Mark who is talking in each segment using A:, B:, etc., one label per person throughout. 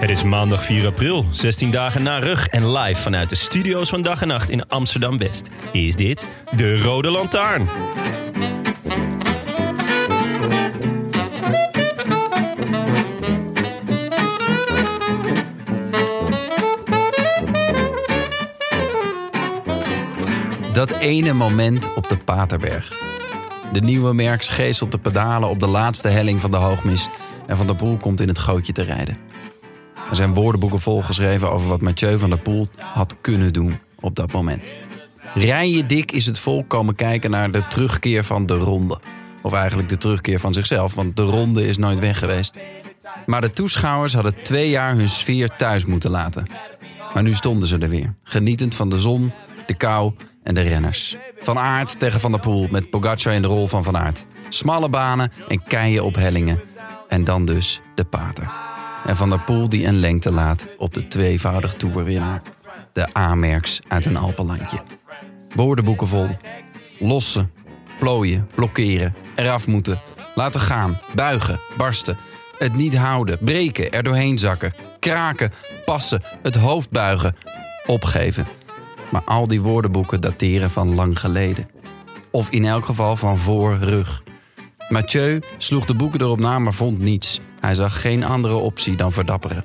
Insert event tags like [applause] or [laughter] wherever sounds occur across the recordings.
A: Het is maandag 4 april, 16 dagen na rug en live vanuit de studio's van Dag en Nacht in Amsterdam West. Is dit de Rode Lantaarn?
B: Dat ene moment op de Paterberg. De nieuwe merks geeselt de pedalen op de laatste helling van de hoogmis. En Van der Poel komt in het gootje te rijden. Er zijn woordenboeken volgeschreven over wat Mathieu van der Poel had kunnen doen op dat moment. Rijen dik is het volk komen kijken naar de terugkeer van de ronde. Of eigenlijk de terugkeer van zichzelf, want de ronde is nooit weg geweest. Maar de toeschouwers hadden twee jaar hun sfeer thuis moeten laten. Maar nu stonden ze er weer, genietend van de zon, de kou en de renners. Van Aert tegen Van der Poel met Pogacar in de rol van Van Aert. Smalle banen en keien op hellingen. En dan dus de pater. En Van der Poel die een lengte laat op de tweevoudig toerwinnaar. De A-merks uit een Alpenlandje. Woordenboeken vol. Lossen, plooien, blokkeren, eraf moeten, laten gaan, buigen, barsten. Het niet houden, breken, er doorheen zakken, kraken, passen, het hoofd buigen, opgeven. Maar al die woordenboeken dateren van lang geleden. Of in elk geval van voor rug. Mathieu sloeg de boeken erop na, maar vond niets. Hij zag geen andere optie dan verdapperen.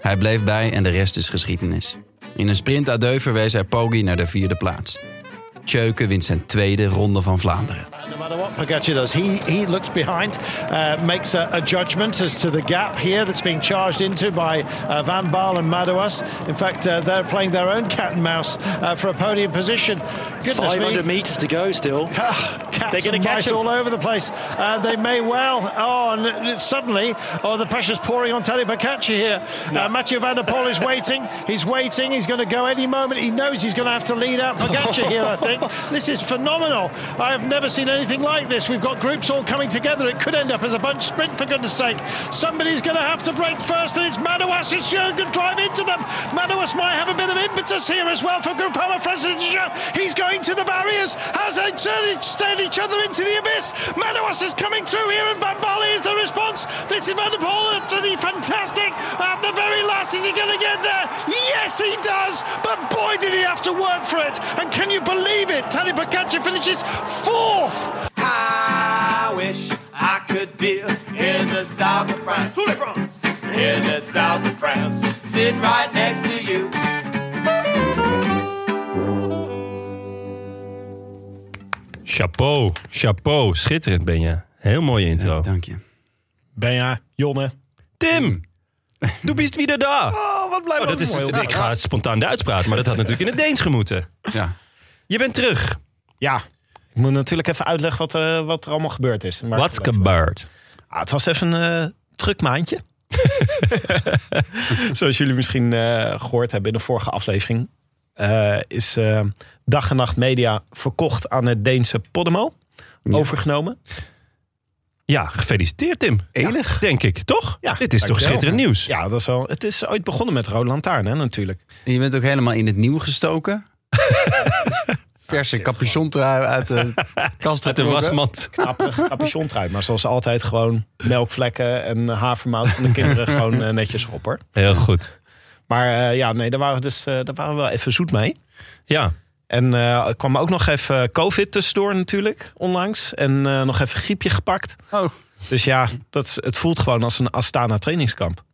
B: Hij bleef bij en de rest is geschiedenis. In een sprint adieu verwees hij Poggi naar de vierde plaats. Tjeuke wint zijn tweede ronde van Vlaanderen.
C: No matter what Pogacar does, he, he looks behind, uh, makes a, a judgment as to the gap here that's being charged into by uh, Van Baal and Madouas. In fact, uh, they're playing their own cat and mouse uh, for a podium position. Goodness
D: 500
C: me.
D: meters to go still.
C: Ah, [laughs] cats
D: They're gonna
C: and
D: catch
C: mice
D: him.
C: all over the place. Uh, they may well. Oh, and it- suddenly, oh, the pressure's pouring on Tadej Pogacar here. Uh, Mathieu van der
D: [laughs]
C: Poel is waiting. He's waiting. He's going to go any moment. He knows he's going to have to lead out Pogacar here. I
D: [laughs]
C: think this is phenomenal. I have never seen anything like this. We've got groups all coming together. It could end up as a bunch sprint for goodness sake. Somebody's going to have to break first, and it's Manoas and Jurgen drive into them. Manoas might have a bit of impetus here as well for Groupama Francis. He's going to the barriers as they turn stand each other into the abyss. Manoas is coming through here, and Van Bali is the response. This is Van der Poel, utterly fantastic. At the very last, is he going to get there? Yes, he does. But boy, did he have to work for it. And can you believe it? Tadej Pogacar finishes fourth.
E: I wish I could be in the south of France. In the south of France, sitting right next to you.
A: Chapeau, chapeau, schitterend ben je. Heel mooie intro.
B: Dank je.
C: Benja, Jonne.
A: Tim, du bist wieder da. Oh, wat blij dat is, Ik ga het spontaan Duits praten, maar dat had natuurlijk in het Deens gemoeten.
B: Ja.
A: Je bent terug.
C: Ja, ik moet natuurlijk even uitleggen wat, eh, wat er allemaal gebeurd is. Maar-
A: What's gebeurd?
C: Ah, het was even een eh druk maandje. [laughs] Zoals jullie misschien eh, gehoord hebben in de vorige aflevering... eh, is eh, Dag en Nacht Media verkocht aan het Deense Podemo. Overgenomen.
A: Ja, gefeliciteerd Tim.
B: Enig.
A: Denk ik, toch?
C: Ja,
A: Dit is toch
C: dankjewel.
A: schitterend nieuws?
C: Ja, dat is wel, het is ooit begonnen met Rode Lantaarn, hè, natuurlijk.
B: En je bent ook helemaal in het nieuw
A: [laughs]
B: gestoken. Verse capuchontrui
A: [laughs]
B: uit de kast
A: Uit de
B: getrokken.
A: wasmand.
C: Knappe capuchontrui, maar zoals altijd gewoon melkvlekken en havermout van de
A: [laughs]
C: kinderen gewoon eh, netjes op, hoor.
A: Heel goed.
C: Maar eh, ja, nee, daar waren, we dus, eh, daar waren we wel even zoet mee.
A: Ja,
C: En eh, er kwam ook nog even COVID tussendoor natuurlijk, onlangs. En eh, nog even griepje gepakt.
B: Oh,
F: Dus ja, dat, is- het voelt gewoon als een Astana trainingskamp.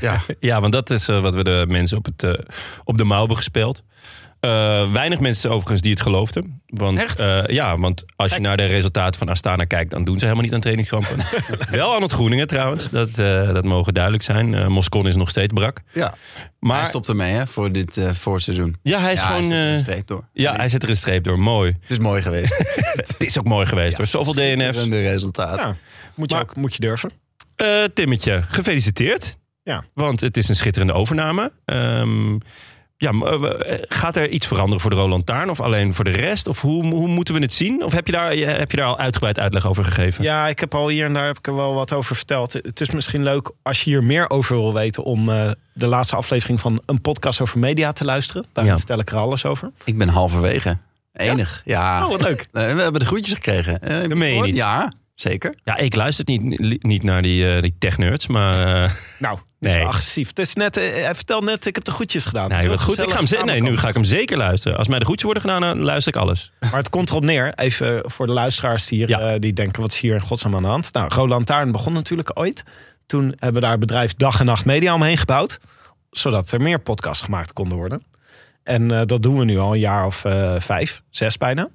B: Ja.
A: Ja, want dat is eh, wat we de mensen op, het, eh, op de mouw hebben gespeeld. Eh, weinig mensen overigens die het geloofden. Want,
F: Echt?
A: eh, ja, want als je naar de resultaten van Astana kijkt... dan doen ze helemaal niet aan trainingskampen. Wel aan het Groeningen trouwens. Dat, eh, dat mogen duidelijk zijn. Eh Moscon is nog steeds brak.
B: ja.
A: Maar
B: Hij stopt ermee hè, voor dit eh voorseizoen.
A: ja, hij is
B: ja,
A: gewoon...
B: zet er
A: eh,
B: een streep door.
A: ja, hij zet er een streep door. Mooi.
B: Het is
A: [laughs]
B: mooi geweest.
A: Het is ook mooi geweest hoor. Zoveel DNF's.
B: En de resultaten.
F: Ja, moet je,
A: Maar-
F: ook, moet je durven.
A: Eh, Timmetje, gefeliciteerd.
F: Ja.
A: Want het is een schitterende overname. Ehm, ja, maar, eh, gaat er iets veranderen voor de Roland Taarn of alleen voor de rest? Of hoe, hoe moeten we het zien? Of heb je, daar, je- heb je daar al uitgebreid uitleg over gegeven?
F: Ja, ik heb al hier en daar heb ik er wel wat over verteld. Het is misschien leuk als je hier meer over wil weten... om eh, de laatste aflevering van een podcast over media te luisteren. Daar
A: Ja.
F: vertel ik er alles over.
B: Ik ben halverwege. Enig. Ja.
F: Oh, wat leuk.
B: Eh, We hebben de groetjes gekregen. Eh, heb
A: Dat meen je
B: gehoord?
A: niet.
B: Ja, zeker.
A: Ja, ik luister niet, li- niet naar die, eh die tech-nerds, maar... eh
F: Nou, niet
A: Nee.
F: zo agressief. Het is net, eh, hij vertelt net, ik heb de goedjes gedaan. Het
A: nee,
F: is wel
A: wat goed. Ik ga hem ze-
F: gezellig
A: nee, nu ga ik hem zeker luisteren. Als mij de goedjes worden gedaan, dan luister ik alles.
F: Maar het komt erop neer, even voor de luisteraars die, hier,
A: Ja.
F: eh, die denken, wat is hier in godsnaam aan de hand? Nou, Roland Taarn begon natuurlijk ooit. Toen hebben we daar bedrijf Dag en Nacht Media omheen gebouwd. Zodat er meer podcasts gemaakt konden worden. En eh, dat doen we nu al een jaar of eh, vijf, zes bijna.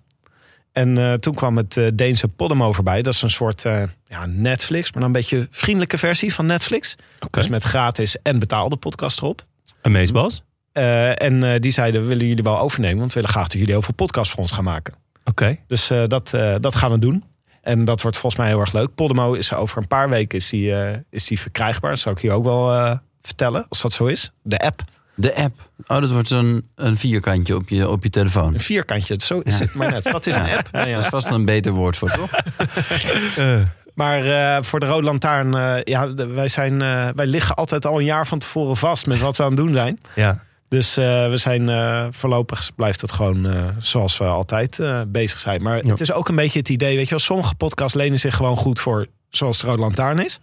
F: En eh, toen kwam het eh, Deense Podimo voorbij. Dat is een soort eh, ja, Netflix, maar dan een beetje vriendelijke versie van Netflix.
A: Oké.
F: Dus met gratis en betaalde podcast erop.
A: Amaze Bas?
F: Eh, en eh, die zeiden, willen jullie wel overnemen? Want we willen graag dat jullie heel veel podcasts voor ons gaan maken.
A: Oké.
F: Dus eh, dat, eh, dat gaan we doen. En dat wordt volgens mij heel erg leuk. Podemo is over een paar weken is die, eh, is die verkrijgbaar. Dat zal ik hier ook wel eh, vertellen, als dat zo is. De app.
B: De app. Oh, dat wordt zo'n een vierkantje op je, op je telefoon.
F: Een vierkantje, zo is het maar net.
B: [laughs]
F: Dat is een app. Nou ja.
B: Dat is vast een beter woord voor, toch?
F: Maar eh, voor de Rode Lantaarn, eh, ja, de- wij, zijn, eh, wij liggen altijd al een jaar van tevoren vast met wat we aan het doen zijn.
A: Ja.
F: Dus eh, we zijn eh, voorlopig blijft het gewoon eh, zoals we altijd eh, bezig zijn. Maar
A: Ja.
F: het is ook een beetje het idee, weet je wel, sommige podcasts lenen zich gewoon goed voor zoals de Rode Lantaarn is.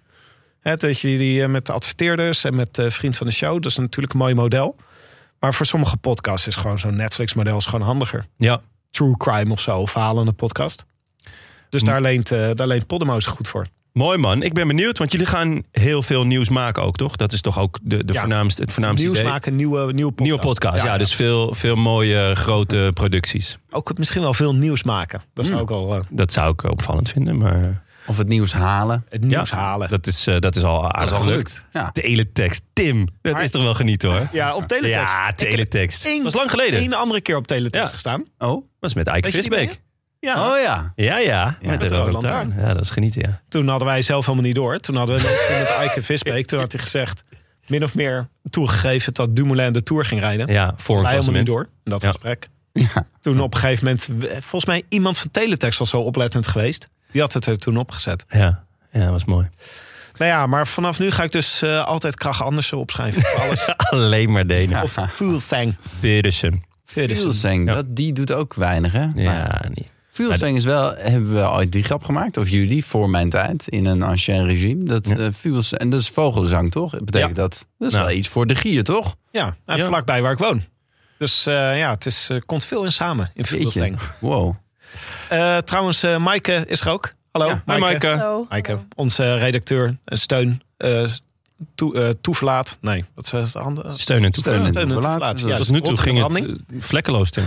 F: Hè, dat je die eh, met de adverteerders en met eh vriend van de show, dat is natuurlijk een mooi model. Maar voor sommige podcasts is gewoon zo'n Netflix model is gewoon handiger.
A: Ja.
F: True crime of zo, of verhalende podcast. Dus
A: Mm.
F: daar leent, eh daar leent Podimo zich goed voor.
A: Mooi man, ik ben benieuwd, want jullie gaan heel veel nieuws maken ook, toch? Dat is toch ook de, de
F: Ja.
A: voornaamste, het voornaamste
F: Nieuws
A: idee?
F: maken, nieuwe, nieuwe podcast.
A: Nieuwe podcast, ja. dus veel, veel mooie eh, grote producties.
F: Ook misschien wel veel nieuws maken. Dat
A: Mm.
F: zou ook al eh,
A: Dat zou ik opvallend vinden, maar... eh,
B: Of het nieuws halen.
F: het nieuws
A: ja,
F: halen.
A: Dat is, eh, dat is al aardig
B: al
A: gelukt.
B: gelukt, ja.
A: Teletext. Tim, dat
F: Maar-
A: is toch wel genieten hoor?
F: Ja, op teletext.
A: Ja, teletext.
F: Eén-
A: Dat was lang geleden.
F: Eén andere keer op teletext
A: Ja.
F: gestaan.
B: Oh,
A: Dat was met Ike
F: Weet je die
A: Visbeek.
F: Ja.
B: oh ja.
A: Ja, ja. Met de
F: Met Roland
A: Roland Taarn. Ja, dat is genieten, ja.
F: Toen hadden wij zelf helemaal niet door. Toen hadden we een interview met Eike Visbeek. Toen had hij gezegd, min of meer toegegeven dat Dumoulin de Tour ging rijden.
A: Ja, voor een
F: wij helemaal niet
A: klassement.
F: door in dat
A: Ja.
F: gesprek. Toen op een gegeven moment, eh, volgens mij iemand van teletext was zo oplettend geweest. Die had het er toen opgezet.
A: Ja. ja, dat was [laughs] mooi.
F: Nou ja, maar vanaf nu ga ik dus eh, altijd Krach
A: [laughs]
F: Andersen opschrijven. Voor alles.
A: Alleen maar Denen. Of
F: Fuglsang.
A: Pedersen.
F: dus-
B: Fuelsang,
A: Ja.
B: dat die doet ook weinig, hè? Maar
A: Ja, niet.
B: Fuelsang is wel... Hebben we ooit die grap gemaakt? Of jullie, voor mijn tijd, in een ancien regime. Dat, eh Fuelsang- en dat is vogelzang, toch? Dat betekent
A: Ja.
B: dat... Dat is
A: Nou.
B: wel iets voor de gier, toch?
F: Ja, en
A: Ja.
F: vlakbij waar ik woon. Dus eh, ja, het is, eh, komt veel in samen in
B: Jeetje.
F: Fuglsang.
B: Wow.
F: Eh, trouwens, eh Maaike is er ook. Hallo,
A: Hoi Maaike.
D: Hallo.
F: Maaike, onze redacteur en steun. eh toe, eh, toeverlaat. Nee, wat is het andere?
A: Steun en
B: Steun en
A: toeverlaat.
F: Steun en
B: toeverlaat.
F: toeverlaat, dus
B: Dat is-
F: juist.
A: Tot nu toe ging het
F: Rotterbranding.
A: eh, vlekkeloos, Tim.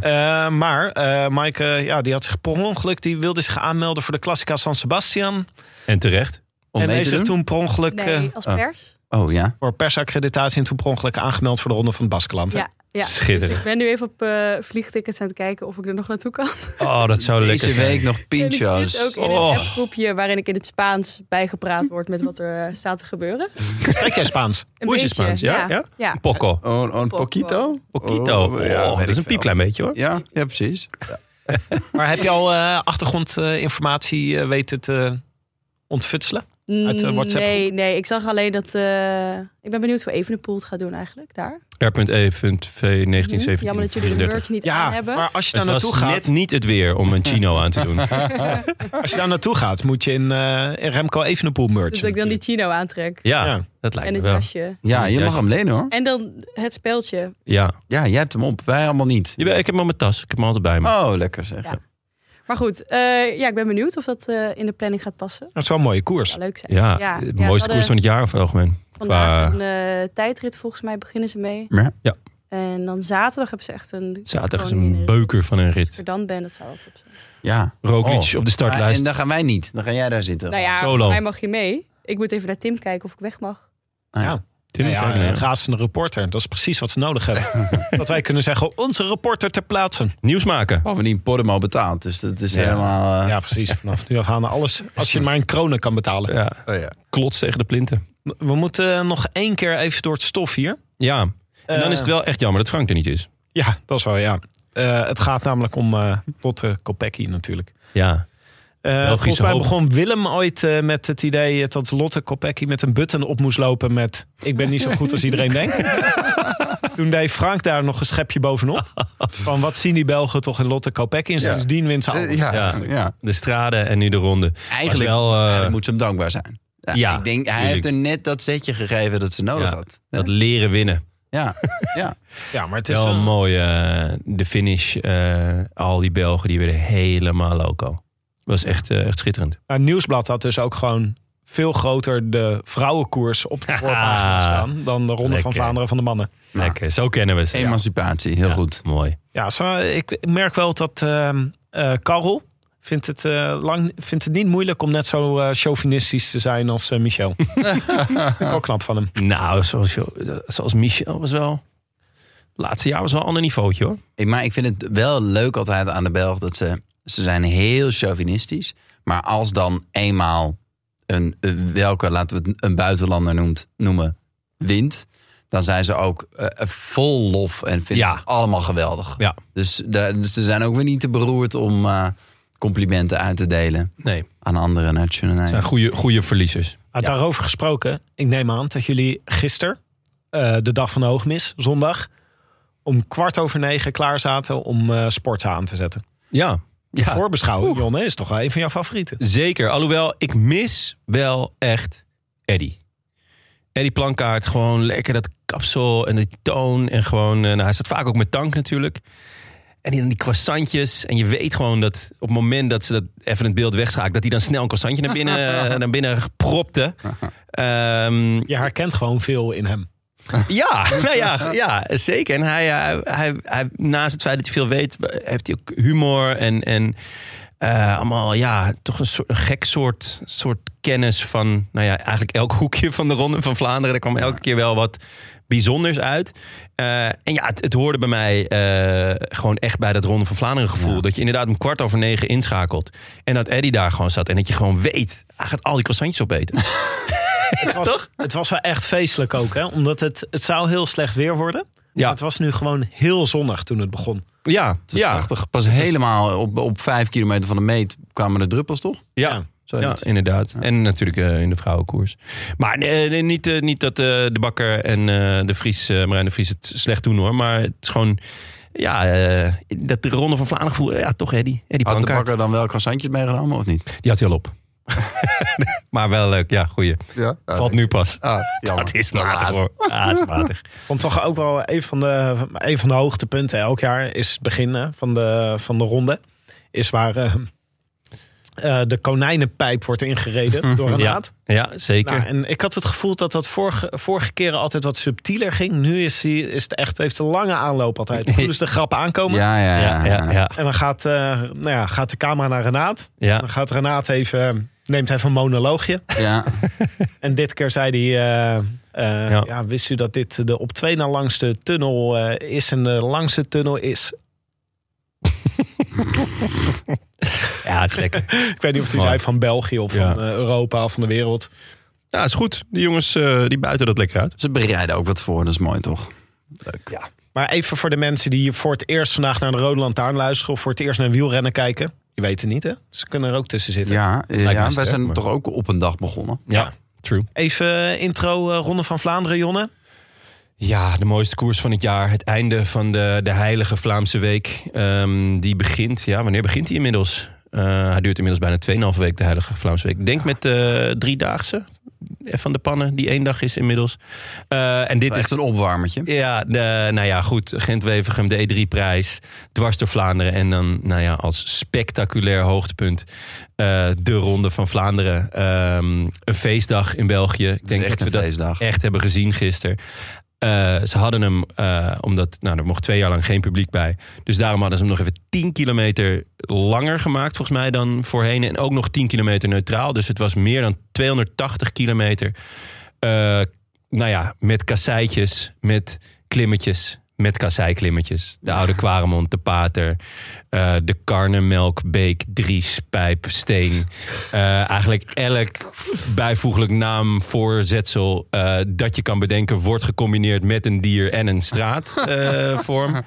F: Eh, maar eh Maaike, ja, die had zich per ongeluk... die wilde zich aanmelden voor de Classica San Sebastian.
A: En terecht.
B: Om
F: en
B: mee
F: heeft
B: te
F: zich
B: doen?
F: toen per ongeluk... eh,
D: Nee, als
B: oh.
D: pers.
B: Oh ja.
F: voor persaccreditatie en toen per ongeluk aangemeld voor de Ronde van het Baskeland. hè?
D: Ja, ja.
A: Schitterend.
D: Dus ik ben nu even op eh, vliegtickets aan het kijken of ik er nog naartoe kan.
A: Oh, dat zou lekker
B: Deze
A: zijn.
B: week nog
D: [laughs] En ik
B: pincho's.
D: zit ook in een
A: Oh.
D: appgroepje waarin ik in het Spaans bijgepraat word met wat er eh, staat te gebeuren.
F: Spreek jij Spaans?
D: Een
A: Hoe is
D: beetje,
A: het Spaans? Ja?
D: ja.
A: Een Pokko.
B: Oh, een poquito?
A: Pokito.
B: Oh,
A: Oh,
B: ja, weet
A: dat is
B: ik
A: een piepklein beetje hoor.
B: Ja, ja, precies.
F: Maar heb je al eh, achtergrondinformatie eh, weten te ontfutselen? Uit de
D: Mm,
F: WhatsApp
D: Nee, nee, ik zag alleen dat... eh, ik ben benieuwd hoe Evenepoel het gaat doen eigenlijk, daar. Hm,
A: R.E.V. 1917.
D: Jammer dat jullie de merch niet aan
F: Ja,
D: hebben.
F: maar als je daar
A: Het was
F: naartoe gaat...
A: net niet het weer om een chino aan te doen.
F: Als je daar naartoe gaat, moet je in, eh, in Remco Evenepoel merch.
D: Dus dat ik dan die chino aantrek.
A: Ja,
F: Ja.
A: dat lijkt me
D: En het
A: wel.
D: jasje.
B: Ja, je mag hem lenen hoor.
D: En dan het speeltje.
A: Ja.
B: Ja, jij hebt hem op. Wij allemaal niet.
D: Oh,
A: Jawel, Ik heb hem op mijn tas. Ik heb hem altijd bij me.
B: Oh, lekker zeg.
D: Ja. Maar goed, eh, ja, ik ben benieuwd of dat eh, in de planning gaat passen.
A: Dat is wel een mooie koers.
D: Zou leuk zijn.
A: Ja,
D: ja,
A: de
D: ja, ze
A: mooiste
D: hadden
A: koers van het jaar over het algemeen.
D: Vandaag
A: Qua
D: een eh, tijdrit volgens mij beginnen ze mee.
B: Ja.
D: En dan zaterdag hebben ze echt een...
A: zaterdag is
D: gewoon
A: een
D: in-
A: beuker van een
D: Als
A: rit.
D: ik er dan ben, dat zou wel top zijn.
B: ja.
A: Roglic
B: Oh.
A: op de startlijst.
B: Ah, en dan gaan wij niet. Dan ga jij daar zitten.
D: Nou ja,
A: Solo.
D: voor mij mag je mee. Ik moet even naar Tim kijken of ik weg mag.
B: Ah, ja.
A: Tim,
F: Nou
A: kijk
F: ja,
A: naar-
F: een razende reporter. Dat is precies wat ze nodig hebben. [laughs] dat wij kunnen zeggen, onze reporter ter plaatse.
A: Nieuws maken.
B: Bovendien Podimo betaald. Dus dat is
F: Ja.
B: helemaal... eh,
F: Ja, precies. Vanaf nu af aan alles. Als je maar in kronen kan betalen.
A: Ja,
B: Oh ja.
A: klots tegen de plinten.
F: We moeten nog één keer even door het stof hier.
A: Ja, en dan
F: Eh,
A: is het wel echt jammer dat Frank er niet is.
F: Ja, dat is wel, ja. Eh, het gaat namelijk om eh Lotte Kopecky natuurlijk.
A: Ja,
F: Eh
A: Belgische
F: volgens mij
A: hoop.
F: begon Willem ooit eh, met het idee eh, dat Lotte Kopecky met een button op moest lopen met... Ik ben niet zo goed als iedereen denkt.
A: [laughs]
F: Toen deed Frank daar nog een schepje bovenop. Van wat zien die Belgen toch in Lotte Kopecky? En
B: Ja.
F: sindsdien wint ze alles.
B: Eh, ja.
A: Ja.
B: ja.
A: de straden en nu de ronde.
B: Eigenlijk,
A: Was wel, eh,
B: eigenlijk moet ze hem dankbaar zijn. Ja,
A: ja,
B: ik denk, hij
A: tuurlijk.
B: heeft er net dat setje gegeven dat ze nodig
A: Ja,
B: had.
A: Dat leren winnen.
B: Ja, ja.
F: Ja, maar het is
A: Wel
F: een-
A: mooi, eh, de finish. eh, al die Belgen die werden helemaal loco. Was echt, eh, echt schitterend.
F: Nou, Nieuwsblad had dus ook gewoon veel groter de vrouwenkoers op
A: [laughs]
F: de voorpagina staan... dan de Ronde
A: Lekker.
F: van Vlaanderen van de mannen.
B: Nou.
A: Lekker, zo kennen we ze.
B: Emancipatie, heel
A: Ja,
B: goed.
A: Mooi.
F: Ja, zo, ik merk wel dat ehm eh, Karel vindt het, eh, lang, vindt het niet moeilijk om net zo eh, chauvinistisch te zijn als eh, Michel. Vind ik ook knap van hem.
A: Nou, zoals, zoals Michel was wel... Laatste jaar was wel een ander niveautje hoor.
B: Ik- Maar ik vind het wel leuk altijd aan de Belg dat ze... Ze zijn heel chauvinistisch. Maar als dan eenmaal een, een- welke, laten we het een buitenlander noemt, noemen, wint... dan zijn ze ook eh, eh, vol lof en vinden
A: Ja.
B: het allemaal geweldig.
A: Ja.
B: Dus, daar- dus ze zijn ook weer niet te beroerd om eh, complimenten uit te delen
A: Nee, het
B: aan andere nationaliteiten.
A: zijn goede, goede verliezers.
F: Ah,
B: Ja.
F: Daarover gesproken, ik neem aan dat jullie gisteren, eh, de dag van de hoogmis, zondag... om kwart over negen klaar zaten om eh sporten aan te zetten.
A: Ja,
F: Ja.
A: Ah.
F: Voorbeschouwing, Jonne, is toch wel een van jouw favorieten.
A: Zeker. Alhoewel, ik mis wel echt Eddie. Eddie Plankaart, gewoon lekker dat kapsel en die toon. En gewoon, eh, nou, hij staat vaak ook met tank natuurlijk. En die, die croissantjes. En je weet gewoon dat op het moment dat ze dat even het beeld wegschakelt... dat hij dan snel een croissantje naar binnen, eh, naar binnen propte. Ehm,
F: Je herkent gewoon veel in hem.
A: ja, [laughs] nou ja, ja, zeker. En hij, hij, hij, hij- naast het feit dat hij veel weet, heeft hij ook humor en, en eh, allemaal, ja, toch een, soort, een gek soort, soort kennis van, nou ja, eigenlijk elk [laughs] hoekje van de Ronde van Vlaanderen. Daar kwam elke keer wel wat bijzonders uit. Eh, en ja, het, het hoorde bij mij eh, gewoon echt bij dat Ronde van Vlaanderen gevoel. Dat je inderdaad om kwart over negen inschakelt. En dat Eddie daar gewoon zat. En dat je gewoon weet, hij gaat al die croissantjes
B: [laughs]
A: opeten.
F: Het was, het was wel echt feestelijk ook, hè? Omdat het, het zou heel slecht weer worden.
A: Ja.
F: Maar Het was nu gewoon heel zonnig toen het begon.
A: Ja,
B: Het is
A: ja,
B: prachtig. Pas helemaal op, op vijf kilometer van de meet kwamen de druppels, toch?
A: ja. Ja,
B: Zoiets.
A: inderdaad. En natuurlijk eh, in de vrouwenkoers. Maar eh, nee, niet, eh, niet dat eh, de Bakker en eh, de Vries, eh, Marijn de Vries het slecht doen hoor. Maar het is gewoon, ja, eh, dat de Ronde van Vlaanderen gevoel. Ja, toch Eddie. Eddie
B: Had de
A: Plankaart.
B: bakker dan wel croissantjes meegenomen of niet?
A: Die had hij al op. [laughs] maar wel leuk. Ja, goeie.
B: Ja.
A: Valt nu pas.
B: Ah,
A: Dat is matig hoor. Ah, het is matig.
F: Want toch ook wel een van de, een van de hoogtepunten elk jaar is het begin hè, van de, van de ronde. Is waar eh, eh, de konijnenpijp
A: [laughs]
F: wordt ingereden door een
A: Ja,
F: naad.
A: ja zeker.
F: Nou, en ik had het gevoel dat dat vorige, vorige keren altijd wat subtieler ging. Nu is, die, is het echt, heeft de lange aanloop altijd.
A: [laughs]
F: Toen is de grap aankomen.
B: Ja, ja,
A: ja,
B: ja.
A: ja, ja,
F: En dan gaat, eh, nou ja, gaat de camera naar Renaat.
A: ja.
F: Dan gaat Renaat even, eh, neemt even een monoloogje.
B: Ja.
F: En dit keer zei hij... eh, eh,
A: Ja.
F: ja. wist u dat dit de op twee na langste tunnel eh, is? En de langste tunnel is...
A: Ja, het is lekker.
F: Ik weet niet of hij
A: Mooi.
F: zei van België of
A: Ja.
F: van eh, Europa of van de wereld.
A: Ja, het is goed. Die jongens eh, die buiten dat lekker uit.
B: Ze bereiden ook wat voor, dat is mooi toch?
F: Maar even voor de mensen die voor het eerst vandaag naar de Rode Lantaarn luisteren... of voor het eerst naar wielrennen kijken. Je weet het niet, hè? Ze kunnen er ook tussen zitten.
B: Ja, eh,
A: Lijkt
B: ja
A: mij
B: wij
A: sterk,
B: zijn
A: maar-
B: toch ook op een dag begonnen.
A: Ja, true.
F: Even eh, intro eh, Ronde van Vlaanderen, Jonne.
A: Ja, de mooiste koers van het jaar. Het einde van de, de heilige Vlaamse week. Ehm, die begint, ja, wanneer begint die inmiddels? Eh, hij duurt inmiddels bijna 2,5 week, de heilige Vlaamse week. Ik Denk met eh driedaagse. van de pannen, die één dag is inmiddels. Eh, en dit
B: Echt
A: is
B: een opwarmertje.
A: ja, de, nou ja, goed. Gent-Wevergem, de E3-prijs. Dwars door Vlaanderen. En dan, nou ja, als spectaculair hoogtepunt. eh, de Ronde van Vlaanderen. Ehm, een feestdag in België. Ik denk
B: echt
A: dat we
B: een
A: dat
B: feestdag.
A: echt hebben gezien gisteren. Eh, ze hadden hem, eh, omdat nou, er mocht twee jaar lang geen publiek bij. Dus daarom hadden ze hem nog even 10 kilometer langer gemaakt, volgens mij, dan voorheen. En ook nog 10 kilometer neutraal. Dus het was meer dan 280 kilometer. Eh, nou ja, met kasseitjes, met klimmetjes, met kasseiklimmetjes. De Oude Kwaremond, de Pater, eh, de Karnemelk, Beek, Dries, Pijp, Steen. Eh, eigenlijk elk bijvoeglijk naam, voorzetsel eh, dat je kan bedenken... wordt gecombineerd met een dier en een straatvorm.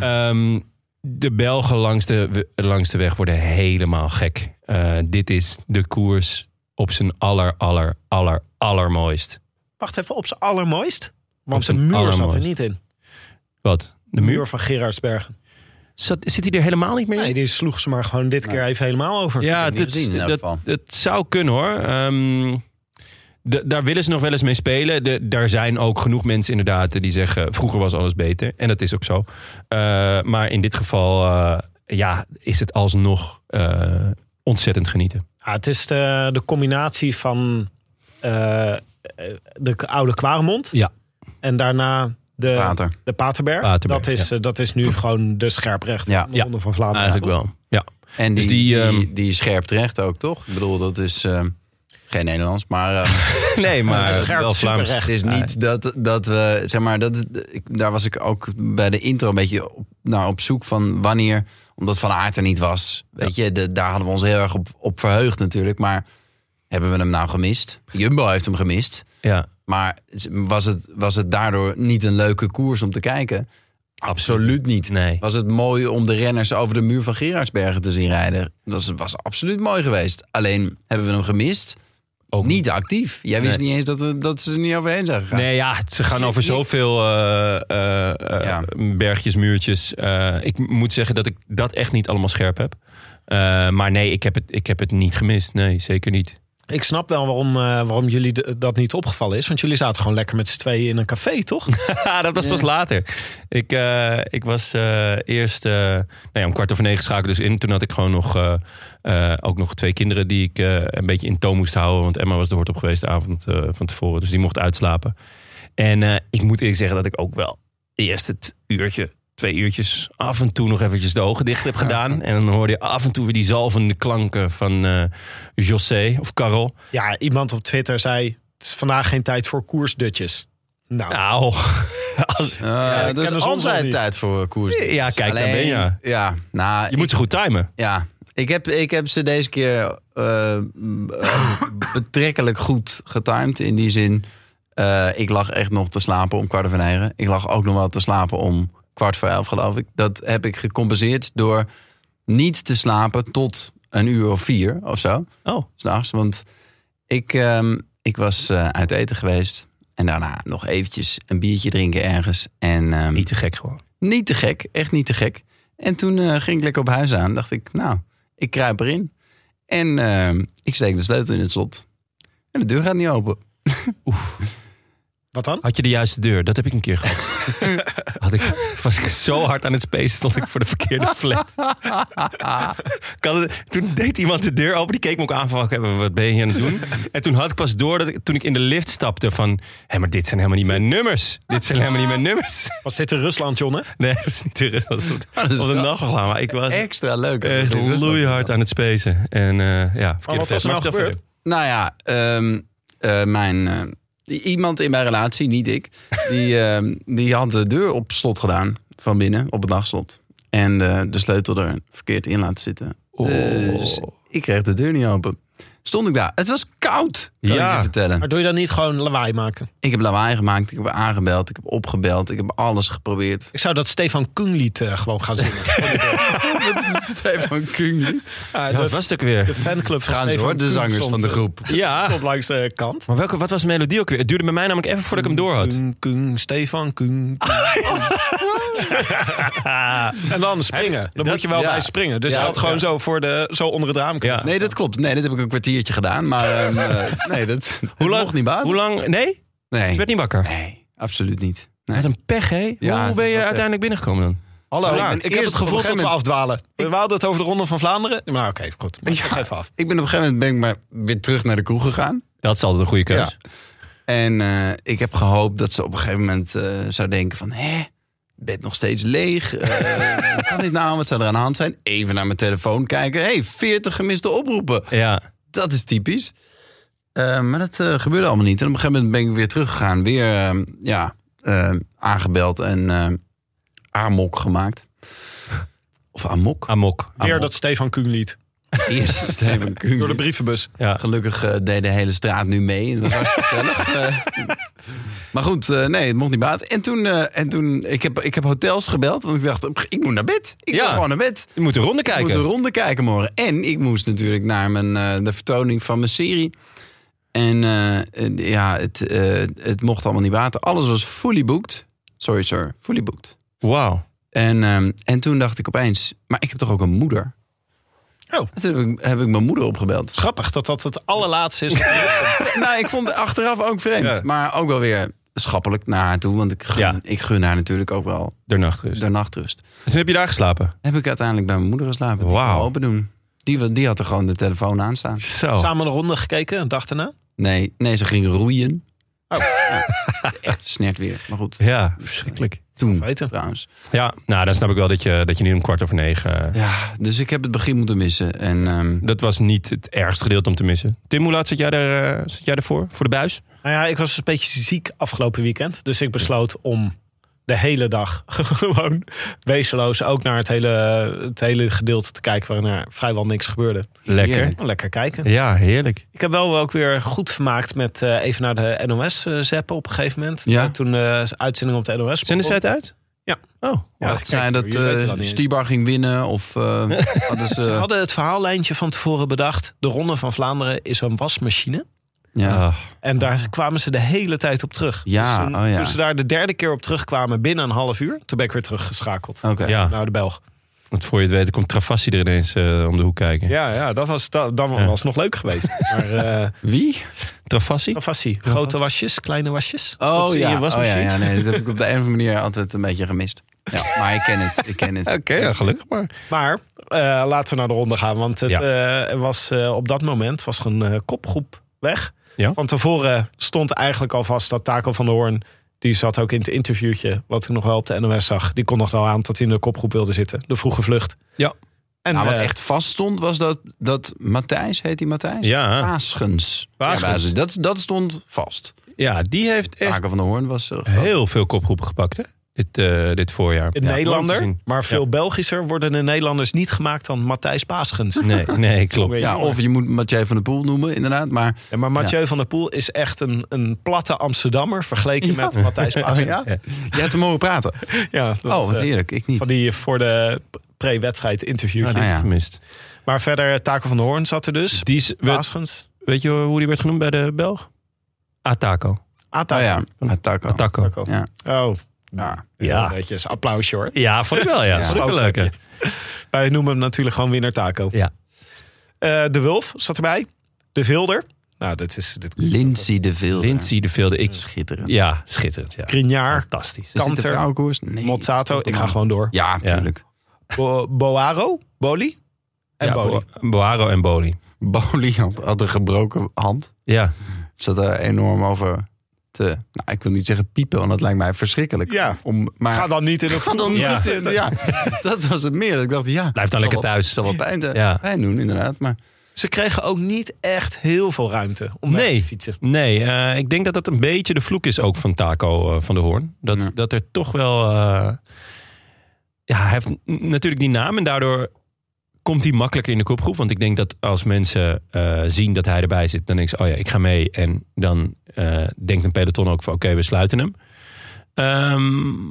A: Ehm, de Belgen langs de, langs de weg worden helemaal gek. Eh, dit is de koers op zijn aller, aller, aller, allermooist.
F: Wacht even, op zijn allermooist?
A: Op
F: Want de
A: zijn
F: muur zat er
A: allermooist.
F: niet in.
A: Wat? De
F: De
A: muur?
F: muur van Gerardsbergen.
A: Zat, zit hij er helemaal niet meer in?
F: Nee, die sloeg ze maar gewoon dit keer even helemaal over.
A: Ja,
B: heb het niet
A: dat,
B: gezien in elk
A: dat,
B: geval.
A: dat zou kunnen hoor. Ehm, d- daar willen ze nog wel eens mee spelen. De, daar zijn ook genoeg mensen inderdaad die zeggen... vroeger was alles beter. En dat is ook zo. Eh, maar in dit geval eh, ja, is het alsnog eh, ontzettend genieten.
F: Ja, Ah, het is de, de combinatie van eh, eh, de k- oude Kwaremond.
A: Ja.
F: En daarna de,
B: Water.
F: de Paterberg.
A: Paterberg,
F: dat, is, eh, dat is nu gewoon de scherprecht
B: Ja.
F: van de
A: Ja.
F: Ronde van Vlaanderen.
A: Eigenlijk wel. Ja.
B: En die,
A: Dus die,
B: die,
A: ehm,
B: die is scherp terecht ook, toch? Ik bedoel, dat is eh, geen Nederlands, maar [laughs] eh,
A: Nee, maar
F: scherp,
A: wel Vlaams.
F: superrecht.
B: het is niet dat, dat we, zeg maar, dat, ik, daar was ik ook bij de intro een beetje op, nou, op zoek van wanneer, omdat Van Aert er niet was. Weet je, de- daar hadden we ons heel erg op, op verheugd natuurlijk, maar hebben we hem nou gemist? Jumbo heeft hem gemist,
A: Ja,
B: maar was het, was het daardoor niet een leuke koers om te kijken? Absoluut niet.
A: nee.
B: Was het mooi om de renners over de muur van Gerardsbergen te zien rijden? Dat was, was absoluut mooi geweest. Alleen hebben we hem gemist.
A: Ook
B: Niet actief. Jij wist niet eens dat, we, dat ze er niet overheen zijn gegaan.
A: Nee, ja, ze gaan over zoveel eh, eh, eh,
B: Ja.
A: bergjes, muurtjes. Eh, ik m- moet zeggen dat ik dat echt niet allemaal scherp heb. Eh, maar nee, ik heb, het, ik heb het niet gemist. Nee, zeker niet.
F: Ik snap wel waarom, eh, waarom jullie d- dat niet opgevallen is. Want jullie zaten gewoon lekker met z'n tweeën in een
A: [laughs]
F: café, toch?
A: Ah, dat was pas later. Ik, eh, ik was eh, eerst eh, nou ja, om kwart over negen schakelde dus in. Toen had ik gewoon nog, eh, eh, ook nog twee kinderen die ik eh, een beetje in toom moest houden. Want Emma was de hort op geweest de avond eh, van tevoren. Dus die mocht uitslapen. En eh, ik moet eerlijk zeggen dat ik ook wel eerst het uurtje, twee uurtjes af en toe nog eventjes de ogen dicht heb gedaan. En dan hoorde je af en toe weer die zalvende klanken van eh José of Carol.
F: ja, iemand op Twitter zei... het is vandaag geen tijd voor koersdutjes. Nou,
A: Nou, [laughs] als-
B: Eh,
F: dat
B: er
F: kennen
B: is
F: ze ons nog
B: altijd
F: niet.
B: tijd voor eh, koers.
A: Ja, kijk, daar ben je.
B: Ja, nou,
A: je moet ze goed timen.
B: ja. Ik, heb, ik heb ze deze keer eh, m- eh,
A: [coughs]
B: betrekkelijk goed getimed. In die zin, eh, ik lag echt nog te slapen om kwart over negen. Ik lag ook nog wel te slapen om kwart voor elf, geloof ik. Dat heb ik gecompenseerd door niet te slapen tot een uur of vier of zo.
A: Oh.
B: s'nachts. Want ik, ehm, ik was eh, uit eten geweest. En daarna nog eventjes een biertje drinken ergens. En, ehm,
A: Niet te gek gewoon.
B: niet te gek, echt niet te gek. En toen eh, ging ik lekker op huis aan. Dacht ik, nou, ik kruip erin. En ehm, ik steek de sleutel in het slot. En de deur gaat niet open.
F: wat dan?
A: Had je de juiste deur? Dat heb ik een keer gehad. Had ik, was ik zo hard aan het spacen, stond ik voor de verkeerde flat. Ik had het- toen deed iemand de deur open, die keek me ook aan van, "Oké, wat ben je hier aan het doen? En toen had ik pas door, dat ik, toen ik in de lift stapte, van, hé, maar dit zijn helemaal niet mijn nummers. Dit zijn helemaal niet mijn nummers. [laughs]
F: Was dit in Rusland, Jonne?
A: Nee, dat is niet de rest. Dat was,
B: dat is
A: was een
B: wel
A: nachtgelaam, maar ik was
B: Extra leuk.
A: echt loeihard aan het spacen. En eh, ja, verkeerde
F: wat
A: flat.
F: was er nou
A: vertel
F: gebeurd?
A: verder.
B: Nou ja, ehm, eh, mijn, eh, iemand in mijn relatie, niet ik, die, [laughs] ehm, die had de deur op slot gedaan van binnen, op het nachtslot. En eh, de sleutel er verkeerd in laten zitten. Dus
A: Oh.
B: ik kreeg de deur niet open. Stond ik daar. Het was koud, kan
A: Ja.
B: ik je vertellen.
F: Maar doe je dan niet gewoon lawaai maken?
B: Ik heb lawaai gemaakt, ik heb aangebeld, ik heb opgebeld, ik heb alles geprobeerd.
F: Ik zou dat Stefan Koen lied eh, gewoon gaan zingen.
B: met Stefan Kung.
A: [laughs] Ja, dat was het ook weer.
F: De fanclub van
B: Gaan ze
F: Stefan
B: hoor, de
F: Kuhn
B: zangers
F: stond,
B: van de
F: eh,
B: groep.
A: Ja,
F: stond langs de kant.
A: maar welke, wat was de melodie ook weer? Het duurde bij mij namelijk even voordat ik hem door had.
F: Kuhn, Kuhn, Stefan Kuhn. Kuhn. [laughs] en dan springen. Dan moet je wel
B: ja.
F: bij springen. Dus
B: Ja,
F: hij had gewoon
B: ja.
F: zo, voor de, zo onder het raam kunnen.
A: Ja.
B: Nee, dat klopt. Nee, dat heb ik een kwartiertje gedaan. Maar ehm, eh, nee, dat, dat mocht niet baat.
A: Hoe lang? Nee? Je
B: Nee,
A: werd niet wakker.
B: nee, absoluut niet. Nee.
A: Wat een pech, hè?
B: Ja,
A: hoe ben
B: dat is
A: je
B: wel pech.
A: uiteindelijk binnengekomen dan?
F: Hallo,
B: ik
F: ja,
B: ben
F: ik, heb
B: eerst
F: het
B: op
F: gevoel
B: een
F: dat we
B: gegeven
F: afdwalen. We hadden het over de Ronde van Vlaanderen. Maar oké, goed. Maar
B: Ja.
F: ga even af.
B: Ik ben op een gegeven moment ben ik maar weer terug naar de kroeg gegaan.
A: Dat is altijd een goede keuze.
B: En eh, ik heb gehoopt dat ze op een gegeven moment eh, zou denken van... Hè, bed nog steeds leeg. Eh, [laughs] hoe kan dit nou? Wat zou er aan de hand zijn? Even naar mijn telefoon kijken. Hé, hey, 40 gemiste oproepen.
A: Ja.
B: Dat is typisch. Eh, maar dat eh, gebeurde allemaal niet. En op een gegeven moment ben ik weer teruggegaan. Weer eh, ja, eh, aangebeld en eh amok gemaakt. Of amok?
A: Amok.
F: Weer
B: Amok.
F: dat Stefan Kuhn lied.
A: [laughs]
B: Eerst Steven Kuhn.
F: Door de brievenbus.
A: Ja.
B: Gelukkig eh, deed de hele straat nu mee.
A: [laughs]
B: Dat was hartstikke gezellig. Eh, maar goed, eh, nee, het mocht niet baat. En toen, eh, en toen ik, heb, ik heb hotels gebeld. Want ik dacht, ik moet naar bed. Ik
A: Ja.
B: wil gewoon naar bed.
A: Je moet de ronde
B: Ik moet
A: kijken.
B: een ronde kijken morgen. En ik moest natuurlijk naar mijn, eh, de vertoning van mijn serie. En eh, eh, ja, het, eh, het mocht allemaal niet baten. Alles was fully booked. Sorry sir, fully booked.
A: Wauw.
B: En, ehm, en toen dacht ik opeens, maar ik heb toch ook een moeder?
F: Oh.
B: Toen heb ik, heb ik mijn moeder opgebeld.
F: Grappig dat dat het allerlaatste
B: [laughs]
F: is.
B: nou, ik vond het achteraf ook vreemd.
A: Ja.
B: Maar ook wel weer schappelijk naar haar toe. Want ik gun,
A: Ja.
B: ik gun haar natuurlijk ook wel
A: De nachtrust.
B: de nachtrust.
A: Dus heb je daar geslapen?
B: Heb ik uiteindelijk bij mijn moeder geslapen. Die
A: Wauw.
B: kon open doen. Die, wa- die had er gewoon de telefoon aan staan.
A: Zo.
F: Samen een ronde gekeken, een dag daarna.
B: Nee, nee ze ging roeien.
A: Oh.
B: Ja, [laughs] echt snert weer. Maar goed,
A: Ja, verschrikkelijk.
B: toen
F: Weten.
B: trouwens.
A: Ja, nou, dan snap ik wel dat je, dat je nu om kwart over negen... eh,
B: Ja, dus ik heb het begin moeten missen. En ehm,
A: Dat was niet het ergste gedeelte om te missen. Tim, hoe laat zat jij, er, eh, zat jij ervoor? Voor de buis?
F: Nou ja, ik was een beetje ziek afgelopen weekend. Dus ik besloot om de hele dag [laughs] gewoon wezenloos ook naar het hele, het hele gedeelte te kijken waarin er vrijwel niks gebeurde.
A: Lekker.
B: Heerlijk.
F: Gewoon lekker kijken.
A: Ja, heerlijk.
F: Ik heb wel ook weer goed vermaakt met eh, even naar de NOS eh, zappen op een gegeven moment.
B: Ja.
F: Eh, Toen de uitzending op de NOS.
A: Zenden ze
F: begon.
A: het uit?
F: Ja.
A: Oh,
F: Ja,
B: ja,
F: kijk,
B: het zijn dat
F: je weet het al
B: eh
F: niet eens.
B: Stiebar ging winnen. Of [laughs] eh, hadden ze...
F: Ze hadden het verhaallijntje van tevoren bedacht. De Ronde van Vlaanderen is een wasmachine.
B: ja.
A: Ah,
F: En daar kwamen ze de hele tijd op terug.
B: Ja,
F: Dus toen,
B: oh ja.
F: toen ze daar de derde keer op terugkwamen binnen een half uur, toen ben ik weer teruggeschakeld
B: Oké.
A: ja.
F: naar de Belg.
A: Want voor je het weet komt Travassi er ineens eh, om de hoek kijken.
F: Ja, ja dat was, dat, dan
A: Ja.
F: was nog leuk
B: [laughs]
F: geweest. maar eh
B: Wie?
A: Travassi?
F: wat was hij? Grote wasjes, kleine wasjes.
A: dat
B: Oh
A: ze in je
B: ja. oh ja,
A: wasmachine?
B: ja, nee, dat heb
A: [laughs]
B: ik op de een of andere manier altijd een beetje gemist. Ja, maar ik ken het, ik
A: [laughs]
B: ken het.
A: Oké, ja, gelukkig maar.
F: Maar eh, laten we naar de ronde gaan. Want het, eh, was, eh, op dat moment was er een eh, kopgroep weg.
A: Ja.
F: Van tevoren stond eigenlijk al vast dat Taco van der Hoorn... die zat ook in het interviewtje, wat ik nog wel op de NOS zag... die kondigde al aan dat hij in de kopgroep wilde zitten. De vroege vlucht.
A: Ja.
F: En
B: Nou, wat
F: eh,
B: echt vast stond was dat, dat Matthijs, heet die Matthijs?
A: Ja,
B: Paasgens.
A: Paasgens.
B: Ja, Paasgens. dat, dat stond vast.
A: ja die heeft echt
B: Taken van de Hoorn was... eh,
A: heel veel kopgroepen gepakt, hè? Dit, eh, dit voorjaar.
F: Ah, een
A: Ja, leuk te
F: Nederlander,
A: zien.
F: maar veel
A: Ja.
F: Belgischer worden de Nederlanders niet gemaakt dan Matthijs Paasgens.
A: Nee,
F: [laughs]
A: nee, klopt.
B: Ja, of je moet Mathieu van der Poel noemen, inderdaad. Maar
F: Ja, maar Mathieu van der Poel is echt een, een platte Amsterdammer vergeleken met Matthijs Paasgens.
B: ja? jij hebt hem mogen
A: [laughs]
B: praten.
F: Ja, dat was,
B: Oh, wat
F: eh,
B: eerlijk. Ik niet.
F: Van die voor de pre-wedstrijd interviewtje.
A: Ja, die
B: Ah, ja.
A: is gemist.
F: Maar verder, eh, Taco van de Hoorn zat er dus.
A: Die is, we-
F: Waarschuwens.
A: weet je hoe die werd genoemd bij de Belg? Ah, Ataco.
F: Ata.
B: Oh ja, Attack.
A: Ataco.
F: Taco.
B: Ja. Ah,
F: Oh,
B: Ja.
F: ja.
A: Ja.
F: Een beetje een applausje hoor.
A: Ja, vond ik wel, ja.
B: Ja.
A: Vond ik wel leuk, hè?
F: Wij noemen hem natuurlijk gewoon winnaar Taco.
A: Ja.
F: Eh, de Wulf zat erbij. De Vilder. Nou, dit is... Dit...
B: Lindsay de Vilder.
A: Lindsay de Velde. Ik,
B: Schitterend.
A: ja, schitterend. Ja.
F: Grignard.
A: Fantastisch.
B: Is dit de
F: Kanter.
B: vrouwenkoers? Nee.
F: Mozzato. Ik ga gewoon door.
B: Ja, tuurlijk.
F: Bo- Boaro. Boli. En
A: ja,
F: Boli.
A: Bo- Boaro en Boli.
B: Boli had, had een gebroken hand.
A: Ja,
B: zat er enorm over te. Nou, ik wil niet zeggen piepen, want dat lijkt mij verschrikkelijk.
F: Ja.
B: Om, maar
F: Ga dan niet in de
B: Ga dan niet
F: Ja.
B: in.
F: [laughs]
B: Ja, dat was het meer. Dat ik dacht, ja.
A: Blijf dan
B: zal
A: lekker
B: wel-
A: thuis.
B: Zal wel pijn,
A: Ja.
B: pijn doen, inderdaad. Maar
F: Ze kregen ook niet echt heel veel ruimte om mee
A: Nee.
F: te fietsen.
A: nee. eh, ik denk dat dat een beetje de vloek is ook van Taco eh, van de Hoorn. Dat,
B: Ja.
A: dat er toch wel... eh, ja, hij heeft n- natuurlijk die naam en daardoor komt hij makkelijker in de kopgroep. Want ik denk dat als mensen eh, zien dat hij erbij zit, dan denken ze, oh ja, ik ga mee. En dan eh, denkt een peloton ook van, oké, we sluiten hem. Ehm,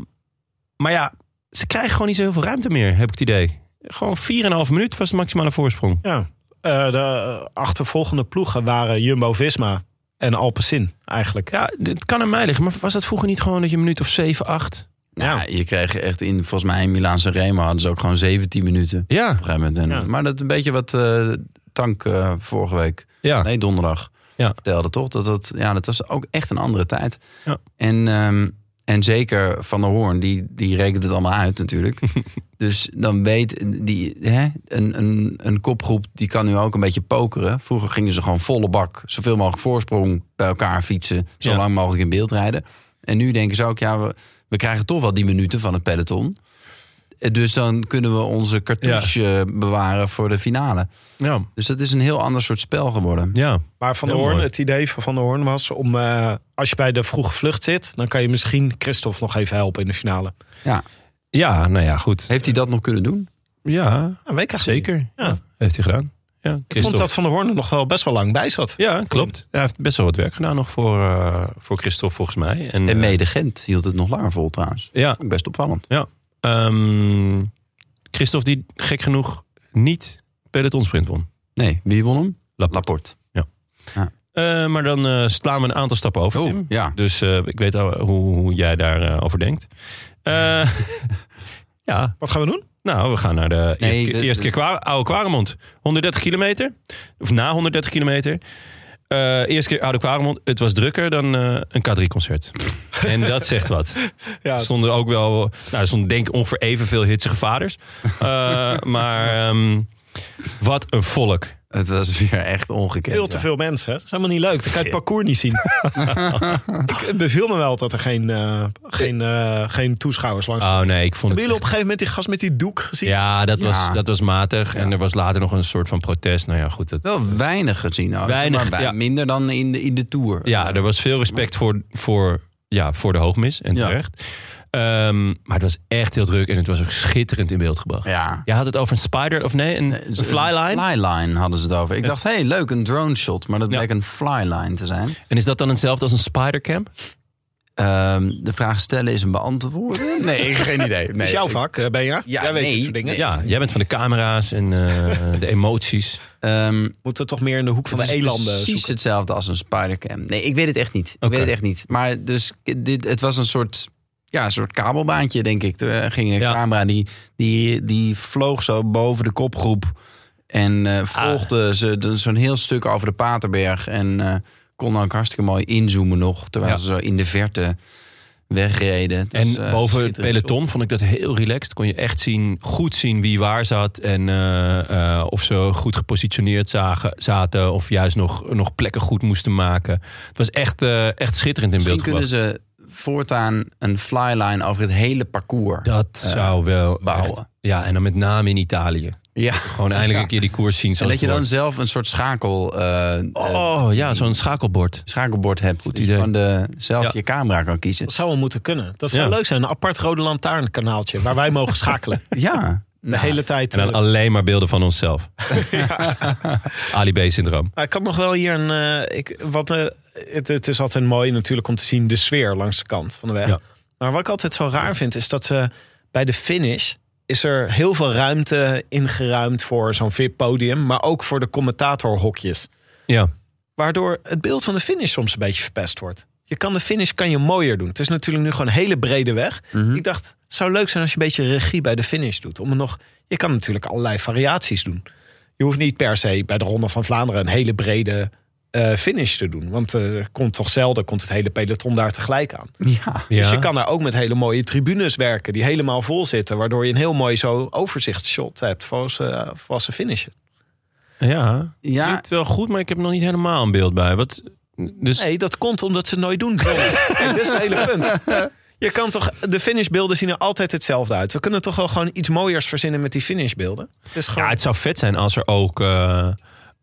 A: maar ja, ze krijgen gewoon niet zo heel veel ruimte meer, heb ik het idee. Gewoon 4,5 minuut was de maximale voorsprong.
F: Ja. Eh, de achtervolgende ploegen waren Jumbo-Visma en Alpecin eigenlijk.
A: Ja, het kan aan mij liggen. Maar was dat vroeger niet gewoon dat je een minuut of 7, 8?
B: Nou, je kreeg echt in, volgens mij in Milaanse Remo hadden ze ook gewoon 17 minuten. Op
A: Ja,
B: een gegeven moment. En,
F: Ja.
B: Maar dat een beetje wat eh, Tank eh, vorige week,
A: ja.
B: nee donderdag,
A: Ja.
B: vertelde toch? Dat, dat, ja, dat was ook echt een andere tijd.
A: Ja.
B: En, ehm, en zeker Van der Hoorn, die, die rekent het allemaal uit natuurlijk.
A: [laughs]
B: dus dan weet die, hè, een, een, een kopgroep, die kan nu ook een beetje pokeren. Vroeger gingen ze gewoon volle bak, zoveel mogelijk voorsprong bij elkaar fietsen. Zo
A: Ja.
B: lang mogelijk in beeld rijden. En nu denken ze ook, ja, we, we krijgen toch wel die minuten van het peloton. Eh, Dus dan kunnen we onze cartouche eh, bewaren voor de finale.
A: ja.
B: Dus dat is een heel ander soort spel geworden.
A: ja.
F: Maar Van
A: Heel
F: der Hoorn,
A: mooi.
F: het idee van Van der Hoorn was om... eh, als je bij de vroege vlucht zit, dan kan je misschien Christophe nog even helpen in de finale.
A: Ja, nou ja, goed.
B: Heeft hij dat nog kunnen doen?
A: Ja,
F: Ja, weet ik eigenlijk niet.
A: zeker. Ja. Heeft hij gedaan. Ja,
F: Ik vond
A: Christophe.
F: dat Van der Hoorn er nog wel best wel lang bij zat.
A: Ja, klopt. Hij heeft best wel wat werk gedaan nog voor, eh, voor Christophe, volgens mij. En,
B: En mede Gent hield het nog langer vol trouwens.
A: eh, ja,
B: Ook Best opvallend.
A: ehm, Christophe die gek genoeg niet pelotonsprint won.
B: Nee, wie won hem?
A: Laporte.
B: Laporte.
A: Eh, maar dan eh, slaan we een aantal stappen
B: Oh.
A: over, Tim.
B: ja.
A: Dus eh, ik weet al hoe, hoe jij daarover over denkt. Eh, [laughs] ja,
F: Wat gaan we doen?
A: nou, we gaan naar de
B: Nee,
A: eerste, keer-
B: de-
A: eerste keer Kwa- Oude Kwaremond. 130 kilometer, of na 130 kilometer. Eh, eerste keer Oude Kwaremond. Het was drukker dan eh, een K3-concert. en dat zegt wat.
F: Ja,
A: Er stonden ook wel, nou, er stonden denk ik ongeveer evenveel hitsige vaders. Eh, [laughs] maar ehm, wat een volk.
B: Het was weer echt ongekend.
F: veel te
B: ja.
F: veel mensen. hè. Dat is helemaal niet leuk. Dan kan je het parcours niet zien. [laughs] ik, het beviel me wel dat er geen, eh, geen, eh, geen toeschouwers langs
A: Oh nee, ik vond
F: Hebben
A: het
F: jullie op een gegeven moment die gast met die doek gezien?
A: Ja, dat, Was,
B: Ja.
A: dat was matig. En er was later nog een soort van protest. Nou ja, goed. Dat,
B: Wel weinig gezien. ook,
A: Weinig,
B: maar bij-
A: ja.
B: Minder dan in de, in de Tour.
A: ja, er was veel respect voor, voor, ja, voor de hoogmis en
B: Ja.
A: terecht. Ehm, maar het was echt heel druk en het was ook schitterend in beeld gebracht.
B: Ja.
A: Je had het over een spider, of nee, een, een flyline.
B: Flyline hadden ze het over. Ik dacht, hé, hey, leuk, een drone shot. Maar dat
A: Ja.
B: bleek een flyline te zijn.
A: En is dat dan hetzelfde als een spidercam?
B: Ehm, de vraag stellen is een
A: [laughs]
B: beantwoorden. Nee, ik- geen idee. Nee,
F: Dat is jouw
B: ik-
F: vak, eh, Benja.
B: Ja,
F: Jij weet
B: nee,
F: dit soort dingen.
B: nee.
A: Ja, jij bent van de camera's en
B: [laughs]
A: eh, de emoties.
B: ehm,
F: Moeten toch meer in de hoek van
B: Het
F: de
B: is
F: elanden
B: precies
F: zoeken.
B: hetzelfde als een spidercam. Nee, ik weet het echt niet. Ik
A: Oké.
B: weet het echt niet. Maar dus dit, het was een soort, ja, een soort kabelbaantje, denk ik. Er ging een
A: Ja.
B: camera, die, die, die vloog zo boven de kopgroep. En
A: Ah.
B: eh, volgde ze de- zo'n heel stuk over de Paterberg. En eh, kon ook hartstikke mooi inzoomen nog. Terwijl
A: Ja.
B: ze zo in de verte wegreden. Het
A: En
B: is, eh,
A: boven het
B: schitterend
A: peloton vond ik dat heel relaxed. Kon je echt zien, goed zien wie waar zat. En eh, eh, of ze goed gepositioneerd zagen, zaten. Of juist nog, nog plekken goed moesten maken. Het was echt, eh, echt schitterend in
B: Misschien
A: beeld
B: kunnen
A: gebracht.
B: ze voortaan een flyline over het hele parcours
A: Dat
B: eh,
A: zou wel
B: bouwen.
A: echt- ja, en dan met name in Italië.
B: Ja.
A: Gewoon eindelijk
B: Ja.
A: een keer die koers zien.
B: En
A: Zoals
B: dat je dan
A: het
B: zelf een soort schakel, eh, eh,
A: hoort. Oh ja, zo'n schakelbord.
B: schakelbord hebt.
A: Goed
B: dat je
A: idee.
B: van de, zelf
A: Ja.
B: je camera kan kiezen.
F: Dat zou wel moeten kunnen. Dat zou
A: Ja.
F: leuk zijn. Een apart rode lantaarnkanaaltje waar wij mogen schakelen.
B: Ja,
F: De
B: nou,
F: hele tijd.
A: En dan
F: eh,
A: alleen maar beelden van onszelf. Ali B-syndroom.
F: Maar ik had nog wel hier een. eh, ik, wat me, het, het is altijd mooi natuurlijk om te zien de sfeer langs de kant van de weg.
A: Ja.
F: Maar wat ik altijd zo raar vind is dat ze bij de finish. Is er heel veel ruimte ingeruimd voor zo'n VIP-podium, maar ook voor de commentatorhokjes.
A: Ja.
F: Waardoor het beeld van de finish soms een beetje verpest wordt. Je kan de finish kan je mooier doen. Het is natuurlijk nu gewoon een hele brede weg. Ik dacht, het zou leuk zijn als je een beetje regie bij de finish doet. Om het nog, je kan natuurlijk allerlei variaties doen. Je hoeft niet per se bij de Ronde van Vlaanderen een hele brede eh, finish te doen. Want eh, er komt toch zelden komt het hele peloton daar tegelijk aan.
B: ja.
A: ja.
F: Dus je kan daar ook met hele mooie tribunes werken die helemaal vol zitten. Waardoor je een heel mooi zo overzichtsshot hebt voor ze, voor ze finishen.
A: Ja.
B: Ja.
A: Klinkt wel goed, maar ik heb er nog niet helemaal een beeld bij. Wat, dus
F: Nee, dat komt omdat ze het nooit doen. Kijk, dat is het hele punt. Je kan toch, de finishbeelden zien er altijd hetzelfde uit. We kunnen toch wel gewoon iets mooiers verzinnen met die finishbeelden. Het is gewoon,
A: Ja, het zou vet zijn als er ook. eh,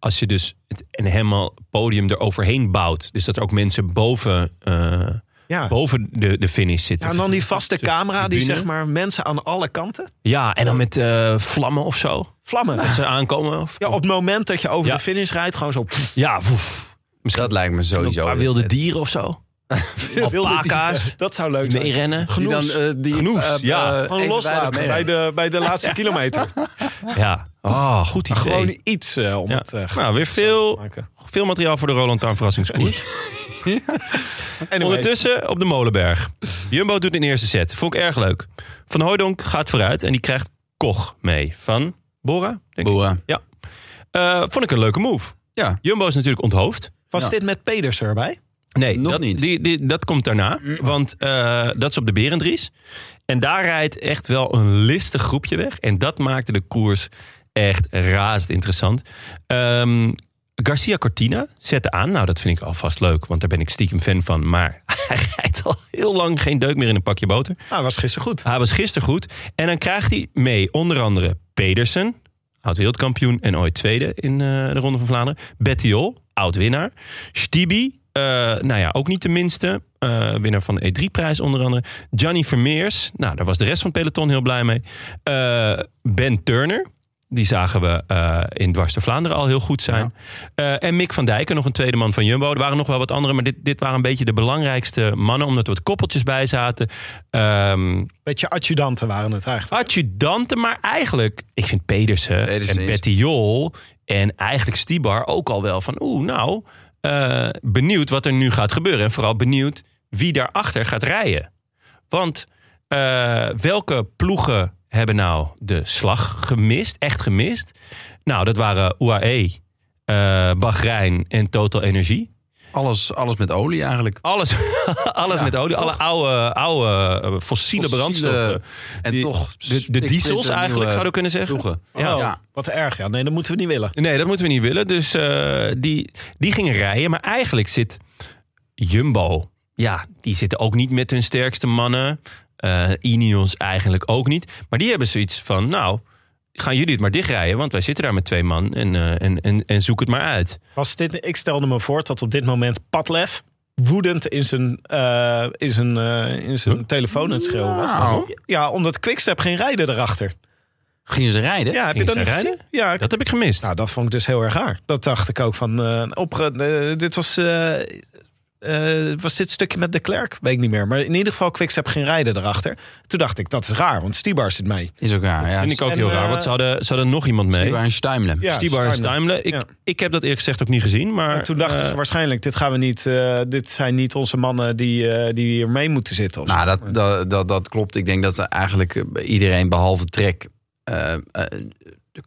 A: als je dus het, een helemaal podium eroverheen bouwt. Dus dat er ook mensen boven, eh,
F: ja.
A: boven de, de finish zitten.
F: Ja, en dan die vaste camera die
A: tribune.
F: zeg maar mensen aan alle kanten
A: Ja, en dan met eh, vlammen of zo.
F: vlammen.
A: Dat ze aankomen. Of,
F: Ja, op het moment dat je over
A: Ja. Eh,
F: de finish rijdt, gewoon zo. pff,
A: ja woef.
B: dat lijkt me
A: Een
B: sowieso.
A: paar
B: heel
A: wilde
B: vet.
F: [laughs]
A: dieren of zo. alpaca's,
F: Dat zou leuk zijn.
A: meerennen.
B: Die dan,
F: Genoeg.
B: eh, die,
A: Genoes,
B: eh,
A: ja.
B: eh,
F: Gewoon
B: even
F: loslaten
B: bij de
F: bij
B: meerennen.
F: de, bij de laatste kilometer.
A: Ja, oh, goed idee.
F: Gewoon iets eh, om
A: Ja.
F: het eh,
A: nou, weer veel,
F: maken.
A: veel materiaal voor de Roland Tarn
F: [laughs]
A: verrassingskoers.
F: Ondertussen.
A: Ondertussen op de Molenberg. Jumbo doet een eerste set. Vond ik erg leuk. Van Hooydonk gaat vooruit en die krijgt Koch mee. Van Bora, denk ik.
B: Boeren.
A: Eh, vond ik een leuke move.
B: Ja.
A: Jumbo is natuurlijk onthoofd.
F: Was
B: Ja.
F: dit met Peders erbij?
A: Nee,
B: Nog
A: dat,
B: niet.
A: Die, die, dat komt daarna. Want eh, dat is op de Berendries. En daar rijdt echt wel een listig groepje weg. En dat maakte de koers echt razend interessant. Ehm, Garcia Cortina zette aan. Nou, dat vind ik alvast leuk. Want daar ben ik stiekem fan van. Maar [laughs] hij rijdt al heel lang geen deuk meer in een pakje boter.
F: Nou, was gisteren goed.
A: Hij was gisteren goed. En dan krijgt hij mee onder andere Pedersen, oud-wereldkampioen en ooit tweede in eh, de Ronde van Vlaanderen. Bettiol, oud-winnaar. Stibi, eh, nou ja, ook niet de minste. eh, winnaar van de E3-prijs onder andere. Johnny Vermeers, nou daar was de rest van het peloton heel blij mee. Eh, ben Turner, die zagen we eh, in Dwars de Vlaanderen al heel goed zijn. Eh, en Mick van Dijken, nog een tweede man van Jumbo. Er waren nog wel wat andere, maar dit, dit waren een beetje de belangrijkste mannen. Omdat er wat koppeltjes bij zaten. Ehm
F: Beetje adjudanten waren het eigenlijk.
A: adjudanten, maar eigenlijk, ik vind Pedersen,
B: Pedersen
A: en
B: is-
A: Betty Jol en eigenlijk Stibar ook al wel van, oeh, nou, eh, benieuwd wat er nu gaat gebeuren. En vooral benieuwd wie daarachter gaat rijden. Want eh, welke ploegen hebben nou de slag gemist, echt gemist? Nou, dat waren UAE, eh Bahrein en Total Energie.
B: Alles, alles met olie eigenlijk.
A: Alles, [laughs] alles met olie, alle oude, oude eh, fossiele,
B: Fossiele-
A: brandstoffen.
B: En
A: Die-
B: toch...
F: Dus
A: De, de diesels eigenlijk, zouden we kunnen zeggen.
B: vroegen.
A: Ja.
F: Oh, Wat erg, ja. Nee, dat moeten we niet willen.
A: Nee, dat moeten we niet willen. Dus eh, die, die gingen rijden. Maar eigenlijk zit Jumbo... Ja, die zitten ook niet met hun sterkste mannen. Eh Ineos eigenlijk ook niet. Maar die hebben zoiets van... Nou, gaan jullie het maar dichtrijden. Want wij zitten daar met twee man. En, eh, en, en, en zoek het maar uit.
F: Was dit, ik stelde me voor dat op dit moment Padlef woedend in zijn, eh, in zijn, eh, in zijn telefoon aan het schreeuwen was.
B: Nou,
F: Ja, omdat Quickstep ging rijden erachter.
B: gingen ze rijden?
F: Ja, heb je
A: Gingen
F: dat
A: ze
F: niet
A: rijden?
F: gezien? Ja, ik-
A: Dat heb ik gemist.
F: nou, dat vond ik dus heel erg raar. Dat dacht ik ook van... eh, op, eh, dit was... eh, eh, was dit stukje met de Klerk? Weet ik niet meer. Maar in ieder geval, Quickstep ging rijden erachter. Toen dacht ik, dat is raar, want Stibar zit mee.
B: [laughs] Is ook raar. ja.
A: vind ik ook
F: en,
A: heel
F: eh,
A: raar. Want ze hadden, ze hadden nog iemand mee.
B: Stibar en Stuimelen.
F: Ja,
A: Stibar en
F: Stuyven.
A: Stuimelen. Ik,
F: Ja.
A: ik heb dat eerlijk gezegd ook niet gezien. Maar
F: En toen dachten
A: eh,
F: ze waarschijnlijk, dit gaan we niet... eh, dit zijn niet onze mannen die, eh, die hier mee moeten zitten. Of zo.
B: Nou, dat, dat, dat, dat klopt. Ik denk dat eigenlijk eh, iedereen behalve Trek eh, eh,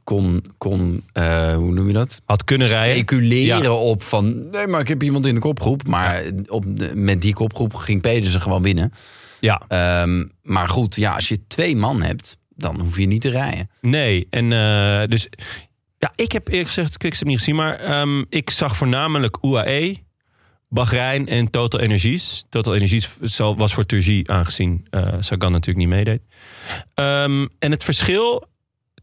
B: kon, kon eh, hoe noem je dat?
A: had kunnen rijden.
B: Speculeren
A: Ja.
B: op van, nee, maar ik heb iemand in de kopgroep. Maar op, de- met die kopgroep ging Pedersen gewoon winnen.
A: Ja.
B: Ehm, maar goed, ja, als je twee man hebt, dan hoef je niet te rijden.
A: Nee, en eh, dus... Ja, ik heb eerlijk gezegd Quickstep niet gezien, maar ehm, ik zag voornamelijk UAE, Bahrein en Total Energies. Total Energies zal- was voor Turgie aangezien eh, Sagan natuurlijk niet meedeed. Ehm, en het verschil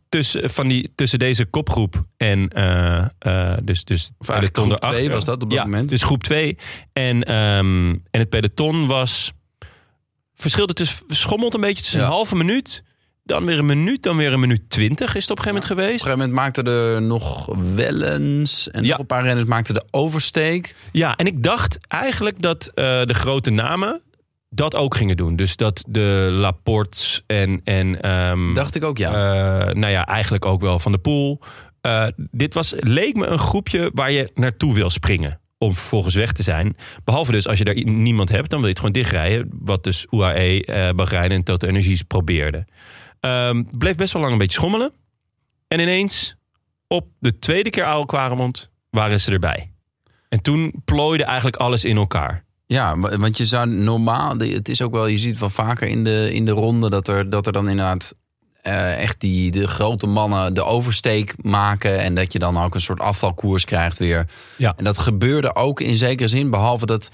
A: tussen, van die, tussen deze kopgroep en eh, eh, dus, dus het
B: Of eigenlijk
A: peloton
B: groep twee
A: erachter-
B: was dat op dat
A: ja,
B: moment.
A: dus groep 2 en, ehm, en het peloton was... Verschilde tussen, dus, schommelt een beetje tussen
B: Ja.
A: een halve minuut... Dan weer een minuut, dan weer een minuut twintig is het op een gegeven moment
B: Op
A: geweest.
B: een gegeven moment maakten er nog Wellens en
A: Ja.
B: nog een paar renners maakten de oversteek.
A: Ja, en ik dacht eigenlijk dat eh, de grote namen dat ook gingen doen. Dus dat de Laportes en... en ehm,
B: Dacht ik ook, ja.
A: eh, nou ja, eigenlijk ook wel Van de Poel. Eh, dit was, leek me een groepje waar je naartoe wil springen. Om vervolgens weg te zijn. Behalve dus als je daar i- niemand hebt, dan wil je het gewoon dichtrijden. Wat dus UAE, eh Bahrein en Total Energies probeerden. Ehm, bleef best wel lang een beetje schommelen. En ineens, op de tweede keer Aal Quaremont, waren ze erbij. En toen plooide eigenlijk alles in elkaar.
B: Ja, wa- want je zou normaal, de- het is ook wel, je ziet wel vaker in de, in de ronde dat er, dat er dan inderdaad eh, echt die de grote mannen de oversteek maken. En dat je dan ook een soort afvalkoers krijgt weer.
A: Ja.
B: En dat gebeurde ook in zekere zin, behalve dat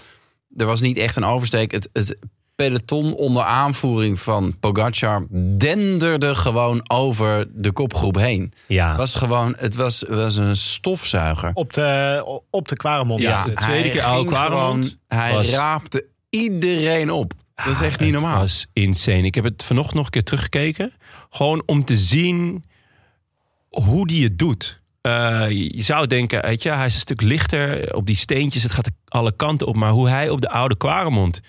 B: er was niet echt een oversteek. Het, het peloton onder aanvoering van Pogacar denderde gewoon over de kopgroep heen.
A: Ja.
B: Het was gewoon, het was, was een stofzuiger.
F: Op de, op de Kwaremond.
A: Ja, de tweede
B: hij
A: keer Oude
B: ging
A: Kwaremond
B: gewoon- Hij
A: was-
B: raapte iedereen op. Dat is echt niet
A: Het
B: normaal.
A: was insane. Ik heb het vanochtend nog een keer teruggekeken. Gewoon om te zien hoe die het doet. Eh, je zou denken, weet je, hij is een stuk lichter op die steentjes. Het gaat alle kanten op. Maar hoe hij op de oude Quaremont...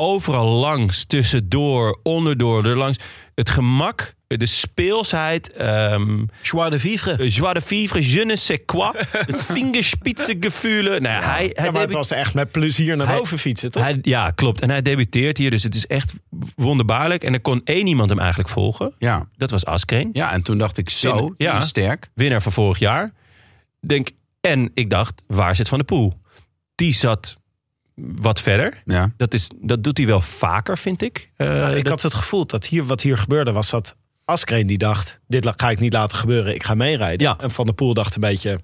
A: overal langs, tussendoor, onderdoor, er langs. Het gemak, de speelsheid... ehm
F: Joie de vivre.
A: eh, Joie de vivre, je ne sais quoi. Het [laughs] vingerspitsengevoel. Nou, ja, hij, hij
F: Ja, maar het
A: debu-
F: was echt met plezier naar
A: Hij-
F: boven fietsen, toch?
A: hij, ja, klopt. En hij debuteert hier, dus het is echt wonderbaarlijk. En er kon één iemand hem eigenlijk volgen.
B: Ja.
A: Dat was Askreen,
B: ja, en toen dacht ik zo, die
A: Ja.
B: is sterk.
A: winnaar van vorig jaar. Denk, en ik dacht, waar zit Van de Poel? Die zat wat verder.
B: Ja.
A: Dat, is, dat doet hij wel vaker, vind ik. Eh,
F: Ja, ik
A: dat-
F: had het gevoel dat hier, wat hier gebeurde was dat Askreen die dacht... dit la- ga ik niet laten gebeuren, ik ga meerijden.
A: Ja.
F: En Van der Poel dacht een beetje...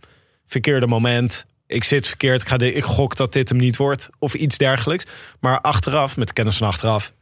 F: verkeerde moment, ik zit verkeerd, ik, ga de, ik gok dat dit hem niet wordt. Of iets dergelijks. Maar achteraf, met kennis van achteraf...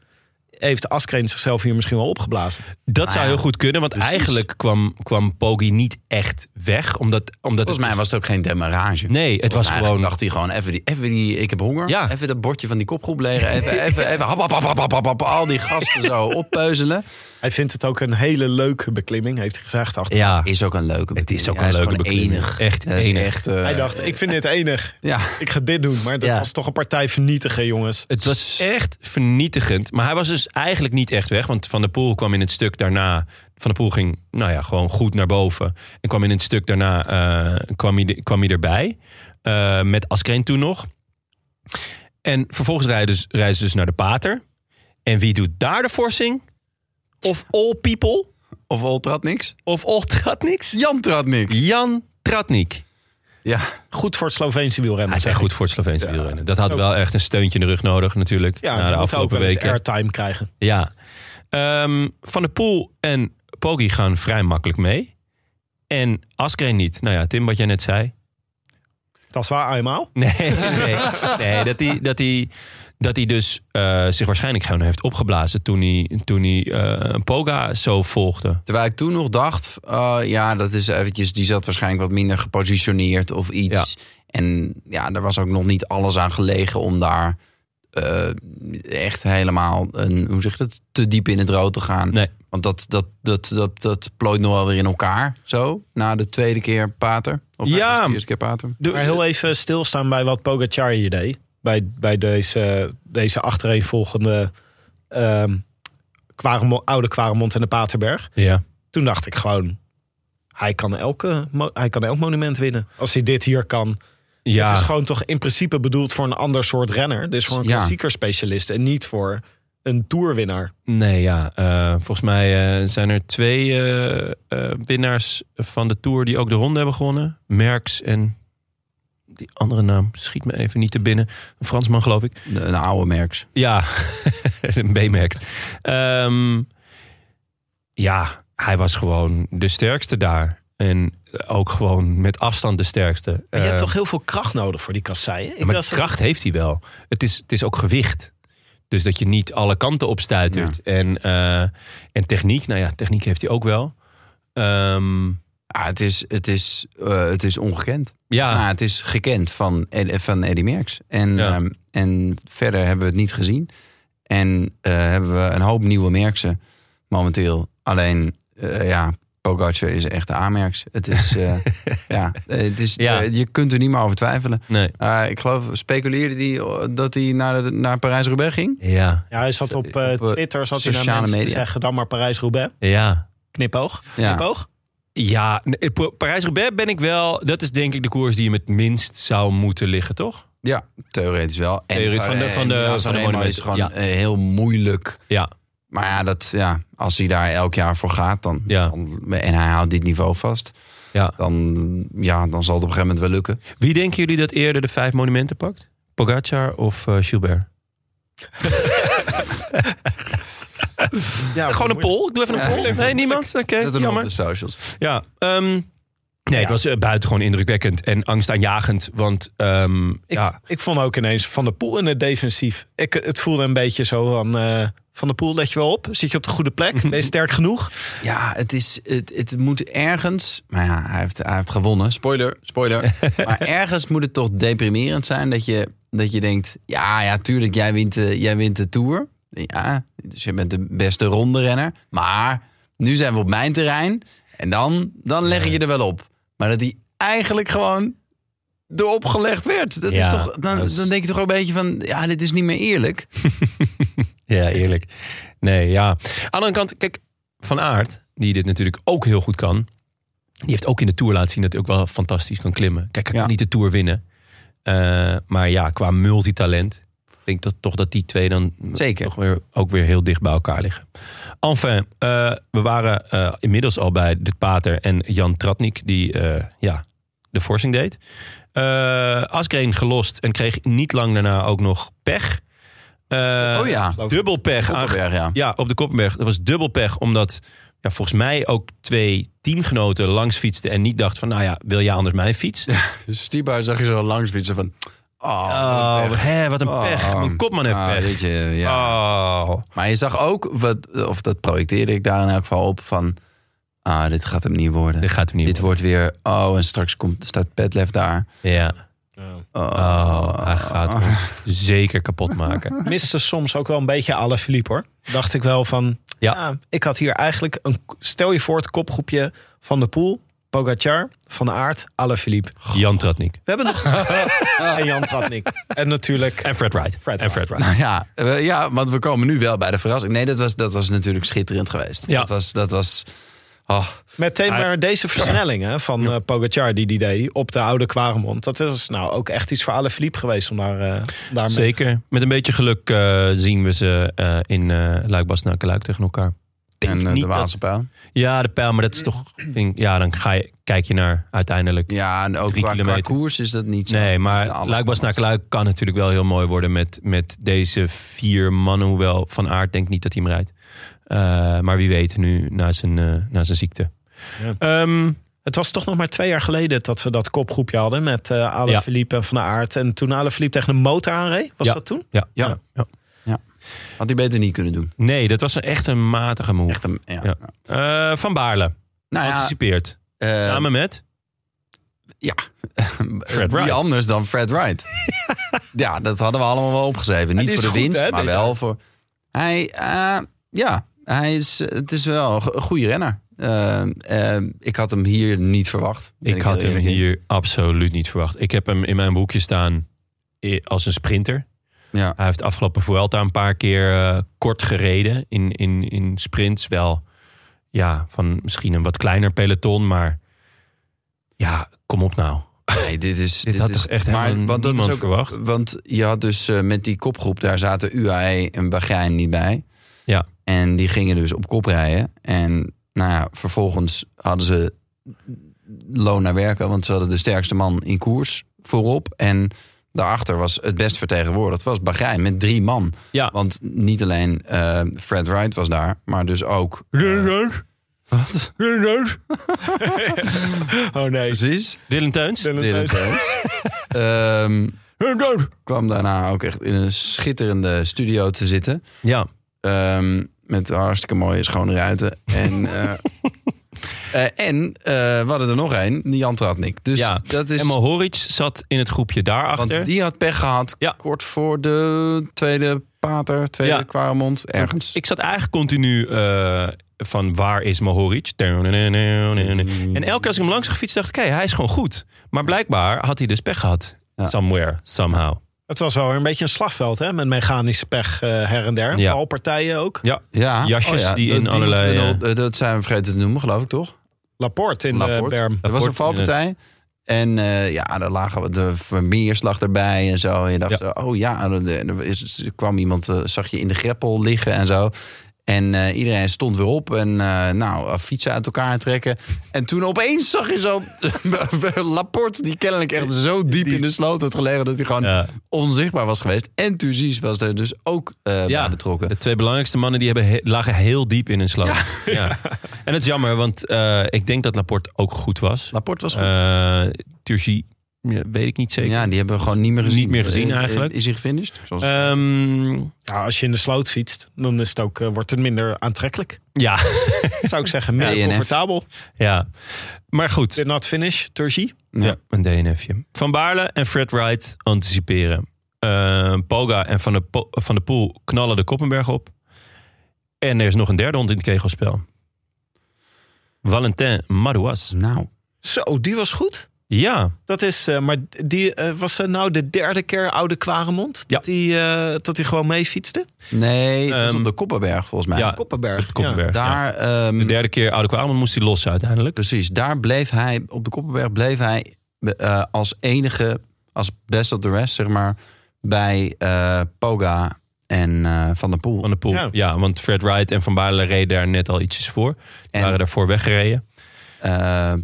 F: heeft Askreen zichzelf hier misschien wel opgeblazen.
A: dat zou
F: Nou
B: ja,
A: heel goed kunnen, want
B: precies.
A: eigenlijk kwam, kwam Poggi niet echt weg. Omdat, omdat
B: Volgens mij was het ook geen demarrage.
A: Nee, het was
B: Volgens mij
A: gewoon...
B: dacht hij gewoon even die, even die ik heb honger.
A: Ja.
B: Even dat bordje van die kopgroep leren. Even, even, even hap, hap, hap, hap, hap, hap, hap, al die gasten
A: [laughs]
B: zo oppeuzelen.
F: Hij vindt het ook een hele leuke beklimming, heeft hij gezegd. Achteraf.
A: ja,
B: Is ook een leuke
A: het is
B: beklimming.
A: ook
B: Hij
A: een leuke
B: gewoon
A: beklimming.
B: enig.
A: Echt
B: Hij is
A: enig.
B: echt, eh,
F: Hij dacht, ik vind dit enig,
B: ja.
F: ik ga dit doen. Maar dat
A: Ja.
F: was toch een partij vernietigen, jongens.
A: Het was echt vernietigend. Maar hij was dus eigenlijk niet echt weg. Want Van der Poel kwam in het stuk daarna... Van der Poel ging nou ja, gewoon goed naar boven. En kwam in het stuk daarna eh, kwam hij, kwam hij erbij. Eh, met Askreen toen nog. En vervolgens rijden ze, rijden ze dus naar de pater. En wie doet daar de forsing? Of All People?
B: Of Ol trad niks.
A: Of All Tratniks?
B: Jan trad niks.
A: Jan Tratnik.
B: Ja.
F: Goed voor het Sloveense
A: Hij
F: wielrennen.
A: is echt
F: zeg ik.
A: goed voor het Sloveense wielrennen. Dat had wel echt een steuntje in de rug nodig natuurlijk.
F: Ja,
A: na de
F: die moet ook
A: afgelopen
F: wel eens
A: weken.
F: airtime krijgen.
A: Ja. Ehm, Van der Poel en Poggi gaan vrij makkelijk mee. En Askreen niet. Nou ja, Tim, wat jij net zei.
F: Dat is waar, eenmaal.
A: Nee, [laughs] nee, nee dat hij dat hij dat hij dus eh, zich waarschijnlijk gewoon heeft opgeblazen toen hij, toen hij eh, Poga zo volgde.
B: Terwijl ik toen nog dacht, eh, ja, dat is eventjes, die zat waarschijnlijk wat minder gepositioneerd of iets. En ja, er was ook nog niet alles aan gelegen om daar eh, echt helemaal, een, hoe zeg je dat, te diep in het rood te gaan.
A: Nee.
B: Want dat, dat, dat, dat, dat plooit nog wel weer in elkaar, zo, na de tweede keer pater. Of na
A: Ja.
B: de eerste keer pater.
F: Maar heel even stilstaan bij wat Pogacar hier deed. Bij, bij deze, deze achtereenvolgende ehm Quaremo- oude Quaremont en de Paterberg.
A: Ja.
F: Toen dacht ik gewoon, hij kan, elke, mo- hij kan elk monument winnen. Als hij dit hier kan.
A: Ja.
F: Het is gewoon toch in principe bedoeld voor een ander soort renner. Dus voor een
B: Ja.
F: klassieker specialist en niet voor een toerwinnaar.
A: Nee, ja. eh, volgens mij eh, zijn er twee eh, eh, winnaars van de Tour die ook de ronde hebben gewonnen. Merks en die andere naam schiet me even niet te binnen. Een Fransman, geloof ik.
B: De, de oude merks.
A: Ja, [laughs] een B-merk. Ehm, ja, hij was gewoon de sterkste daar. En ook gewoon met afstand de sterkste.
F: Maar je hebt
A: Ehm,
F: toch heel veel kracht nodig voor die kasseien?
A: ja, maar kracht heeft hij wel. Het is, het is ook gewicht. Dus dat je niet alle kanten opstuitert. En, eh, en techniek, nou ja, techniek heeft hij ook wel. Ehm,
B: Ah, het, is, het, is, eh, het is ongekend.
A: ja,
B: Maar het is gekend van, Ed- van Eddie Merckx. En,
A: Ah. Ja.
B: ehm, en verder hebben we het niet gezien. En eh, hebben we een hoop nieuwe Merksen momenteel. Alleen, eh, ja, Pogacar is echt de A-merks. Het
A: [laughs]
B: is, eh, ja, eh, het is,
A: Ja.
B: eh, je kunt er niet meer over twijfelen.
A: nee.
B: Eh, ik geloof, speculeerde die eh, dat hij naar, de- naar Parijs-Roubaix ging?
A: Ja,
F: Ja, hij zat op, eh,
B: Op, eh,
F: Twitter, zat hij naar
B: sociale
F: mensen te
B: media.
F: zeggen... dan maar Parijs-Roubaix,
A: ja.
F: knipoog,
B: Ja.
F: knipoog.
A: Ja, nee, Pa- Parijs-Roubaix ben ik wel... Dat is denk ik de koers die hem het minst zou moeten liggen, toch?
B: ja, theoretisch wel. En
A: Theoretisch van de-
B: eh,
A: van de-
B: Milan
A: van de
B: Sanremo is
A: monumenten.
B: gewoon
A: Ja.
B: eh, heel moeilijk
A: Ja,
B: Maar ja, dat, ja, als hij daar elk jaar voor gaat dan,
A: Ja.
B: dan- en hij houdt dit niveau vast,
A: ja.
B: dan, ja, dan zal het op een gegeven moment wel lukken.
A: Wie denken jullie dat eerder de vijf monumenten pakt? Pogacar of eh,
B: [laughs]
A: Gilbert?
F: Ja,
A: Gewoon een poll. Ik doe even een poll. Nee, niemand? Oké,
B: Zet hem op
A: jammer.
B: de socials.
A: Ja, ehm, nee, het was eh, buitengewoon indrukwekkend en angstaanjagend. Want ehm,
F: Ik,
A: ja,
F: ik vond ook ineens Van der Poel in het defensief. Ik, het voelde een beetje zo van... eh, van der Poel, let je wel op. Zit je op de goede
B: [laughs]
F: plek? Ben je sterk genoeg?
B: Ja, het, is, het, het moet ergens, maar ja, hij heeft, hij heeft gewonnen. Spoiler, spoiler.
A: [laughs]
B: maar ergens moet het toch deprimerend zijn dat je, dat je denkt, ja, ja, tuurlijk, jij wint, de, jij wint de Tour. Ja, dus je bent de beste ronde renner. Maar nu zijn we op mijn terrein en dan, dan leg ik je er wel op. Maar dat hij eigenlijk gewoon erop gelegd werd. Dat
A: Ja,
B: is toch, dan,
A: dat is-
B: dan denk je toch ook een beetje van, ja, dit is niet meer eerlijk.
A: Ja, eerlijk. Nee, ja. Aan de andere kant, kijk, Van Aert, die dit natuurlijk ook heel goed kan. Die heeft ook in de Tour laten zien dat hij ook wel fantastisch kan klimmen. Kijk, hij
B: Ja.
A: kan niet de Tour winnen. Eh, maar ja, qua multitalent, denk ik dat toch dat die twee dan
B: Zeker.
A: toch weer, ook weer heel dicht bij elkaar liggen. Enfin, eh, we waren eh, inmiddels al bij De Pater en Jan Tratnik, die eh, ja, de forcing deed. Eh Asgreen gelost en kreeg niet lang daarna ook nog pech. Eh,
B: oh ja,
A: Dubbel pech. aange-
B: Koppenberg, ja.
A: Ja, op de Koppenberg. Dat was dubbel pech, omdat ja, volgens mij ook twee teamgenoten langs fietsten en niet dachten van, nou ja, wil jij anders mijn fiets?
B: Dus Stibar zag je zo langs fietsen van, oh,
A: Oh, hè, wat een
B: Oh.
A: pech. Mijn kopman heeft
B: Ah,
A: pech.
B: weet je, ja.
A: Oh.
B: Maar je zag ook, wat, of dat projecteerde ik daar in elk geval op, van... Ah, dit gaat hem niet worden.
A: Dit gaat hem niet
B: Dit wordt weer... Oh, en straks komt, staat Petlef daar. [laughs]
A: Ja.
B: Oh,
A: Oh, hij gaat ons zeker kapot
B: [laughs]
A: maken.
F: Miste soms ook wel een beetje alle Philippe hoor. Dacht ik wel van,
A: Ja.
F: ja. ik had hier eigenlijk een, stel je voor het kopgroepje van de Poel, Pogacar, Van Aert, alle Philippe.
A: Jan Tratnik.
F: We hebben nog en Jan Tratnik en natuurlijk
A: En Fred Wright.
F: Fred
A: en
F: Wright.
A: Fred Wright.
B: Ja, we- ja, want we komen nu wel bij de verrassing. Nee, dat was, dat was natuurlijk schitterend geweest.
A: Ja.
B: Dat was... Dat was oh,
F: meteen
A: Hij-
F: maar deze versnelling hè, van eh, Pogacar die die deed op de oude Quaremont. Dat is nou ook echt iets voor alle Philippe geweest om daar, eh daar mee-
A: Zeker. Met een beetje geluk eh, zien we ze eh, in eh Luik-Bastenaken Luik tegen elkaar. Denk
B: en eh,
A: niet dat-
B: de Waalse pijl.
A: Ja, de pijl, maar dat is toch... vind ik- ja, dan ga je, kijk je naar uiteindelijk.
B: Ja, en ook
A: Drie
B: qua, qua
A: kilometer.
B: koers is dat niet zo.
A: Nee,
B: Ja,
A: maar
B: alles
A: Luik naar Luik kan natuurlijk wel heel mooi worden met, met deze vier mannen. Hoewel Van Aert denk ik niet dat hij hem rijdt. Eh, maar wie weet nu na zijn, eh, na zijn ziekte. Ehm,
F: Het was toch nog maar twee jaar geleden dat we dat kopgroepje hadden met eh Alain
A: Ja.
F: Philippe en Van Aert. En toen Alain Philippe tegen een motor aanreed, was
A: Ja.
F: dat toen?
A: ja.
B: Ja.
A: Ja.
B: Had hij beter niet kunnen doen.
A: Nee, dat was een, echt een matige move.
B: Echt een... Ja.
A: Ja. Eh, van Baarle,
B: Nou ja,
A: anticipeert.
B: eh,
A: Samen met?
B: Ja.
A: Fred
B: Wie
A: Wright.
B: anders dan Fred
A: [laughs]
B: Wright? ja, dat hadden we allemaal wel opgeschreven. Niet
F: die is
B: voor de
F: goed,
B: winst,
F: hè,
B: maar
F: dit
B: wel voor... Hij, eh, ja, hij is, het is wel een go- een goede renner. Eh, eh, ik had hem hier niet verwacht. Ben
A: Ik had
B: heel
A: hem
B: eerlijk in.
A: hier absoluut niet verwacht. Ik heb hem in mijn boekje staan eh, als een sprinter.
B: Ja.
A: Hij heeft de afgelopen Vuelta een paar keer eh, kort gereden in, in, in sprints. Wel ja, van misschien een wat kleiner peloton, maar ja, kom op nou.
B: Nee, dit is,
A: Dit had
B: is,
A: toch echt helemaal
B: want dat is
A: niemand
B: ook,
A: verwacht?
B: Want je had dus eh, met die kopgroep, daar zaten UAE en Bahrein niet bij.
A: Ja.
B: En die gingen dus op kop rijden. En nou ja, vervolgens hadden ze loon naar werken, want ze hadden de sterkste man in koers voorop. En daarachter was het best vertegenwoordigd, was Bahrein met drie man.
A: Ja.
B: Want niet alleen eh, Fred Wright was daar, maar dus ook... eh, wat?
F: Oh nee.
B: Precies.
A: Dylan Teuns.
B: Dylan Teuns. Ehm, kwam daarna ook echt in een schitterende studio te zitten.
A: Ja,
B: Ehm, met hartstikke mooie schone ruiten. En,
A: [laughs]
B: eh, eh, en eh, we hadden er nog één, Jan Tratnik. Dus
A: ja.
B: dat is...
A: En Mohoric zat in het groepje daarachter.
B: Want die had pech gehad
A: Ja.
B: kort voor de tweede pater, tweede
A: Ja.
B: ja. ergens.
A: Ik zat eigenlijk continu eh, van waar is Mohoric? En elke keer als ik hem langs zag fietsen, dacht ik, hé, hij is gewoon goed. Maar blijkbaar had hij dus pech gehad.
B: Ja.
A: Somewhere, somehow.
F: Het was wel een beetje een slagveld hè, met mechanische pech eh, her en der.
A: Ja.
F: Vooral partijen ook.
B: ja.
A: jasjes die in
B: moeten we
A: allerlei,
B: nog- eh, dat zijn we vergeten te noemen, geloof ik, toch?
F: Laporte in de
B: Laporte.
F: berm.
B: Dat was een
A: Laporte,
B: valpartij. En eh, ja, daar lagen we de Vermeerslag erbij en zo. En je dacht,
A: Ja.
B: zo, oh ja, er, er is- er kwam iemand, eh, zag je in de greppel liggen en zo. En eh, iedereen stond weer op en eh, nou, eh, fietsen uit elkaar trekken. En toen opeens zag je zo [laughs] Laporte, die kennelijk echt zo diep in de sloot had gelegen... dat hij gewoon
A: Ja.
B: onzichtbaar was geweest. En Tuzis was er dus ook eh, bij betrokken.
A: de twee belangrijkste mannen die hebben he- lagen heel diep in hun slag.
B: [laughs]
A: Ja. En dat is jammer, want eh, ik denk dat Laporte ook goed was.
B: Laporte was goed.
A: Eh Turgie, ja, weet ik niet zeker.
B: ja, die hebben we gewoon niet meer gezien.
A: Niet meer gezien
B: Eh, eh,
A: eigenlijk. Eh.
B: Is hij gefinished? Zoals-
A: Ehm,
F: Ja, als je in de sloot fietst, dan is het ook, eh, wordt het minder aantrekkelijk.
A: ja, [laughs]
F: Zou ik zeggen, minder
B: DNF.
F: comfortabel.
A: ja. Maar goed,
F: Did not finish, Turgie.
B: Ja.
A: Ja, een DNFje. Van Baarle en Fred Wright anticiperen. Eh, Poga en Van de, Po- van de Poel knallen de Koppenberg op. En er is nog een derde hond in het kegelspel. Valentin Madouas.
B: Nou,
F: Zo, die was goed.
A: Ja,
F: Dat is, eh, maar die eh, was eh, nou de derde keer oude Kwaremond dat hij eh, dat hij gewoon mee fietste.
B: Nee, dat is
A: Ehm,
B: op de Koppenberg volgens mij.
A: ja,
F: Koppenberg.
A: de Koppenberg. ja.
B: Daar, ehm,
A: De derde keer Oude Kwalman moest hij los uiteindelijk. Dus-
B: Precies, daar bleef hij, op de Koppenberg bleef hij eh, als enige, als best of the rest, zeg maar, bij eh, Poga en eh, Van der Poel.
A: Van de Poel.
F: Ja.
A: Ja. want Fred Wright en Van Baarle reden daar net al ietsjes voor. Die
B: En-
A: waren daarvoor weggereden.
B: Eh,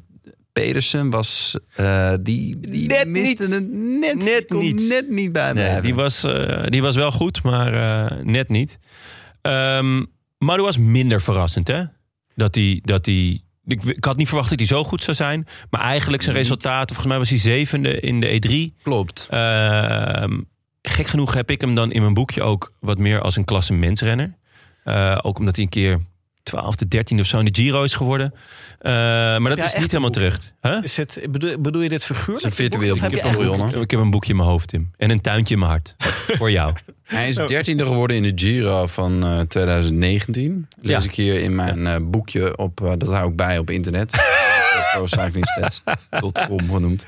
B: Pedersen was, eh, die, die
A: Net
B: miste
A: niet.
B: het net,
A: Net
B: kon
A: niet.
B: net niet bij mij.
A: Nee, die was, eh, die was wel goed, maar eh, net niet. Ehm, maar dat was minder verrassend, hè? Dat hij... Dat hij ik, ik had niet verwacht dat hij zo goed zou zijn. Maar eigenlijk zijn
B: Niet.
A: resultaat... Volgens mij was hij zevende in de E3.
B: Klopt.
A: Ehm, gek genoeg heb ik hem dan in mijn boekje ook wat meer als een klassementsrenner. Eh ook omdat hij een keer 12e, 13e of zo in de Giro is geworden. Eh, maar dat
F: Ja,
A: is
F: echt
A: niet helemaal
F: een boekje.
A: terecht. Huh?
F: Is het, bedoel, bedoel je dit figuurlijk?
B: Het is een virtueel
F: Of heb je
B: boekje.
F: echt-
B: Jongen.
A: Ik heb een boekje in mijn hoofd, Tim. En een tuintje in mijn hart. Voor
F: [laughs]
A: jou.
B: Hij is
A: Oh.
B: dertiende geworden in de Giro van eh, 2019. Lees
A: Ja.
B: ik hier in mijn eh, boekje op, eh, dat hou ik bij
A: [laughs]
B: op internet. procyclingtest.com genoemd.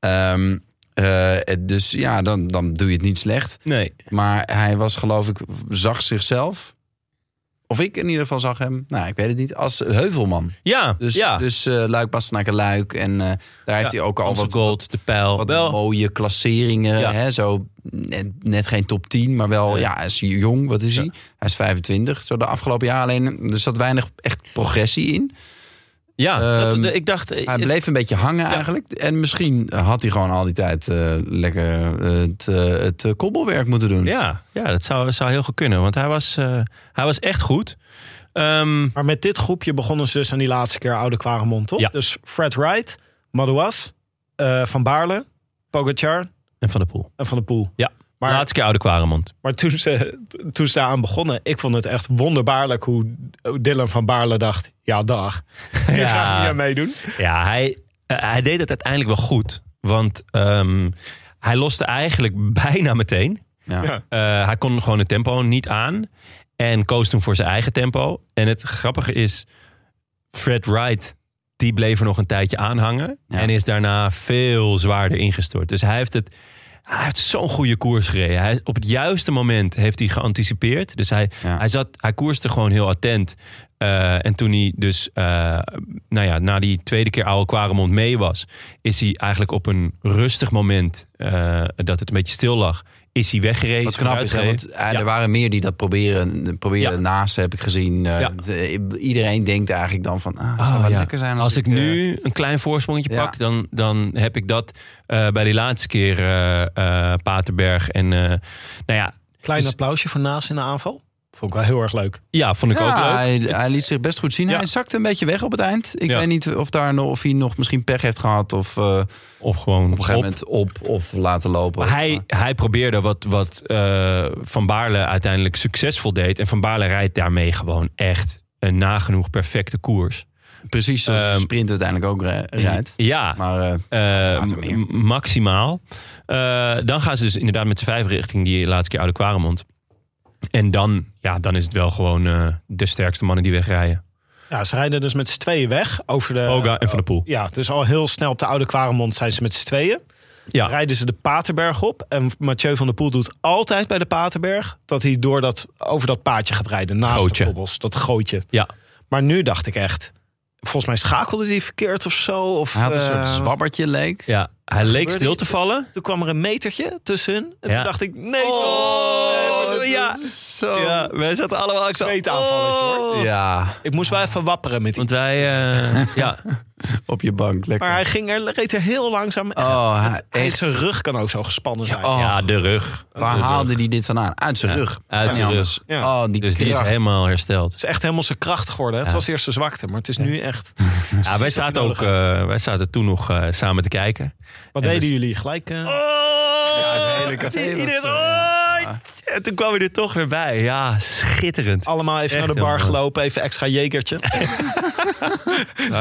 B: Ehm, eh, dus ja, dan, dan doe je het niet slecht.
A: Nee.
B: Maar hij was geloof ik, zag zichzelf. Of ik in ieder geval zag hem. Nou, ik weet het niet. Als heuvelman.
A: Ja,
B: Dus,
A: ja.
B: dus eh, Luik, Bastenaken, Luik. En eh, daar heeft hij ook al
A: Amstel
B: wat,
A: Gold, de pijl.
B: wat
A: wel,
B: mooie klasseringen.
A: Ja.
B: Hè? Zo net, net geen top 10, maar wel, ja, hij is jong. Wat is hij? Hij is 25. Zo de afgelopen jaar alleen. Er zat weinig echt progressie in.
A: ja, dat-
B: ehm,
A: ik dacht... eh,
B: Hij bleef een beetje hangen eigenlijk. En misschien had hij gewoon al die tijd eh, lekker eh, het, eh, het eh, kobbelwerk moeten doen.
A: Ja, ja dat zou, zou heel goed kunnen. Want hij was, eh, hij was echt goed. Ehm,
F: Maar met dit groepje begonnen ze dus aan die laatste keer oude Quaremont, toch?
A: Ja.
F: Dus Fred Wright, Madouas, eh, Van Baarle, Pogacar
A: en Van der Poel.
F: en Van der Poel.
A: Ja,
F: Maar-
A: laatste keer Oude Kwaremond.
F: Maar toen ze, toen ze daaraan begonnen, ik vond het echt wonderbaarlijk hoe Dylan van Baarle dacht... Ja,
A: [laughs]
F: dag. Ik ga
A: Ja.
F: niet aan meedoen.
A: Ja, hij, eh, hij deed het uiteindelijk wel goed. Want ehm, hij loste eigenlijk [laughs] bijna meteen.
B: Ja.
F: Ja.
A: Eh, hij kon gewoon het tempo niet aan. En koos toen voor zijn eigen tempo. En het grappige is, Fred Wright, die bleef er nog een tijdje aanhangen.
B: Ja.
A: En is daarna veel zwaarder ingestort. Dus hij heeft het... Hij heeft zo'n goede koers gereden. Hij, op het juiste moment heeft hij geanticipeerd. Dus hij,
B: Ja.
A: hij, zat, hij koerste gewoon heel attent. Eh, en toen hij dus, eh, nou ja, na die tweede keer oude Quaremont mee was, is hij eigenlijk op een rustig moment eh, dat het een beetje stil lag, is hij weggereden.
B: Wat
A: is
B: knap is, hè,
A: vooruitgereden.
B: want eh,
A: Ja.
B: er waren meer die dat proberen, proberen
A: Ja.
B: naast, heb ik gezien. Eh,
A: Ja.
B: de- iedereen denkt eigenlijk dan van, ah, het zou
A: Ah,
B: wel
A: ja.
B: lekker zijn
A: als,
B: als,
A: ik
B: eh,
A: nu een klein voorsprongetje
B: Ja.
A: pak, dan, dan heb ik dat eh, bij die laatste keer eh, eh, Paterberg. En eh, nou ja,
F: Klein
A: Dus-
F: applausje voor Naas in de aanval. Vond ik wel heel erg leuk.
A: ja, vond ik ook
B: ja,
A: leuk.
B: hij, hij liet zich best goed zien.
A: Ja.
B: Hij zakte een beetje weg op het eind. Ik
A: Ja.
B: weet niet of, daar, nog- of hij nog misschien pech heeft gehad of eh, op
A: Of gewoon
B: een gegeven moment op of laten lopen.
A: Maar hij, hij probeerde wat, wat eh, Van Baarle uiteindelijk succesvol deed. En Van Baarle rijdt daarmee gewoon echt een nagenoeg perfecte koers.
B: Precies zoals de
A: Ehm,
B: sprint uiteindelijk ook re- rijdt.
A: Ja,
B: Maar eh,
A: eh,
B: later meer.
A: m- maximaal. Eh, dan gaan ze dus inderdaad met z'n vijf richting die laatste keer Oude Kwaremond. En dan, ja, dan is het wel gewoon eh, de sterkste mannen die wegrijden.
F: Ja, ze rijden dus met z'n tweeën weg over de...
A: Poga en Van der Poel.
F: Ja, dus al heel snel op de Oude Kwaremond zijn ze met z'n tweeën.
A: Ja.
F: Rijden ze de Paterberg op. En Mathieu van der Poel doet altijd bij de Paterberg... dat hij door dat, over dat paadje gaat rijden. Naast
A: Gootje.
F: de kobbels. Dat gootje.
A: Ja.
F: Maar nu dacht ik echt... Volgens mij schakelde hij verkeerd of zo. Of,
B: hij had
A: Ehm.
B: een
F: eh,
B: soort zwabbertje leek.
A: ja, hij leek
F: gebeurde
A: stil
F: iets.
A: te vallen.
F: Toen kwam er een metertje tussen hun. En
A: Ja.
F: toen dacht ik, nee
B: Oh,
F: toch. Nee, maar-
A: ja.
B: dat is Zo.
A: Ja, wij zaten allemaal... Ik zat-
F: Zweetaanvalletje, hoor.
B: Ja,
F: oh. Ik moest wel even wapperen met
A: Want
F: iets.
A: wij...
B: [laughs]
A: eh, ja,
B: op je bank. Lekker.
F: Maar hij ging er, reed er heel langzaam.
B: oh, hij,
F: Hij-
B: echt.
F: Zijn rug kan ook zo gespannen zijn.
B: Oh,
A: ja, de rug.
B: Waar
A: De rug.
B: haalde hij dit vandaan? Uit zijn
A: Ja,
B: rug.
A: uit
B: Niet
A: zijn rug.
B: anders.
F: Ja.
B: Oh, die
A: Dus die is
B: kracht.
A: helemaal hersteld.
F: Het is echt helemaal zijn kracht geworden. hè. Het
A: Ja.
F: was eerst zijn zwakte, maar het is nu echt...
A: Ja, wij,
F: dat hij
A: zaten
F: nodig
A: ook, eh, wij zaten toen nog eh, samen te kijken.
F: Wat
A: En Oh,
F: deden
A: dus-
F: jullie? Gelijk... eh,
B: het hele café was,
A: Iedereen,
B: eh,
A: oh, En toen kwam hij er toch weer bij. Ja, schitterend.
F: Allemaal even
A: Echt
F: naar de bar
A: heel mooi.
F: gelopen, even extra jegertje.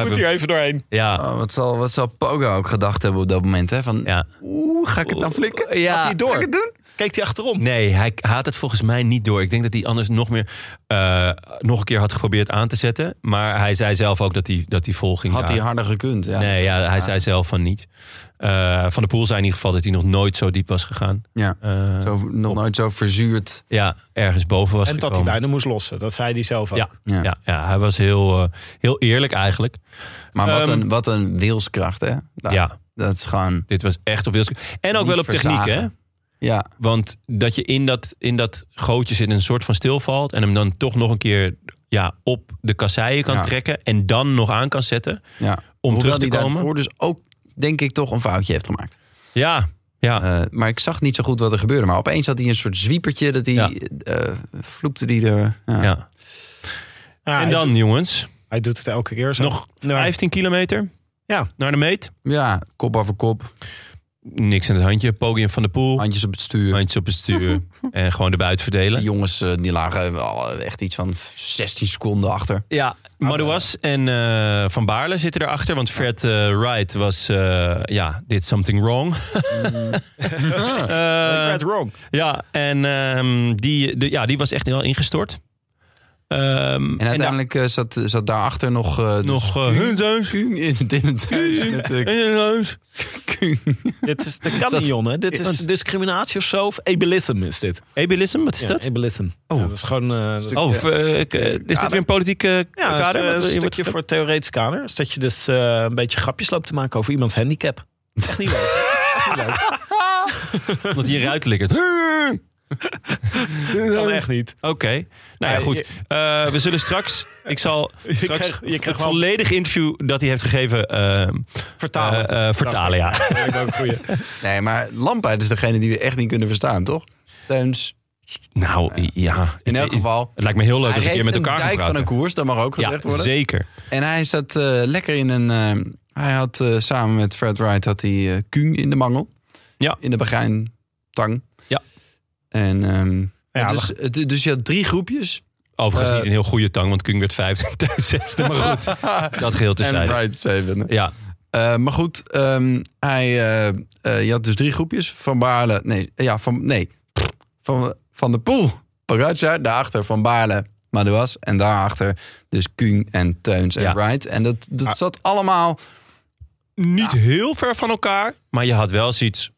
F: Moet hier even doorheen.
A: Ja,
B: Oh, wat, zal, wat zal Pogo ook gedacht hebben op dat moment? Hè? Van,
A: ja.
B: Oeh, ga ik het dan flikken?
A: Ja.
B: Had hij door? Ga ik het doen?
F: Keek hij achterom?
A: Nee, hij haat het volgens mij niet door. Ik denk dat hij anders nog meer eh, nog een keer had geprobeerd aan te zetten. Maar hij zei zelf ook dat hij, dat hij vol ging
B: Had hij
A: gaan.
B: harder gekund? Ja.
A: Nee, ja, hij zei zelf van niet. Eh, van de Poel zei in ieder geval dat hij nog nooit zo diep was gegaan.
B: Ja.
A: Eh,
B: Zo, nog nooit zo verzuurd.
A: Ja, ergens boven was
F: En dat hij
A: gekomen.
F: bijna moest lossen. Dat zei hij zelf ook.
A: Ja,
B: Ja.
A: ja. Ja, hij was heel, eh, heel eerlijk eigenlijk.
B: Maar wat,
A: Ehm,
B: een, wat een wilskracht, hè? Nou,
A: Ja,
B: Dat is gewoon...
A: dit was echt op wilskracht. En ook
B: Niet
A: wel op techniek,
B: versagen.
A: hè?
B: Ja,
A: Want dat je in dat, in dat gootje zit en een soort van stilvalt. En hem dan toch nog een keer ja, op de kasseien kan
B: Ja.
A: trekken. En dan nog aan kan zetten
B: ja.
A: om
B: Hoewel
A: terug te
B: die
A: komen.
B: daarvoor dus ook, denk ik, toch een foutje heeft gemaakt.
A: Ja, ja.
B: Eh, maar ik zag niet zo goed wat er gebeurde. Maar opeens had hij een soort zwiepertje. Dat hij
A: Ja.
B: eh, vloepte die er. Ja.
A: ja.
F: Ja,
A: En
F: hij,
A: dan, jongens,
F: hij doet het elke keer zo.
A: nog
F: Ja.
A: 15 kilometer
F: Ja.
A: naar de meet.
B: Ja, kop over kop.
A: Niks in het handje. Podium van de poel.
B: Handjes op het stuur.
A: Handjes op het [laughs] stuur. en gewoon de buit verdelen.
B: Die jongens eh, die lagen wel echt iets van 16 seconden achter.
A: Ja, Madouas en eh, Van Baarle zitten erachter. Want Fred eh, Wright was, eh, ja, did something wrong. [laughs] Eh,
F: Mm. Ah. Fred Wrong.
A: ja, en ehm, die, de- ja, die was echt heel ingestort. Ehm, en
B: En uiteindelijk eh, zat, zat daarachter nog... eh, dus
A: nog... eh,
B: Kuhn-
A: hun zeus,
B: Kuhn in het- in het huis. In het, eh,
A: hun zeus.
B: Kuhn.
F: Dit is de kanion, hè? Dit is discriminatie of zo. Of ableism is dit.
A: Ableism, wat is
F: Ja,
A: dat?
F: ableism. Ja, dat is gewoon... eh, dat is-
A: Oh, v- eh, k- eh, is dit weer een politiek eh,
F: Ja, dat
A: kader?
F: is, eh,
A: Wat-
F: een
A: je wordt-
F: stukje voor het theoretisch kader. Is dat je dus eh, een beetje grapjes loopt te maken over iemands handicap. Echt niet leuk.
A: Omdat hij eruit
F: [laughs]
A: likkert. Oké.
F: kan echt niet.
A: Nou ja,
F: Maar
A: goed.
F: je-
A: Eh, we zullen straks... Ik zal straks
F: krijgt- [laughs] je
A: het
F: krijgt wel-
A: volledige interview dat hij heeft gegeven... ehm,
F: Vertalen.
A: Eh, eh, vertalen, ja.
F: Dat vind ik ook een goeie.
B: Nee, maar Lampaard is degene die we echt niet kunnen verstaan, toch? Teuns,
A: [laughs] Nou, ja.
B: in elk geval...
A: Het lijkt me heel leuk als ik
B: hij
A: een keer met
B: reed
A: elkaar
B: een
A: ga
B: dijk van
A: praten.
B: een koers, dat mag ook gezegd
A: ja,
B: worden.
A: zeker.
B: En hij zat eh, lekker in een. eh, hij had eh, samen met Fred Wright had hij eh Kuhn in de mangel.
A: Ja.
B: In de begijntang.
A: Ja.
B: En ehm,
F: Ja,
B: dus, eh, du- dus je had drie groepjes.
A: Overigens
B: Eh,
A: niet een heel goede tang, want Kung werd vijfde en [laughs] Teun zesde. Maar
B: [laughs]
A: goed, dat geheel
B: en
A: terzijde.
B: Wright zeven.
A: Ja,
B: Eh, maar goed, ehm, hij, eh, eh, je had dus drie groepjes. Van Baarle, nee, eh, ja, van, nee. Van, van de Poel, Pogacar, daarachter Van Baarle, Madouas. En daarachter dus Kuhn en Teuns en
A: Ja.
B: Wright. En dat, dat zat allemaal...
A: niet heel ver van elkaar, maar je had wel zoiets...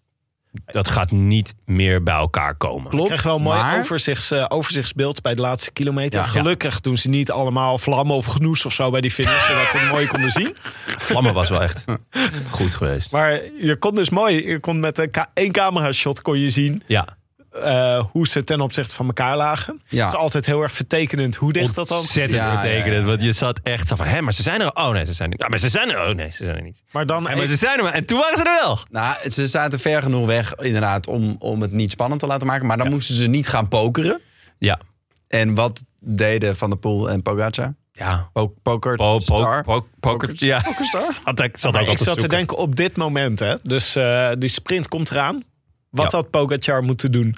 A: Dat gaat niet meer bij elkaar komen.
F: Ik krijg wel een mooi
B: maar-
F: overzichts, eh, overzichtsbeeld bij de laatste kilometer.
B: Ja.
F: Gelukkig doen ze niet allemaal vlammen of genoes of zo bij die finish. zodat we het mooi konden zien.
A: Vlammen was wel
B: [laughs]
A: echt goed geweest.
F: Maar je kon dus mooi, je kon met een ka- één camera shot kon je zien
A: Ja,
F: eh, hoe ze ten opzichte van elkaar lagen.
B: Ja.
F: Het is altijd heel erg vertekenend hoe dicht dat dan.
A: ontzettend
B: Ja, ja,
A: betekend.
B: ja.
A: Want je zat echt zo van, hè, maar ze zijn er... Oh nee, ze zijn er niet. Ja, maar ze zijn er... Oh nee, ze zijn er niet.
F: Maar dan
A: Hé, maar
F: even-
A: ze zijn er maar. En toen waren ze er wel.
B: Nou, ze zaten ver genoeg weg inderdaad om, om het niet spannend te laten maken. Maar dan moesten ze niet gaan pokeren.
A: Ja,
B: En wat deden Van der Poel en Pogacar?
A: ja.
B: Po poker,
A: Po, po,
B: star.
A: po- poker, ja. [laughs] Zat, ik zat ook al te
F: ik zat te
A: zoeken.
F: denken op dit moment, hè. Dus eh, die sprint komt eraan. Wat
A: Ja.
F: had Pogacar moeten doen?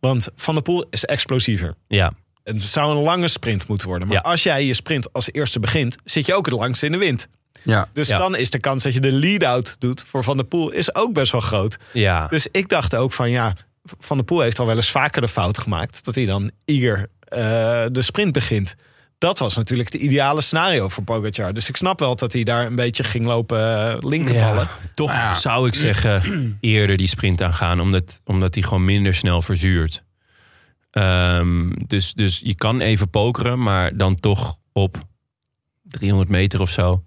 F: Want Van der Poel is explosiever.
A: Ja,
F: Het zou een lange sprint moeten worden. Maar
A: Ja.
F: als jij je sprint als eerste begint, zit je ook het langst in de wind.
B: Ja.
F: Dus
A: Ja.
F: dan is de kans dat je de lead-out doet voor Van der Poel is ook best wel groot.
A: ja.
F: Dus ik dacht ook van ja, Van der Poel heeft al wel eens vaker de fout gemaakt. Dat hij dan eager eh, de sprint begint. Dat was natuurlijk het ideale scenario voor Pogacar. Dus ik snap wel dat hij daar een beetje ging lopen eh, linkerballen.
A: Ja, toch
B: Nou
A: zou ik zeggen [clears throat] eerder die sprint aangaan. Omdat, omdat die gewoon minder snel verzuurt. Ehm, dus, dus je kan even pokeren, maar dan toch op 300 meter of zo.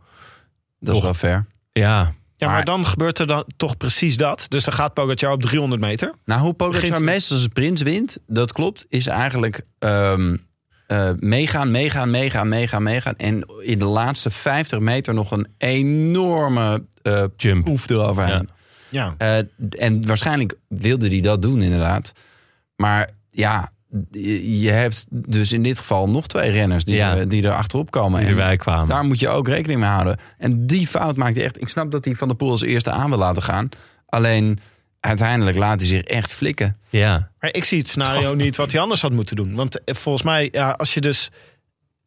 B: Dat is
A: Toch.
B: wel fair.
A: Ja,
F: Ja, maar
B: Maar-
F: dan gebeurt er dan toch precies dat. Dus dan gaat Pogacar op 300 meter.
B: Nou, hoe Pogacar
F: Begint-
B: meestal zijn prins wint, dat klopt, is eigenlijk ehm, eh, meegaan, meegaan, meegaan, meegaan, meegaan. En in de laatste 50 meter nog een enorme eh
A: jump.
B: poef eroverheen.
F: Ja.
B: Eh, en waarschijnlijk wilde hij dat doen, inderdaad. Maar ja, je- je hebt dus in dit geval nog twee renners die,
A: Ja.
B: er, die er achterop komen.
A: Die
B: En
A: erbij kwamen.
B: daar moet je ook rekening mee houden. En die fout maakt hij echt. Ik snap dat hij Van der Poel als eerste aan wil laten gaan. Alleen uiteindelijk laat hij zich echt flikken.
A: Ja,
F: Maar ik zie het scenario niet wat hij anders had moeten doen. Want eh, volgens mij, ja, als je dus...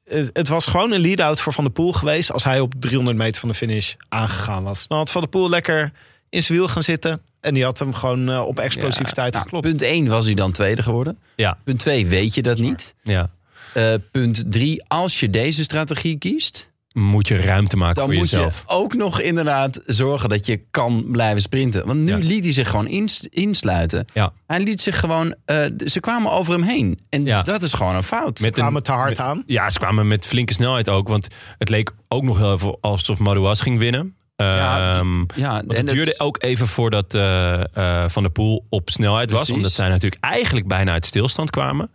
F: eh, Het was gewoon een lead-out voor Van der Poel geweest... als hij op 300 meter van de finish aangegaan was. Dan had Van der Poel lekker in zijn wiel gaan zitten. En die had hem gewoon eh, op explosiviteit
B: Nou,
F: geklopt.
B: punt 1 was hij dan tweede geworden.
A: Ja.
B: Punt 2 weet je dat niet.
A: ja.
B: Eh, punt 3, als je deze strategie kiest,
A: Moet je ruimte maken
B: dan
A: voor
B: moet
A: jezelf.
B: je ook nog inderdaad zorgen dat je kan blijven sprinten. Want nu
A: Ja.
B: liet hij zich gewoon ins- insluiten.
A: Ja.
B: Hij liet zich gewoon, eh, d- ze kwamen over hem heen. En
A: Ja.
B: dat is gewoon een fout.
A: Met
F: Kwamen
A: een-
F: te hard aan.
A: Ja, ze kwamen met flinke snelheid ook. Want het leek ook nog heel even alsof Maruas ging winnen.
B: Ja,
A: Ehm,
B: ja,
A: want het
B: dat-
A: duurde ook even voordat eh, eh, Van der Poel op snelheid was.
B: Precies.
A: Omdat zij natuurlijk eigenlijk bijna uit stilstand kwamen.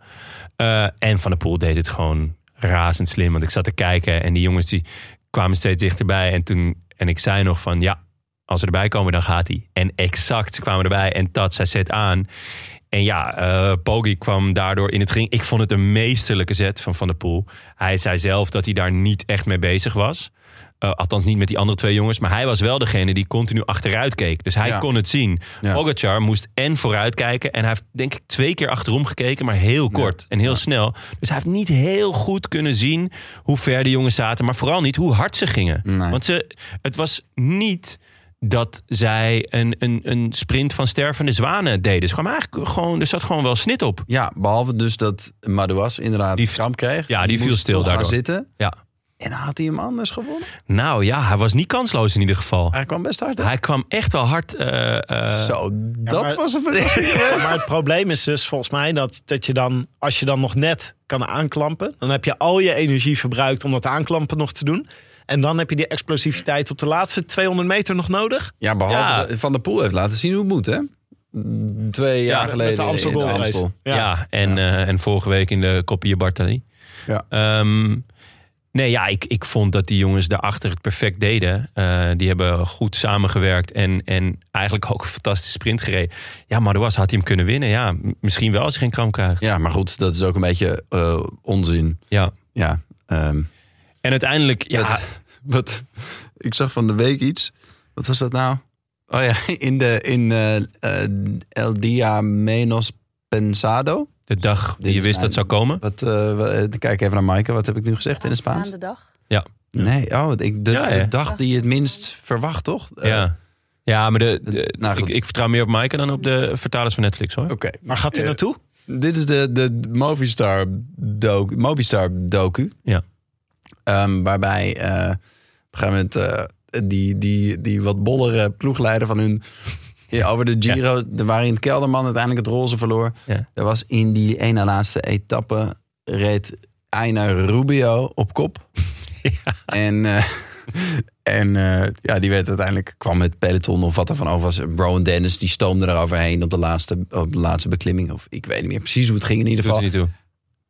A: Eh, en Van der Poel deed het gewoon razend slim. Want ik zat te kijken en die jongens die kwamen steeds dichterbij. En, toen, en ik zei nog van ja, als ze erbij komen dan gaat hij. En exact, ze kwamen erbij en dat, zij zet aan. En ja, eh Poggi kwam daardoor in het ging. Ik vond het een meesterlijke zet van Van der Poel. Hij zei zelf dat hij daar niet echt mee bezig was. Eh, althans, niet met die andere twee jongens. Maar hij was wel degene die continu achteruit keek. Dus hij
B: Ja.
A: kon het zien.
B: Ja.
A: Pogacar moest en vooruit kijken. En hij heeft denk ik twee keer achterom gekeken. Maar heel kort en heel snel. Dus hij heeft niet heel goed kunnen zien hoe ver de jongens zaten. Maar vooral niet hoe hard ze gingen.
B: Nee.
A: Want ze, het was niet dat zij een, een, een sprint van stervende zwanen deden. Ze kwamen eigenlijk gewoon, er zat gewoon wel snit op.
B: Ja, behalve dus dat Madouas inderdaad
A: Die-
B: die kramp kreeg.
A: ja, die viel
B: moest
A: stil
B: toch gaan
A: daardoor.
B: zitten.
A: Ja.
B: En had hij hem anders gewonnen?
A: Nou ja, hij was niet kansloos in ieder geval.
B: Hij kwam best hard. hè?
A: Hij kwam echt wel hard. eh, eh,
B: Zo, dat
F: maar-
B: was een
A: [laughs]
B: verrassing.
F: Maar het probleem is dus volgens mij dat, dat je dan, als je dan nog net kan aanklampen, dan heb je al je energie verbruikt om dat aanklampen nog te doen. En dan heb je die explosiviteit op de laatste 200 meter nog nodig.
B: Ja, behalve
A: Ja.
B: dat Van der Poel heeft laten zien hoe het moet, hè? Mm, Twee jaar
A: met
B: geleden
F: Met de Amstel
B: in de
F: Gold Race.
B: Amstel.
A: ja. en, eh, en vorige week in de Kopje Bartali.
B: Ja.
A: Ehm, nee, ja, ik, ik vond dat die jongens daarachter het perfect deden. Eh, die hebben goed samengewerkt en, en eigenlijk ook een fantastische sprint gereden. Ja, maar was had hij hem kunnen winnen. Ja, m- misschien wel als hij geen kramp krijgt.
B: Ja, maar goed, dat is ook een beetje eh, onzin.
A: Ja.
B: Ja, ehm,
A: En uiteindelijk, ja,
B: Dat- wat, [laughs] ik zag van de week iets. Wat was dat nou? Oh ja, [laughs] in, de, in eh, eh, El Dia Menos Pensado.
A: de dag
B: Dit
A: die je
B: is
A: wist
B: mijn-
A: dat zou komen.
B: Wat, eh, wa- eh, kijk even naar Maaike, wat heb ik nu gezegd in het Spaans?
D: Aanstaande dag.
B: Nee, oh, ik, de,
A: Ja, ja.
B: de dag die je het minst verwacht, toch? Eh,
A: ja. ja, maar de, de-
B: nou,
A: ik,
B: goed.
A: ik vertrouw meer op Maaike dan op de vertalers van Netflix hoor.
B: Oké.
F: Waar gaat dit
B: Eh,
F: naartoe?
B: Dit is de, de Movistar docu. Movistar docu
A: Ja.
B: Ehm, waarbij eh, op een gegeven moment eh, die, die, die wat bollere ploegleider van hun... [laughs] ja, over de Giro, de- waarin Kelderman uiteindelijk het roze verloor.
A: Ja.
B: Er was in die ene laatste etappe reed Aina Rubio op
A: [laughs]
B: kop. En, eh, en eh, ja, die werd uiteindelijk, kwam het peloton of wat er van over was. Rowan Dennis, die stoomde eroverheen op de laatste, op de laatste beklimming. Of ik weet niet meer precies hoe het ging in ieder
A: Doet er
B: geval
A: niet toe.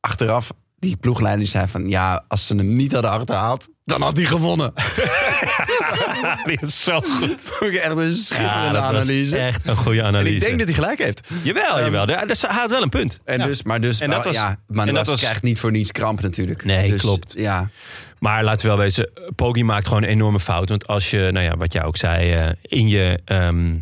B: achteraf, die ploegleider die zei van... ja, als ze hem niet hadden achterhaald, dan had hij gewonnen.
A: [laughs] Die is zo goed.
B: [laughs] Vond ik echt een
A: Ja,
B: schitterende
A: dat was
B: analyse.
A: echt een goede
B: En
A: analyse.
B: ik denk dat hij gelijk heeft.
A: Jawel, jawel. Daar, daar, hij had wel een punt.
B: En dus, maar dus,
A: En dat
B: wel,
A: was-
B: ja, maar
A: en dat was-
B: krijgt niet voor niets kramp natuurlijk.
A: Nee,
B: Dus,
A: klopt.
B: Ja,
A: Maar laten we wel wezen, Poggi maakt gewoon een enorme fout. Want als je, nou ja, wat jij ook zei eh, in je ehm,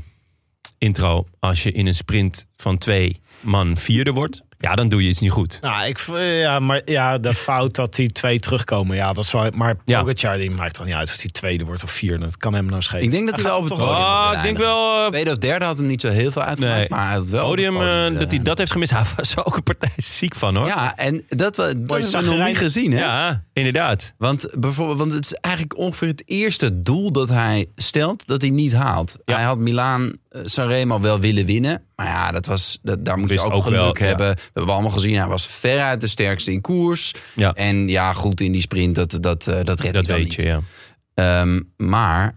A: intro... als je in een sprint van twee man vierde wordt... ja, dan doe je iets niet goed.
F: Nou, ik, v- eh, ja, maar ja, de fout dat die twee terugkomen, ja, dat is wel. Maar
A: Ja.
F: Pogacar, die maakt dan niet uit of die tweede wordt of vierde. Dat kan hem nou schelen.
B: ik denk dat hij wel op het podium had
A: Ah,
B: willen
A: ik denk
B: eindigen.
A: wel... eh,
B: Tweede of derde had hem niet zo heel veel uitgemaakt,
A: Nee.
B: maar hij had wel op het
A: podium, eh,
B: willen
A: dat hij dat heeft gemist. Hij was er ook een partij ziek van, hoor.
B: eindigen. Ja, en dat, we, dat hebben we nog
F: zagrijn.
B: niet gezien, hè?
A: Ja, inderdaad.
B: Want, bijvoorbeeld, want het is eigenlijk ongeveer het eerste doel dat hij stelt dat hij niet haalt.
A: Ja.
B: Hij had Milaan eh, Sanremo wel willen winnen. Maar ja, dat was, dat, daar moet
A: Wist
B: je ook,
A: ook
B: geluk
A: wel, ja.
B: hebben. We hebben allemaal gezien, hij was veruit de sterkste in koers.
A: Ja.
B: En ja, goed in die sprint, dat, dat, eh, dat redt
A: Dat
B: hij dan
A: weet je,
B: niet.
A: ja.
B: Ehm, maar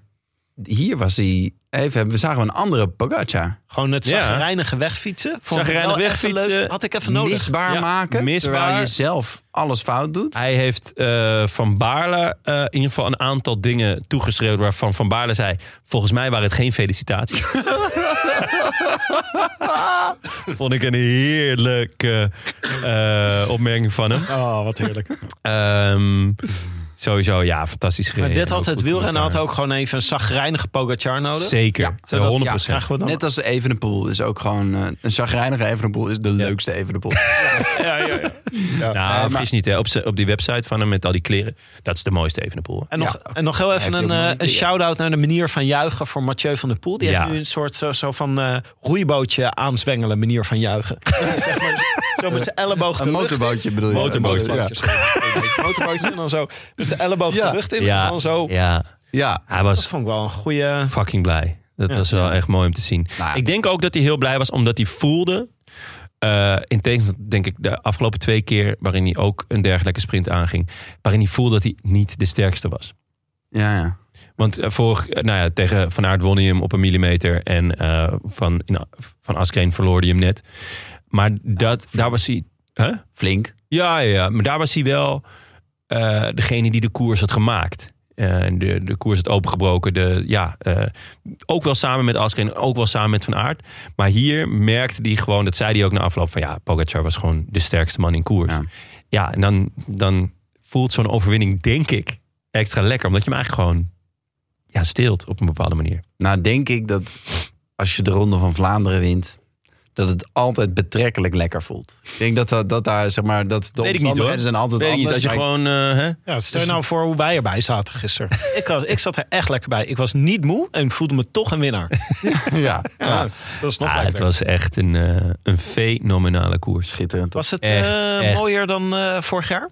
B: hier was hij... Even, we zagen een andere Pogacar.
F: Gewoon het
A: Ja.
F: zagrijnige wegfietsen. Vond ik
A: Zagrijnig
F: wel even
A: wegfietsen.
F: leuk. Had ik even nodig.
B: Misbaar
A: Ja,
B: maken,
A: misbaar.
B: terwijl je zelf alles fout doet.
A: Hij heeft eh, Van Baarle eh, in ieder geval een aantal dingen toegeschreeuwd... waarvan Van Baarle zei, volgens mij waren het geen felicitaties. [laughs] Vond ik een heerlijke eh, opmerking van hem.
F: Oh, wat heerlijk.
A: Ehm, sowieso, ja, fantastisch
F: Maar
A: gereden.
F: dit had
A: Ook
F: het
A: goed
F: wielrennen
A: met
F: had ook gewoon even een zagrijnige Pogacar
A: elkaar.
F: nodig.
A: Zeker, ja,
F: Zodat-
A: 100%.
F: ja, krijgen we dan.
B: Net als
A: [laughs]
B: Evenepoel is ook gewoon... eh, een chagrijnige Evenepoel is de leukste Evenepoel.
A: Nou,
B: Nee, maar-
A: vergis niet, hè. Op, z'n- op die website van hem met al die kleren. Dat is de mooiste Evenepoel. hè.
F: En nog, en nog heel even
B: heeft
F: een,
B: hij ook nog
F: eh,
B: een keer,
F: een
B: ja.
F: shout-out naar de manier van juichen voor Mathieu van der Poel. Die
A: Ja.
F: heeft nu een soort zo, zo van eh, roeibootje aanzwengelen manier van juichen. zeg maar, zo met zijn elleboog de
B: Een
F: lucht in.
B: motorbootje bedoel je?
F: Motorbootje.
B: Ja.
F: Een motorbootje en dan zo met zijn elleboog
B: Ja.
F: de lucht in. En
A: Ja,
F: dan zo.
A: ja,
B: ja.
A: hij
F: Dat
A: was
F: vond ik wel een goede...
A: fucking blij. Dat was wel echt mooi om te zien.
B: Nou ja.
A: Ik denk ook dat hij heel blij was, omdat hij voelde... eh, in tegenstelling, denk ik, de afgelopen twee keer... waarin hij ook een dergelijke sprint aanging... waarin hij voelde dat hij niet de sterkste was.
B: Ja, ja.
A: Want eh, vorig, eh, nou ja, tegen Van Aert won hij hem op een millimeter. En eh, van, in- van Askreen verloor hij hem net. Maar dat, daar was hij... Huh?
B: Flink.
A: Ja, ja, ja, maar daar was hij wel eh, degene die de koers had gemaakt. Eh, en de, de koers had opengebroken. De, ja, eh, ook wel samen met Askreen, ook wel samen met Van Aert. Maar hier merkte hij gewoon, dat zei hij ook na afloop... van ja, Pogacar was gewoon de sterkste man in koers.
B: Ja.
A: Ja, en dan, dan voelt zo'n overwinning, denk ik, extra lekker. Omdat je hem eigenlijk gewoon ja, steelt op een bepaalde manier.
B: Nou, denk ik dat als je de Ronde van Vlaanderen wint, dat het altijd betrekkelijk lekker voelt. Ik denk dat, dat, dat daar, zeg maar, dat de
A: Weet ik niet,
B: omstandigheden
A: hoor.
B: zijn altijd
A: Weet je,
B: anders.
A: dat je
B: maar ik-
A: gewoon... eh, hè?
F: Ja, stel nou voor hoe wij erbij zaten [laughs] gisteren. ik, was, ik zat er echt lekker bij. Ik was niet moe en voelde me toch een winnaar.
B: [laughs] ja, ja.
F: [laughs] Dat is nog
A: Ah, het
F: lekkerder.
A: was echt een, eh, een fenomenale koers.
B: schitterend.
F: Was het
A: Echt,
F: eh,
A: echt.
F: mooier dan eh, vorig jaar?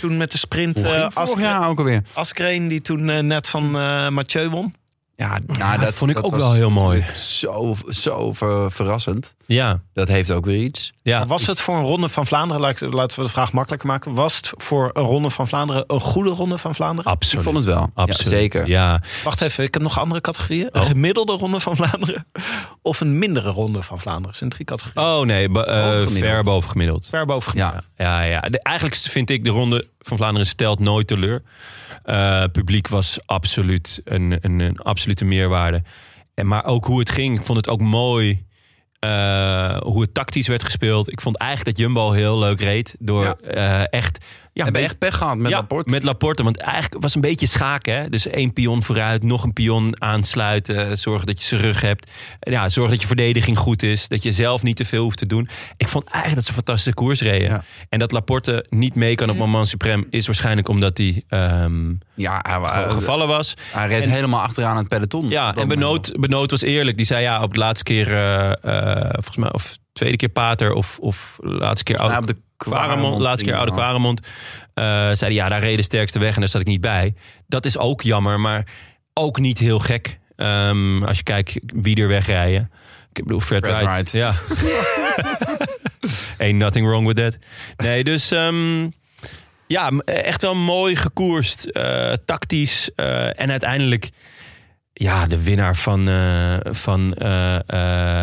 F: Toen met de sprint
B: Hoe
F: eh,
B: ging vorig
F: Askren-
B: jaar ook alweer.
F: Askreen, die toen eh, net van eh, Mathieu won.
B: Ja, nou,
A: dat, vond ik ook
B: was
A: wel heel mooi.
B: Zo, zo ver- verrassend.
A: Ja,
B: Dat heeft ook weer iets.
A: ja.
F: was het voor een ronde van Vlaanderen, laat ik- laten we de vraag makkelijker maken, was het voor een ronde van Vlaanderen een goede ronde van Vlaanderen?
A: absoluut.
B: Ik vond het wel. Ja,
A: Absoluut.
B: zeker.
A: Ja.
F: Wacht even, ik heb nog andere categorieën. Een
A: Oh.
F: gemiddelde ronde van Vlaanderen [laughs] of een mindere ronde van Vlaanderen. Dat zijn drie categorieën.
A: Oh nee, bo- eh,
B: Bovengemiddeld.
A: ver boven gemiddeld.
F: Ver boven
B: Ja.
A: Ja, ja. De- eigenlijk vind ik de Ronde van Vlaanderen stelt nooit teleur. Eh, publiek was absoluut een, een, een absolute meerwaarde. En, maar ook hoe het ging, ik vond het ook mooi. eh, hoe het tactisch werd gespeeld. Ik vond eigenlijk dat Jumbo heel leuk reed. Door
B: Ja.
A: eh, echt... Ja,
B: Hebben
A: een
B: echt pech gehad met
A: ja,
B: Laporte.
A: Met Laporte, want eigenlijk was een beetje schaken. Hè? Dus één pion vooruit, nog een pion aansluiten. Zorgen dat je zijn rug hebt. Ja, zorgen dat je verdediging goed is. Dat je zelf niet te veel hoeft te doen. Ik vond eigenlijk dat ze een fantastische koers reden.
B: Ja.
A: En dat Laporte niet mee kan op Moment Supreme... is waarschijnlijk omdat hij
B: Ah,
A: ehm,
B: ja, hij, wa-
A: gevallen was.
B: hij reed helemaal achteraan het peloton.
A: Ja, en Benoot, Benoot was eerlijk. Die zei ja, op de laatste keer... eh, eh, volgens mij, of tweede keer Pater of, of laatste keer...
B: Nou,
A: Oude-
B: op de
A: Quaremont,
B: Quaremont
A: laatste keer
B: ging
A: Oude
B: hij al.
A: Quaremont. eh zei hij, ja, daar reed de sterkste weg en daar zat ik niet bij. Dat is ook jammer, maar ook niet heel gek. Ehm, als je kijkt wie er wegrijden. Ik bedoel, Fred,
B: Fred
A: Wright.
B: Wright.
A: [laughs] Ja. Ain't nothing wrong with that. Nee, dus... ehm, ja, m- echt wel mooi gekoerst. eh, tactisch. eh, en uiteindelijk... Ja, de winnaar van, eh, van eh,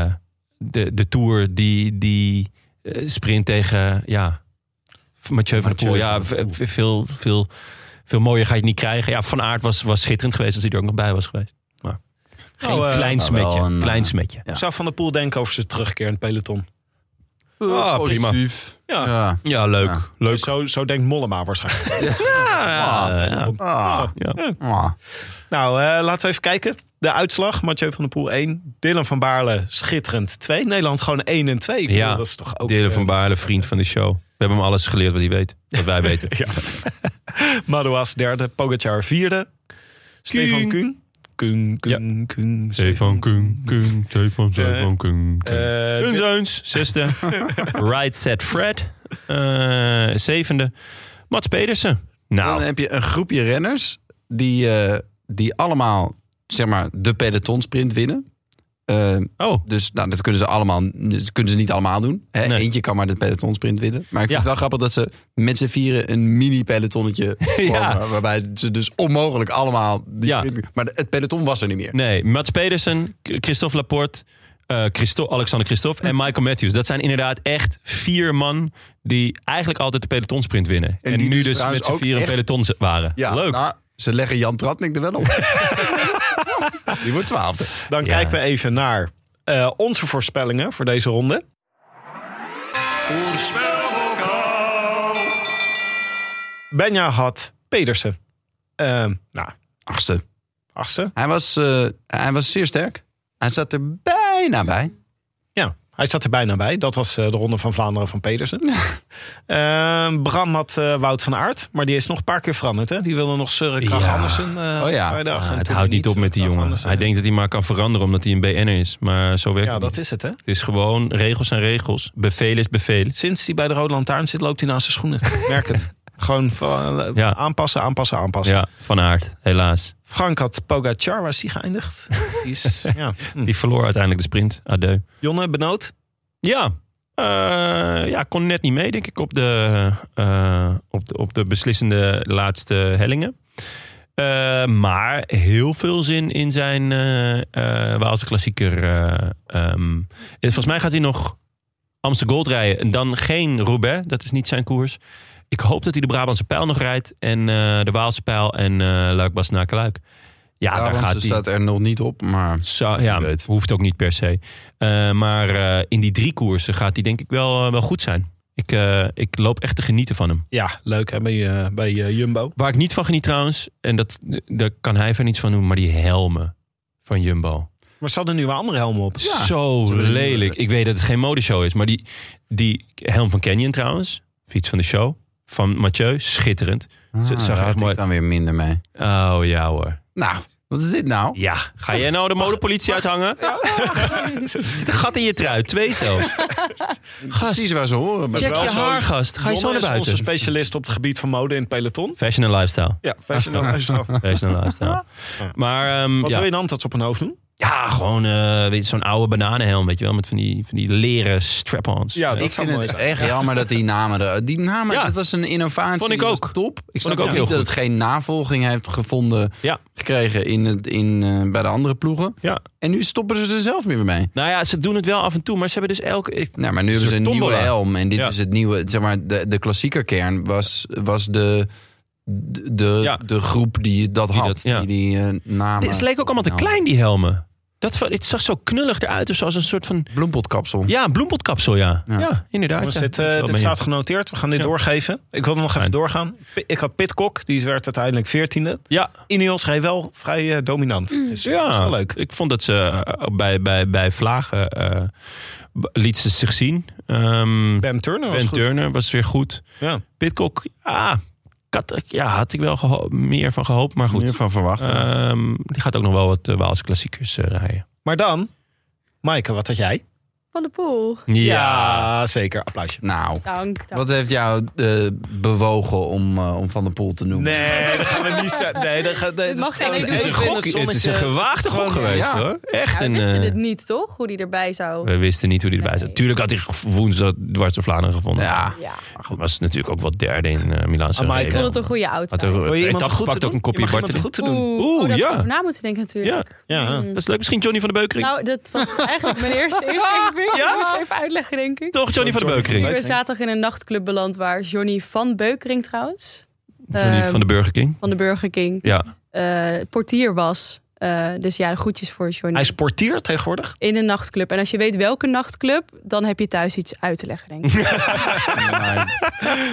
A: eh, de, de Tour die, die eh, sprint tegen ja, Mathieu van der Poel.
B: Mathieu
A: Ja,
B: van der Poel.
A: v- v- veel, veel, veel mooier ga je het niet krijgen. Ja, Van Aert was, was schitterend geweest als hij er ook nog bij was geweest. Maar geen
F: Nou, eh,
A: klein
B: nou, wel
A: smetje.
B: een,
A: klein
B: eh,
A: smetje.
B: Ja.
F: Zou Van der Poel denken over zijn terugkeer in het peloton?
A: Ah, prima.
B: Positief.
F: Ja.
B: Ja.
A: Ja, leuk.
B: Ja.
A: Leuk.
F: Zo, zo denkt Mollema waarschijnlijk.
A: Ja, ja.
B: Ah.
A: Ja.
B: Ah.
F: [laughs] Nou, eh, laten we even kijken. De uitslag, Mathieu van der Poel 1, Dylan van Baarle schitterend 2. Nederland gewoon 1 en 2. Ik
A: Ja,
F: bedoel, dat is toch ook...
A: Dylan van
F: eh,
A: Baarle, vriend van de show. We hebben hem alles geleerd wat hij weet. Wat
F: [laughs]
A: wij weten.
F: Madouas derde, Pogacar vierde. Stefan Kuhn. Kuhn, Kuhn, Kuhn.
A: Stefan Kung, Kung, Stefan,
F: Stefan
A: Kung.
F: Eh,
A: Hun Zeuns, [laughs] zesde. right Set Fred, eh, zevende. Mats Pedersen.
B: Dan
A: Nou,
B: heb je een groepje renners die, eh, die allemaal zeg maar, de pelotonsprint winnen. Eh,
A: oh,
B: dus nou, dat kunnen ze allemaal dat kunnen ze niet allemaal doen. Hè?
A: Nee.
B: Eentje kan maar de pelotonsprint winnen. Maar ik vind
A: Ja.
B: het wel grappig dat ze met z'n vieren een
A: [laughs]
B: mini-pelotonnetje
A: Ja.
B: vormen, Waarbij ze dus onmogelijk allemaal... Die
A: Ja.
B: sprint- maar het peloton was er niet meer.
A: nee. Mats Pedersen, K- Christophe Laporte, eh, Christo- Alexander Christophe en Michael Matthews. Dat zijn inderdaad echt vier man die eigenlijk altijd de pelotonsprint winnen. En,
B: die
A: nu
B: dus
A: dus
B: trouwens
A: met z'n
B: ook
A: vier een
B: echt-
A: peloton z- waren.
B: Ja,
A: Leuk.
B: nou, ze leggen Jan Tratnik er wel
A: [laughs]
B: op. die wordt twaalfde.
F: Dan
A: Ja.
F: kijken we even naar eh, onze voorspellingen voor deze ronde. Benja had Pedersen. Ehm, nou,
B: Achtste.
F: achtste.
B: Hij was, eh, hij was zeer sterk. Hij zat er bijna bij.
F: Ja, Hij zat er bijna bij. Dat was eh, de Ronde van Vlaanderen van Pedersen. Eh, Bram had eh, Wout van Aert. Maar die is nog een paar keer veranderd. Hè? Die wilde nog Søren Kragh
B: Ja.
F: Andersen eh,
B: Oh ja.
F: vrijdag. En
A: Ah, het
F: toen
A: houdt niet op met die
F: Kragh
A: jongen.
F: eh, Andersen.
A: Hij denkt dat hij maar kan veranderen omdat hij een BN'er is. Maar zo werkt
F: Ja,
A: het
F: dat
A: niet.
F: is het hè.
A: Het is gewoon regels zijn regels. Bevel is bevel.
F: Sinds hij bij de Rode Lantaarn zit, loopt hij naast zijn schoenen.
A: [laughs]
F: Merk het. Gewoon van, eh,
A: Ja.
F: aanpassen, aanpassen, aanpassen.
A: Ja, van aard, helaas.
F: Frank had Pogacar, waar is die geëindigd?
A: [laughs]
F: Die is, ja. Hm.
A: Die verloor uiteindelijk de sprint. Adieu.
F: Jonne, benoot.
A: Ja. Eh, ja, kon net niet mee, denk ik, op de, eh, op de, op de beslissende laatste hellingen. Eh, maar heel veel zin in zijn eh eh, Waalse klassieker. eh, ehm. En volgens mij gaat hij nog Amsterdam Gold rijden. En dan geen Roubaix, dat is niet zijn koers. Ik hoop dat hij de Brabantse pijl nog rijdt. En eh, de Waalse pijl en eh luik bastenaken luik Ja,
B: Ja,
A: daar
B: want
A: gaat
B: ze
A: hij.
B: staat er nog niet op, maar
A: Zou- ja,
B: Wie weet.
A: hoeft ook niet per se. Eh, maar eh, in die drie koersen gaat hij denk ik wel, eh, wel goed zijn. Ik, eh, ik loop echt te genieten van hem.
F: Ja, leuk hè, bij, eh, bij eh, Jumbo.
A: Waar ik niet van geniet trouwens, en dat, daar kan hij van niets van doen, maar die helmen van Jumbo.
F: Maar ze hadden nu een andere helm op.
A: Zo
B: hebben die-
A: lelijk. Ik weet dat het geen modeshow is, maar die, die helm van Canyon trouwens, fiets van de show, van Mathieu, schitterend.
B: ah,
A: zag er
B: daar
A: echt
B: had
A: mooi-
B: ik dan weer minder mee.
A: Oh ja hoor.
B: Nou, wat is dit nou?
A: Ja, ga jij nou de modepolitie uithangen? Er [laughs] zit een gat in je trui, twee zelfs.
B: Precies waar ze horen.
A: Check
F: wel
A: je
F: zo-
A: haar, gast. Ga je zo
F: Jonne
A: naar
F: is
A: buiten.
F: onze specialist op het gebied van mode in het peloton.
A: Fashion en
F: [laughs]
A: lifestyle. [laughs]
F: Ja, fashion en zo. Wat
A: Fashion en lifestyle. Maar ehm,
F: wil
A: ja.
F: je dan dat ze op hun hoofd doen?
A: ja, gewoon eh, weet je, zo'n oude bananenhelm, weet je wel, met van die, van die leren strap-ons.
F: Ja,
A: Eh,
F: dat
B: Ik
F: zou
B: vind
F: mooi
B: het
F: zijn.
B: echt jammer dat die namen er... Die namen,
A: Ja.
B: dat was een innovatie.
A: Vond ik
B: die was
A: ook.
B: top. Ik snap
A: ik ook
B: ook
A: heel
B: niet dat
A: goed.
B: het geen navolging heeft gevonden...
A: Ja.
B: gekregen in het, in, eh, bij de andere ploegen.
A: Ja.
B: En nu stoppen ze er zelf meer mee.
A: Nou ja, ze doen het wel af en toe, maar ze hebben dus elke... ik-
B: Nou, maar nu
A: Een
B: hebben ze een
A: soort
B: nieuwe
A: tombola.
B: helm. En dit
A: Ja.
B: is het nieuwe... Zeg maar, de, de klassiekerkern was, was de... De,
A: Ja.
B: de groep die dat had,
A: dat- ja.
B: die die eh, namen...
A: Het leek ook allemaal te klein, die helmen. Dat, va- het zag zo knullig eruit, of zo, als een soort van...
B: Bloempotkapsel.
A: Ja, een bloempotkapsel, ja. Ja,
B: Ja.
A: inderdaad.
F: Jongens,
A: ja.
F: dit, eh,
A: Ik ben
F: dit
A: benieuwd.
F: staat genoteerd. We gaan dit
A: Ja.
F: doorgeven. Ik wil nog even
A: Fijn.
F: doorgaan. P- Ik had Pitcock, die werd uiteindelijk veertiende.
A: Ja,
F: Ineos reed wel vrij eh, dominant. Dus dat is
A: ja.
F: wel leuk.
A: Ik vond dat ze eh, bij, bij, bij Vlagen eh, b- liet ze zich zien. Ehm,
F: Ben Turner was
A: ben
F: goed.
A: Turner was weer goed.
F: Ja.
A: Pitcock, ah, kat, ja, had ik wel geho- meer van gehoopt, maar goed.
B: Meer van verwachten.
F: Eh,
A: Ehm, die gaat ook nog wel wat eh, Waalse klassiekers eh, rijden.
F: Maar dan, Maaike, wat had jij?
D: Van de Poel.
F: ah, zeker. Applausje.
B: Nou,
D: Dank. dank.
B: wat heeft jou eh, bewogen om, eh, om Van der Poel te noemen?
F: Nee, dat gaan we niet zeggen. Nee, dat gaat, nee,
D: Dit
F: dat
D: mag geen
F: gewoon
A: Het is een
F: even in
A: gok,
F: het
A: het is
F: zonnetje.
A: een gewaagde gok geweest
B: ja.
A: hoor. Echt
D: Ja, we
A: een...
D: wisten
A: eh,
D: het niet, toch? Hoe die erbij zou...
A: we wisten niet hoe die erbij zat.
D: Nee.
A: Tuurlijk had hij woensdag dwars door Vlaanderen gevonden.
B: Ja,
D: Ja,
A: Goed, was natuurlijk ook wat derde in eh Milaan.
F: Ah, maar ik
D: ik vond het een goede
A: Had
D: outsider.
A: er
F: Wil je
A: een
F: iemand
A: dag
F: goed te
A: gepakt, ook
F: doen?
A: een
F: Je
A: kopje
F: mag iemand
A: Bartelen.
F: goed te doen.
A: Oeh,
D: Oh, dat
A: ja.
D: over na moeten denken natuurlijk.
F: Ja.
A: Dat is leuk. Misschien Johnny van de Beukering.
D: Nou, dat
A: [laughs]
D: was eigenlijk mijn eerste ingeving.
A: Ja?
D: Ik moet het even uitleggen, denk ik.
A: Toch Johnny van de
D: Ik
A: Beukering?
D: ben zaterdag in een nachtclub beland waar Johnny van Beukering trouwens,
A: Johnny
D: Ehm,
A: van de Burger King.
D: van de Burger King,
A: Ja.
D: eh, portier was. Eh, dus ja, de groetjes voor Johnny.
F: Hij is portier tegenwoordig.
D: In een nachtclub. En als je weet welke nachtclub, dan heb je thuis iets uit te
F: [laughs]
D: leggen, denk ik.
B: nice.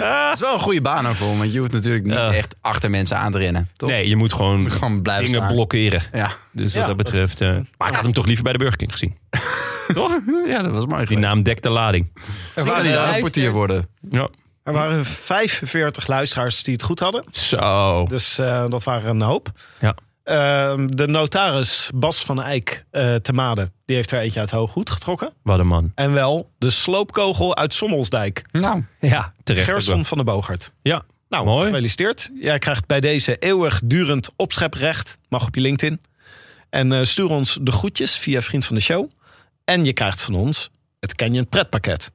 B: Het is wel een goede baan ervoor, want je hoeft natuurlijk niet
A: Ja.
B: echt achter mensen aan te rennen. Toch?
A: Nee, je moet gewoon
B: Gewoon blijven
A: dingen
B: staan.
A: blokkeren.
B: Ja.
A: Dus
F: Ja,
A: wat dat
F: dat-
A: betreft... eh, maar ik had hem toch liever bij de Burger King
F: [laughs]
A: gezien. Toch?
B: ja, dat was mooi
A: Die naam dekt de lading.
B: Misschien kan hij
D: eh,
B: daar een
D: luistert.
B: portier worden.
A: Ja.
F: Er
A: Mm.
F: waren 45 luisteraars die het goed hadden.
A: Zo.
F: Dus eh, dat waren een hoop.
A: Ja.
F: Ehm, de notaris Bas van Eyck eh te Made, die heeft er eentje uit Hooggoed getrokken.
A: Wat een man.
F: En wel de sloopkogel uit Sommelsdijk.
B: Nou,
A: Ja, terecht. ook wel.
F: Gerson van de Bogert.
A: Ja.
F: Nou,
A: Mooi.
F: gefeliciteerd. Jij krijgt bij deze eeuwigdurend opscheprecht. Mag op je LinkedIn. En eh, stuur ons de groetjes via Vriend van de Show. En je krijgt van ons het Canyon pretpakket.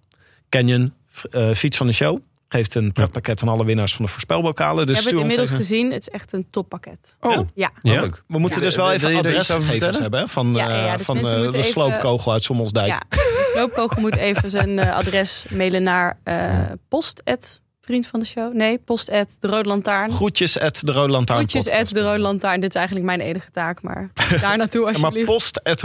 F: Canyon, eh, Fiets van de Show, geeft een pretpakket aan alle winnaars van de voorspelbokalen.
D: Ik
F: Dus
D: heb het
F: stuur ons
D: inmiddels
F: even-
D: gezien. Het is echt een toppakket.
B: oh,
D: Ja.
A: Ja.
B: leuk.
F: We moeten
B: Ja.
F: dus wel
B: Wil-
F: even
B: wil je er iets over
F: adresgegevens
B: vertellen?
F: hebben hè, van,
D: Ja, ja, ja,
F: eh,
D: dus
F: van
D: mensen
F: eh, de
D: moeten even-
F: sloopkogel uit Sommelsdijk.
D: Ja, de sloopkogel moet even zijn eh, adres mailen naar eh post. at Vriend van de show. Nee, post. at De Rode Lantaarn.
F: Groetjes at de Rode Lantaarn.
D: Groetjes at de Rode Lantaarn. Dit is eigenlijk mijn enige taak, maar
F: [laughs]
D: daar naartoe
F: Maar
D: alsjeblieft.
F: post at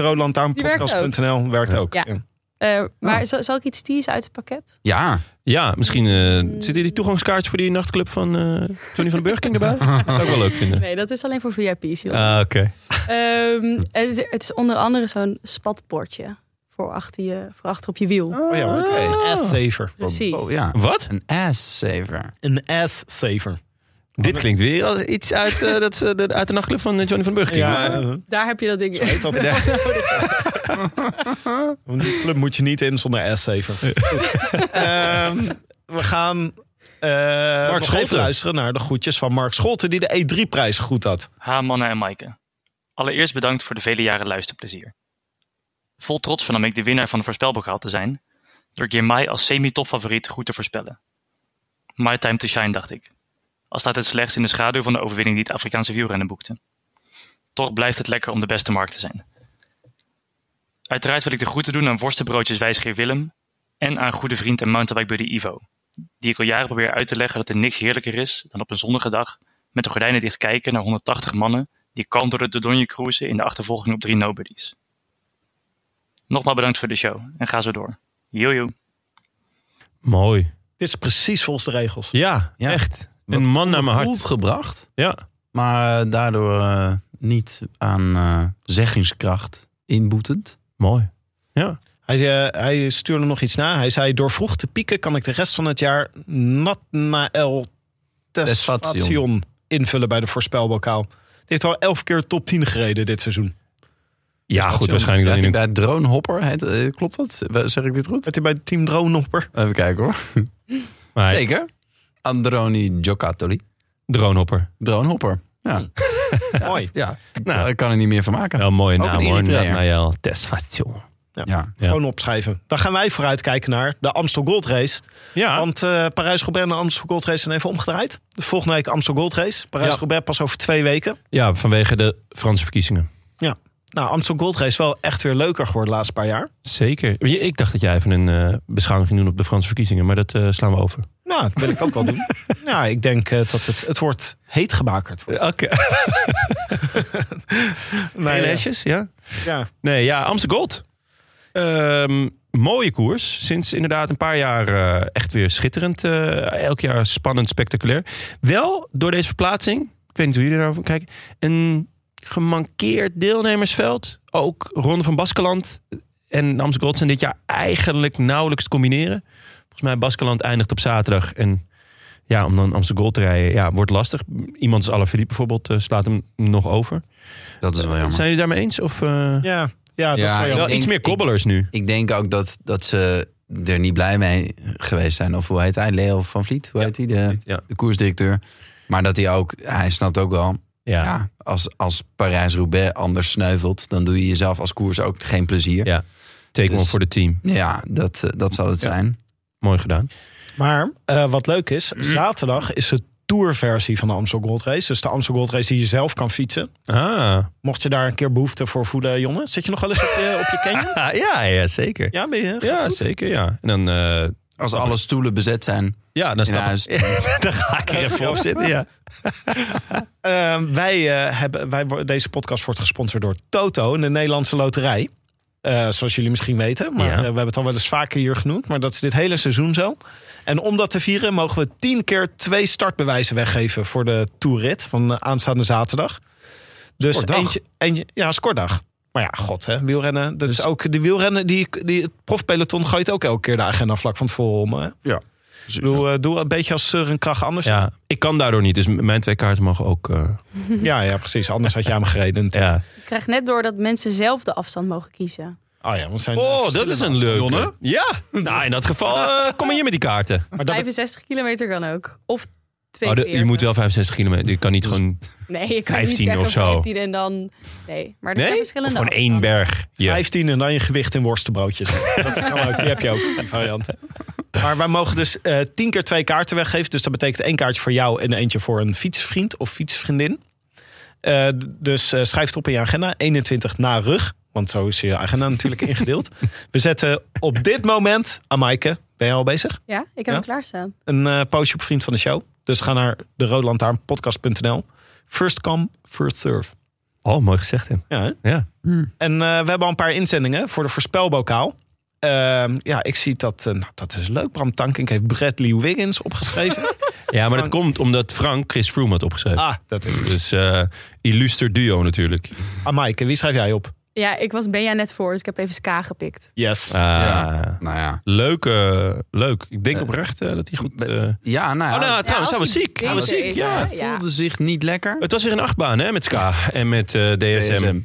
F: roodlantaarnpodcast.nl werkt ook.
D: Ja.
F: Ja.
D: Eh,
F: Ah.
D: maar zal, zal ik iets teasen uit het pakket?
B: Ja,
A: Ja, misschien eh zitten die toegangskaartjes voor die nachtclub van eh, Johnny van de Burger King
F: [laughs]
A: erbij. Dat zou ik wel leuk vinden.
D: Nee, dat is alleen voor VIP's. joh.
A: Ah, oké.
D: Ehm, het, is, het is onder andere zo'n spatbordje voor achter, je, voor achter op je wiel.
F: Oh ja, wordt
B: Oké.
F: een ass-saver.
D: Precies.
B: Oh, ja.
A: Wat?
B: Een ass-saver.
F: Een ass-saver.
A: Dit klinkt weer als iets uit, eh, dat, ze- de, uit de nachtclub van eh, Johnny van Burger King.
F: Ja,
A: maar-
F: eh,
D: Daar heb je dat ding.
F: heet dat.
A: Ja.
F: [laughs] Want Die club moet je niet in zonder ass-saver. Ehm, we gaan eh nog even
A: Scholten.
F: luisteren naar de groetjes van Mark Scholten... die de E3-prijs goed had.
G: Ha, Manna en Maaike. Allereerst bedankt voor de vele jaren luisterplezier. Vol trots vernam ik de winnaar van de voorspelbokaal te zijn, door Girmay als semi-topfavoriet goed te voorspellen. My time to shine, dacht ik. Al staat het slechts in de schaduw van de overwinning die het Afrikaanse wielrennen boekte. Toch blijft het lekker om de beste markt te zijn. Uiteraard wil ik de groeten doen aan worstenbroodjes wijsgeer Willem en aan goede vriend en mountainbike buddy Ivo, die ik al jaren probeer uit te leggen dat er niks heerlijker is dan op een zonnige dag met de gordijnen dicht kijken naar 180 mannen die kalm door de Dordogne cruisen in de achtervolging op drie nobodies. Nogmaals bedankt voor de show en ga zo door. Jojo.
A: Mooi.
F: Dit is precies volgens de regels.
A: Ja,
B: Ja.
A: echt. Een man naar mijn
B: Goed
A: hart.
B: gebracht,
A: Ja.
B: maar eh, daardoor eh, niet aan eh, zeggingskracht inboetend.
A: Mooi.
F: Hij, eh, hij stuurde nog iets na. Hij zei, door vroeg te pieken kan ik de rest van het jaar Natnael Tesfation invullen bij de voorspelbokaal. Die heeft al elf keer top 10 gereden dit seizoen.
A: Ja,
F: Ah,
A: goed,
B: Station.
A: waarschijnlijk
B: Ja,
A: dan in
B: die
A: een...
B: bij Dronehopper, heet, eh, klopt dat? We- Zeg ik dit goed?
F: Dat hij bij Team Dronopper.
B: Even kijken hoor.
A: maar hij-
B: Zeker. Androni Giocattoli.
A: Dronehopper.
B: Dronehopper. Ja,
F: Mooi.
B: ja.
A: Hm. Nou.
B: daar kan er niet meer van maken.
A: Wel een mooie
B: Ook
A: naam
B: een
A: hoor.
B: Eritreër.
A: Nael Tesfation.
B: Ja.
A: Ja.
F: Gewoon opschrijven. Dan gaan wij vooruitkijken naar de Amstel Gold Race.
A: Ja,
F: Want eh, Parijs-Roubaix en de Amstel Gold Race zijn even omgedraaid. Dus volgende week Amstel Gold Race. Parijs-Roubaix pas over twee weken.
A: ja, vanwege de Franse verkiezingen.
F: Nou, Amstel Gold Race wel echt weer leuker geworden de laatste paar jaar.
A: Zeker. Je- Ik dacht dat jij even een eh, beschouwing ging doen op de Franse verkiezingen, maar dat eh, slaan we over.
F: Nou, dat wil ik ook [laughs] wel doen. Ja, ik denk eh, dat het, het wordt heet gebakerd. Wordt.
A: Oké. [laughs]
F: Nee, ja.
A: lesjes, ja?
F: Ja.
A: Nee, ja, Amsterdam Gold. Ehm, mooie koers. Sinds inderdaad een paar jaar eh, echt weer schitterend. Eh, elk jaar spannend, spectaculair. Wel door deze verplaatsing, ik weet niet hoe jullie daarover kijken, een gemankeerd deelnemersveld. Ook Ronde van Baskeland en Amsterdam Gold zijn dit jaar eigenlijk nauwelijks te combineren. Volgens mij Baskeland eindigt op zaterdag en ja, om dan Amsterdam Gold te rijden, ja, wordt lastig. Iemand als Alaphilippe bijvoorbeeld eh, slaat hem nog over.
B: Dat is wel jammer.
A: Zijn jullie daarmee eens? Of, eh,
F: Ja, ja, dat is
B: Ja,
F: wel
A: wel
F: jammer.
B: denk-
A: iets meer
B: ik-
A: kobbelers nu.
B: Ik denk ook dat, dat ze er niet blij mee geweest zijn. Of hoe heet hij? Leo van Vliet, hoe heet hij? De,
A: Ja.
B: de koersdirecteur. Maar dat hij ook, hij snapt ook wel,
A: Ja.
B: ja. als, als Parijs-Roubaix anders sneuvelt, dan doe je jezelf als koers ook geen plezier.
A: Ja.
B: Ja,
A: Take
B: Dus-
A: one voor de team.
B: dat, eh, dat zal het
A: Ja.
B: zijn.
A: Mooi gedaan.
F: Maar eh, wat leuk is, zaterdag is de tourversie van de Amstel Gold Race. Dus de Amstel Gold Race die je zelf kan fietsen.
A: Ah.
F: Mocht je daar een keer behoefte voor voelen, jongen. Zit je nog wel eens op je, op je [laughs] canyon?
A: Ah, ja, ja, zeker. Ja,
F: Ja, ben je?
A: zeker, ja. En dan, eh,
B: Als alle stoelen bezet zijn
A: ja, dan
B: in
A: stap
B: huis.
A: [laughs] dan ga ik er even op zitten, ja.
F: Eh, wij, eh, hebben, wij, wo- deze podcast wordt gesponsord door Toto, de Nederlandse Loterij. Eh, zoals jullie misschien weten. Maar
A: Ja.
F: eh, we hebben het al wel eens vaker hier genoemd. Maar dat is dit hele seizoen zo. En om dat te vieren mogen we tien keer twee startbewijzen weggeven... voor de toerrit van eh, aanstaande zaterdag. Dus
B: Sportdag.
F: eentje, eentje... Ja, scordag. Maar ja, god, hè, wielrennen. Dat is ook, de wielrennen, die, die, het profpeloton gooit ook elke keer de agenda vlak van tevoren om. Hè?
B: Ja.
F: Doe, eh, doe een beetje als Søren Krach anders. Ja.
A: ja. Ik kan daardoor niet, dus mijn twee kaarten mogen ook... eh,
F: Ja, precies. Anders had je hem gereden. natuurlijk.
A: ja.
D: Ik krijg net door dat mensen zelf de afstand mogen kiezen.
F: Oh ja, want het zijn
A: Oh, dat is een leuke. Ja, nou in dat geval eh, kom maar hier met die kaarten.
F: Maar dat,
D: 65 kilometer kan ook. Of
A: Oh,
D: 42.
A: de- je moet wel 65 kilometer, je kan niet gewoon...
D: Nee, ik kan
A: 15
D: niet zeggen
A: of zo.
D: 15 en dan... Nee, maar er zijn
A: Nee? Of
D: verschillende
A: gewoon één
D: afstanden.
A: berg. Ja.
F: 15 en dan je gewicht in
A: [laughs]
F: worstenbroodjes. dat kan ook, die heb je ook, die variant. Maar wij mogen dus eh 10 keer twee kaarten weggeven. Dus dat betekent één kaartje voor jou en eentje voor een fietsvriend of fietsvriendin. Eh, d- dus eh, schrijf het op in je agenda. 21 na rug. Want zo is je agenda natuurlijk ingedeeld. We zetten op dit moment... Amaike, ben je al bezig?
D: Ja, ik heb
F: Ja?
D: hem klaarstaan.
F: Een eh postje op vriend van de show. Dus ga naar de roodlantaarnpodcast.nl. First come, first serve.
A: Oh, mooi gezegd, hè.
F: Ja, hè?
A: Ja.
F: En eh, we hebben al een paar inzendingen voor de voorspelbokaal. Ehm, ja, ik zie dat. eh, nou, dat is leuk. Bram Tankink heeft Bradley Wiggins opgeschreven.
A: ja, maar dat komt omdat Frank Chris Froome had opgeschreven.
F: ah, dat is.
A: Dus eh illuster duo natuurlijk.
F: Ah, Maaike, wie schrijf jij op?
D: Ja, ik was Benja net voor, dus ik heb even Ska gepikt.
F: Yes.
B: Ja. Nou ja.
A: Leuk, eh, leuk. Ik denk
B: Eh,
A: oprecht eh, dat hij goed... eh,
B: Ja, nou ja.
A: oh, nou,
D: Ah, Ja,
A: trouwens, hij
D: als
A: was
D: hij
A: ziek. Hij was
D: beter
A: ziek,
D: is,
A: ja.
D: hè?
B: hij voelde zich niet lekker.
A: Het was weer een achtbaan, hè, met Ska en met eh, DSM.
B: DSM.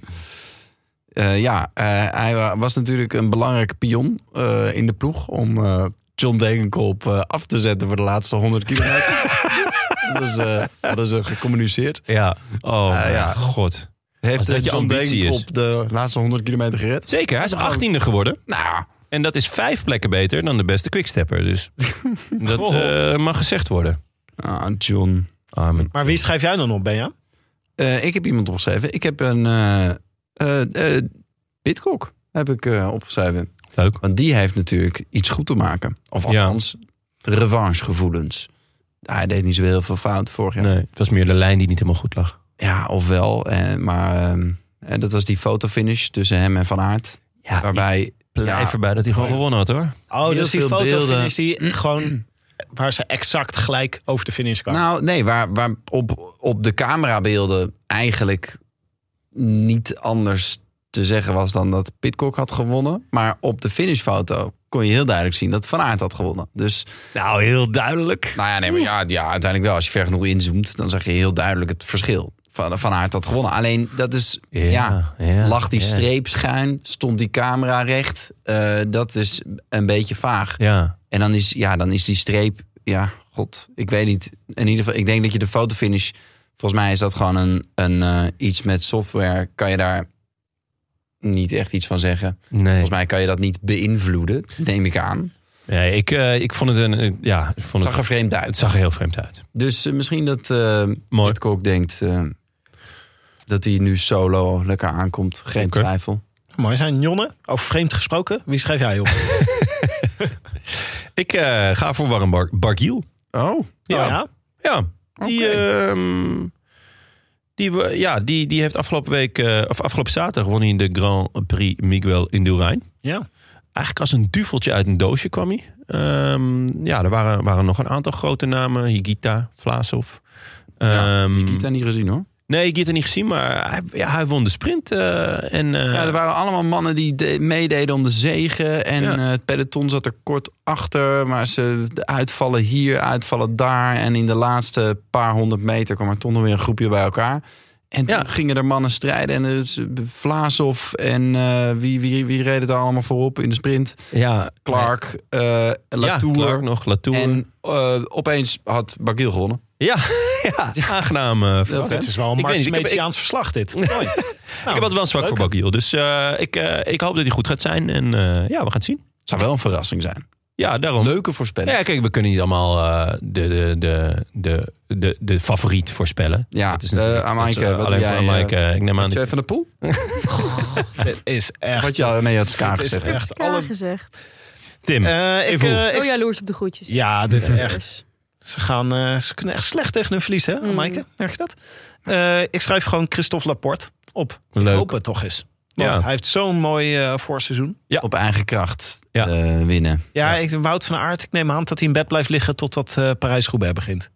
B: Eh, ja, eh, hij wa- was natuurlijk een belangrijke pion eh, in de ploeg om eh, John Degenkolb eh, af te zetten voor de laatste 100 kilometer.
A: [laughs]
B: dat is, eh, hadden ze gecommuniceerd.
A: Ja. Oh,
B: Eh, ja.
A: mijn god. Als
B: Heeft
A: dat
B: eh,
A: je
B: John
A: ambitie is.
B: Degenkolb de laatste 100 kilometer gered?
A: Zeker, hij is achttiende geworden.
B: Nou,
A: En dat is vijf plekken beter dan de beste quickstepper. [laughs] Dus dat eh, mag gezegd worden.
B: ah, John.
A: Amen.
F: Maar wie schrijf jij dan op, Benja?
B: Eh, ik heb iemand opgeschreven. Ik heb een eh eh, eh, Pitcock heb ik eh, opgeschreven.
A: Leuk.
B: Want die heeft natuurlijk iets goed te maken. Of althans, revanchegevoelens. Hij deed niet zo heel veel fout vorig jaar.
A: Nee, het was meer de lijn die niet helemaal goed lag.
B: Ja, ofwel. En, maar ehm, en dat was die fotofinish tussen hem en Van Aert.
A: Ja,
B: waarbij
A: Blijf
B: ja,
A: erbij dat hij gewoon gewonnen had, hoor.
F: Oh,
B: Heel
F: dus die
B: veel
F: fotofinish
B: beelden.
F: die [clears throat] gewoon... waar ze exact gelijk over de finish kwamen.
B: Nou, nee, waar, waar op, op de camerabeelden eigenlijk niet anders te zeggen was dan dat Pitcock had gewonnen. Maar op de finishfoto kon je heel duidelijk zien dat Van Aert had gewonnen. Dus,
A: Nou, heel duidelijk.
B: nou ja, nee, maar ja, ja, uiteindelijk wel. Als je ver genoeg inzoomt, dan zag je heel duidelijk het verschil. Van, van Aert had gewonnen. Alleen, dat is, ja, lag die
A: ja.
B: streep schuin? Stond die camera recht? Eh, dat is een beetje vaag.
A: Ja.
B: En dan is, ja, dan is die streep, ja, god, ik weet niet. In ieder geval, ik denk dat je de fotofinish, volgens mij is dat gewoon een, een eh, iets met software, kan je daar niet echt iets van zeggen.
A: Nee.
B: Volgens mij kan je dat niet beïnvloeden, neem ik aan.
A: nee ik, eh, ik vond het een... eh, Ja, ik vond
B: Het zag
A: het,
B: er vreemd
A: het
B: uit.
A: zag er heel vreemd uit.
B: Dus eh, misschien dat eh
A: Mooi.
B: Pitcock denkt eh, dat hij nu solo lekker aankomt. Geen
A: Oké.
B: twijfel.
F: Mooi zijn, Jonne. Over vreemd gesproken, wie schrijf jij op? Oh,
A: Ik eh, ga voor Warren Bar Bargiel.
B: Oh,
F: Nou
A: ja. Ja, die,
B: Oké.
A: ehm, die, we- ja, die, die heeft afgelopen week, eh, of afgelopen zaterdag won hij de Grand Prix Miguel in Durijn.
F: Ja.
A: Eigenlijk als een duveltje uit een doosje kwam hij. Ehm, ja, er waren, waren nog een aantal grote namen. Higita, Vlasov.
B: Ja,
A: Ehm,
B: Nikita niet gezien hoor.
A: Nee, Higita niet gezien, maar hij, ja, hij won de sprint. eh, en, eh,
B: Ja, er waren allemaal mannen die de- meededen om de zegen. En
A: Ja.
B: eh, het peloton zat er kort achter. Maar ze de uitvallen hier, uitvallen daar. En in de laatste paar honderd meter kwam er toch nog weer een groepje bij elkaar. En toen
A: Ja.
B: gingen er mannen strijden. En dus Vlaasov en eh, wie, wie, wie reden daar allemaal voorop in de sprint?
A: ja,
B: Clark, eh
A: Ja,
B: Latour.
A: Clark nog, Latour.
B: En eh, opeens had Barguil gewonnen.
A: ja, [laughs] ja, aangenaam. eh, verrassing.
F: Het is dus wel een
A: Ik weet niet, ik heb-
F: Marx-Metiaans
A: [laughs]
F: verslag dit. Mooi. Nou,
A: ik heb altijd wel een zwak
F: leuk.
A: voor Bakiel. Dus eh, ik, eh, ik hoop dat hij goed gaat zijn. En eh, ja, we gaan het zien.
B: Zou wel een verrassing zijn.
A: Ja, daarom.
B: Leuke voorspelling.
A: Ja, kijk, we kunnen niet allemaal eh, de, de, de, de, de, de favoriet voorspellen.
B: Ja,
A: Dat is
B: eh,
A: natuurlijk-
B: Amaike,
A: dat is, eh,
B: wat
A: alleen
B: doe
A: voor
B: jij,
A: Amaike. ik neem aan
B: Jij
A: dat
B: van de Poel?
F: Dit is echt...
B: Wat je al nee, je had Ska
F: dit is
B: gezegd.
F: echt
D: Ska
F: alle...
D: gezegd.
A: Tim.
F: Eh, ik,
A: Evo.
F: eh,
D: Oh,
F: ik-
D: jaloers op de groetjes.
F: ja, dit is echt...
D: Dus
F: Ze, gaan, eh, ze kunnen echt slecht tegen hun verlies, hè, Maaike? Merk je dat? Eh, ik schrijf gewoon Christophe Laporte op.
A: Leuk.
F: Ik hoop het toch eens. Want
A: Ja.
F: hij heeft zo'n mooi eh, voorseizoen.
B: Op eigen kracht
A: Ja.
B: eh, winnen.
F: Ja, Ik, Wout van Aert, ik neem aan dat hij in bed blijft liggen totdat eh Parijs-Roubaix begint.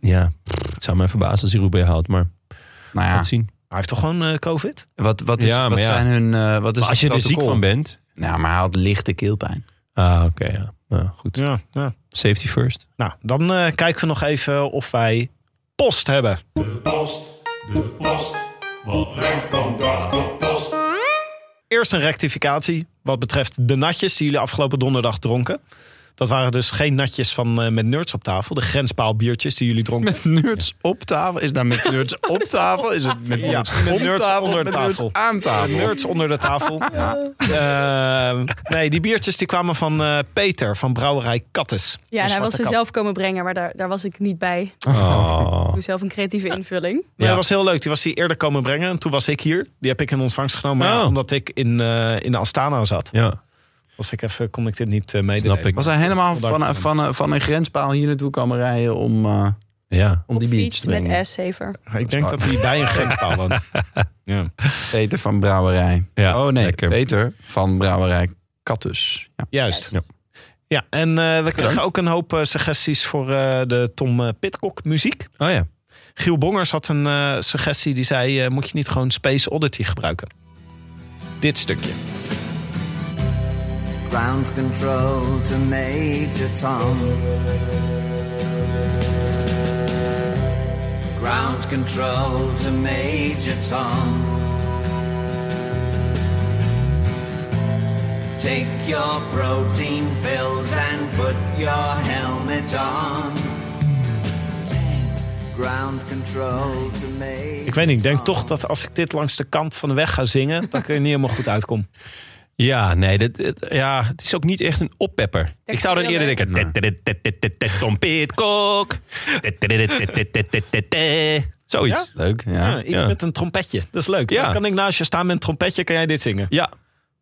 A: ja, het zou mij verbazen als hij Roubaix houdt. Maar
B: Nou
A: we
B: ja,
A: gaan het zien.
F: Hij heeft toch gewoon eh, COVID?
B: Wat, wat, is,
A: Ja, maar
B: wat
A: ja.
B: zijn hun... eh, wat is
A: Maar als je
B: het
A: er ziek
B: protocol?
A: van bent...
B: Nou, maar hij had lichte keelpijn.
A: Ah, oké, ja. Nou, goed.
F: Ja, ja.
A: Safety first.
F: Nou, dan eh, kijken we nog even of wij post hebben. Eerst een rectificatie wat betreft de natjes die jullie afgelopen donderdag dronken. Dat waren dus geen natjes van eh, met nerds op tafel. De grenspaalbiertjes die jullie dronken.
B: [laughs] Nerds op tafel? Is dat met
A: [laughs]
B: nerds op tafel? Is het met nerds
F: met
B: om
F: nerds
B: tafel?
F: onder
B: of met
F: tafel.
B: nerds aan tafel?
F: Nerds onder de
A: [laughs]
F: tafel. Ehm, nee, die biertjes die kwamen van eh, Peter van Brouwerij Kattes.
D: Ja, en
F: De
D: hij wil
F: Zwarte
D: ze
F: Kat.
D: zelf komen brengen, maar daar, daar was ik niet bij. Ik
A: Oh.
D: doe zelf een creatieve invulling.
F: Ja.
A: Ja.
F: Dat was heel leuk. Die was hier eerder komen brengen. En toen was ik hier. Die heb ik in ontvangst genomen. maar ja,
A: Oh.
F: omdat ik in, eh in Astana zat.
A: Ja,
F: Was ik even, kon ik dit niet eh meedelen.
A: snap ik.
B: Was hij helemaal van, van,
F: Bedankt.
B: van, van een grenspaal hier naartoe komen rijden om, eh,
A: Ja.
B: om die biertjes
D: Fiets
B: te
D: met
B: drinken?
D: S-saver.
F: Ik denk dat hij bij een
A: [laughs]
F: grenspaal woont. ja.
B: Peter van Brouwerij.
A: Ja,
B: oh nee,
A: lekker.
B: Peter van Brouwerij Kattus. Ja.
F: Juist.
A: Ja.
F: Ja. en eh, we kregen ook een hoop eh, suggesties voor eh, de Tom eh, Pitcock muziek.
A: Oh ja.
F: Giel Bongers had een eh, suggestie die zei: eh, moet je niet gewoon Space Oddity gebruiken? dit stukje.
H: Ground control to Major Tom. Ground control to Major Tom. Take your protein pills and put your helmet on. Ground control to Major
F: Ik weet niet, ik denk
H: Tom.
F: toch dat als ik dit langs de kant van de weg ga zingen, dat ik er niet helemaal goed uitkom.
A: Ja, nee, dit, dit- ja, het is ook niet echt een oppepper. Ik zou dan
D: heel
A: eerder denken... "Tetetetetetetet, Tom Pitcock. Tetetetetetetetetete." Zoiets.
B: Leuk, ja.
F: Ja, iets
A: ja.
F: met een trompetje, dat is leuk.
A: Ja.
F: Dan kan ik naast je staan met een trompetje, kan jij dit zingen.
A: Ja.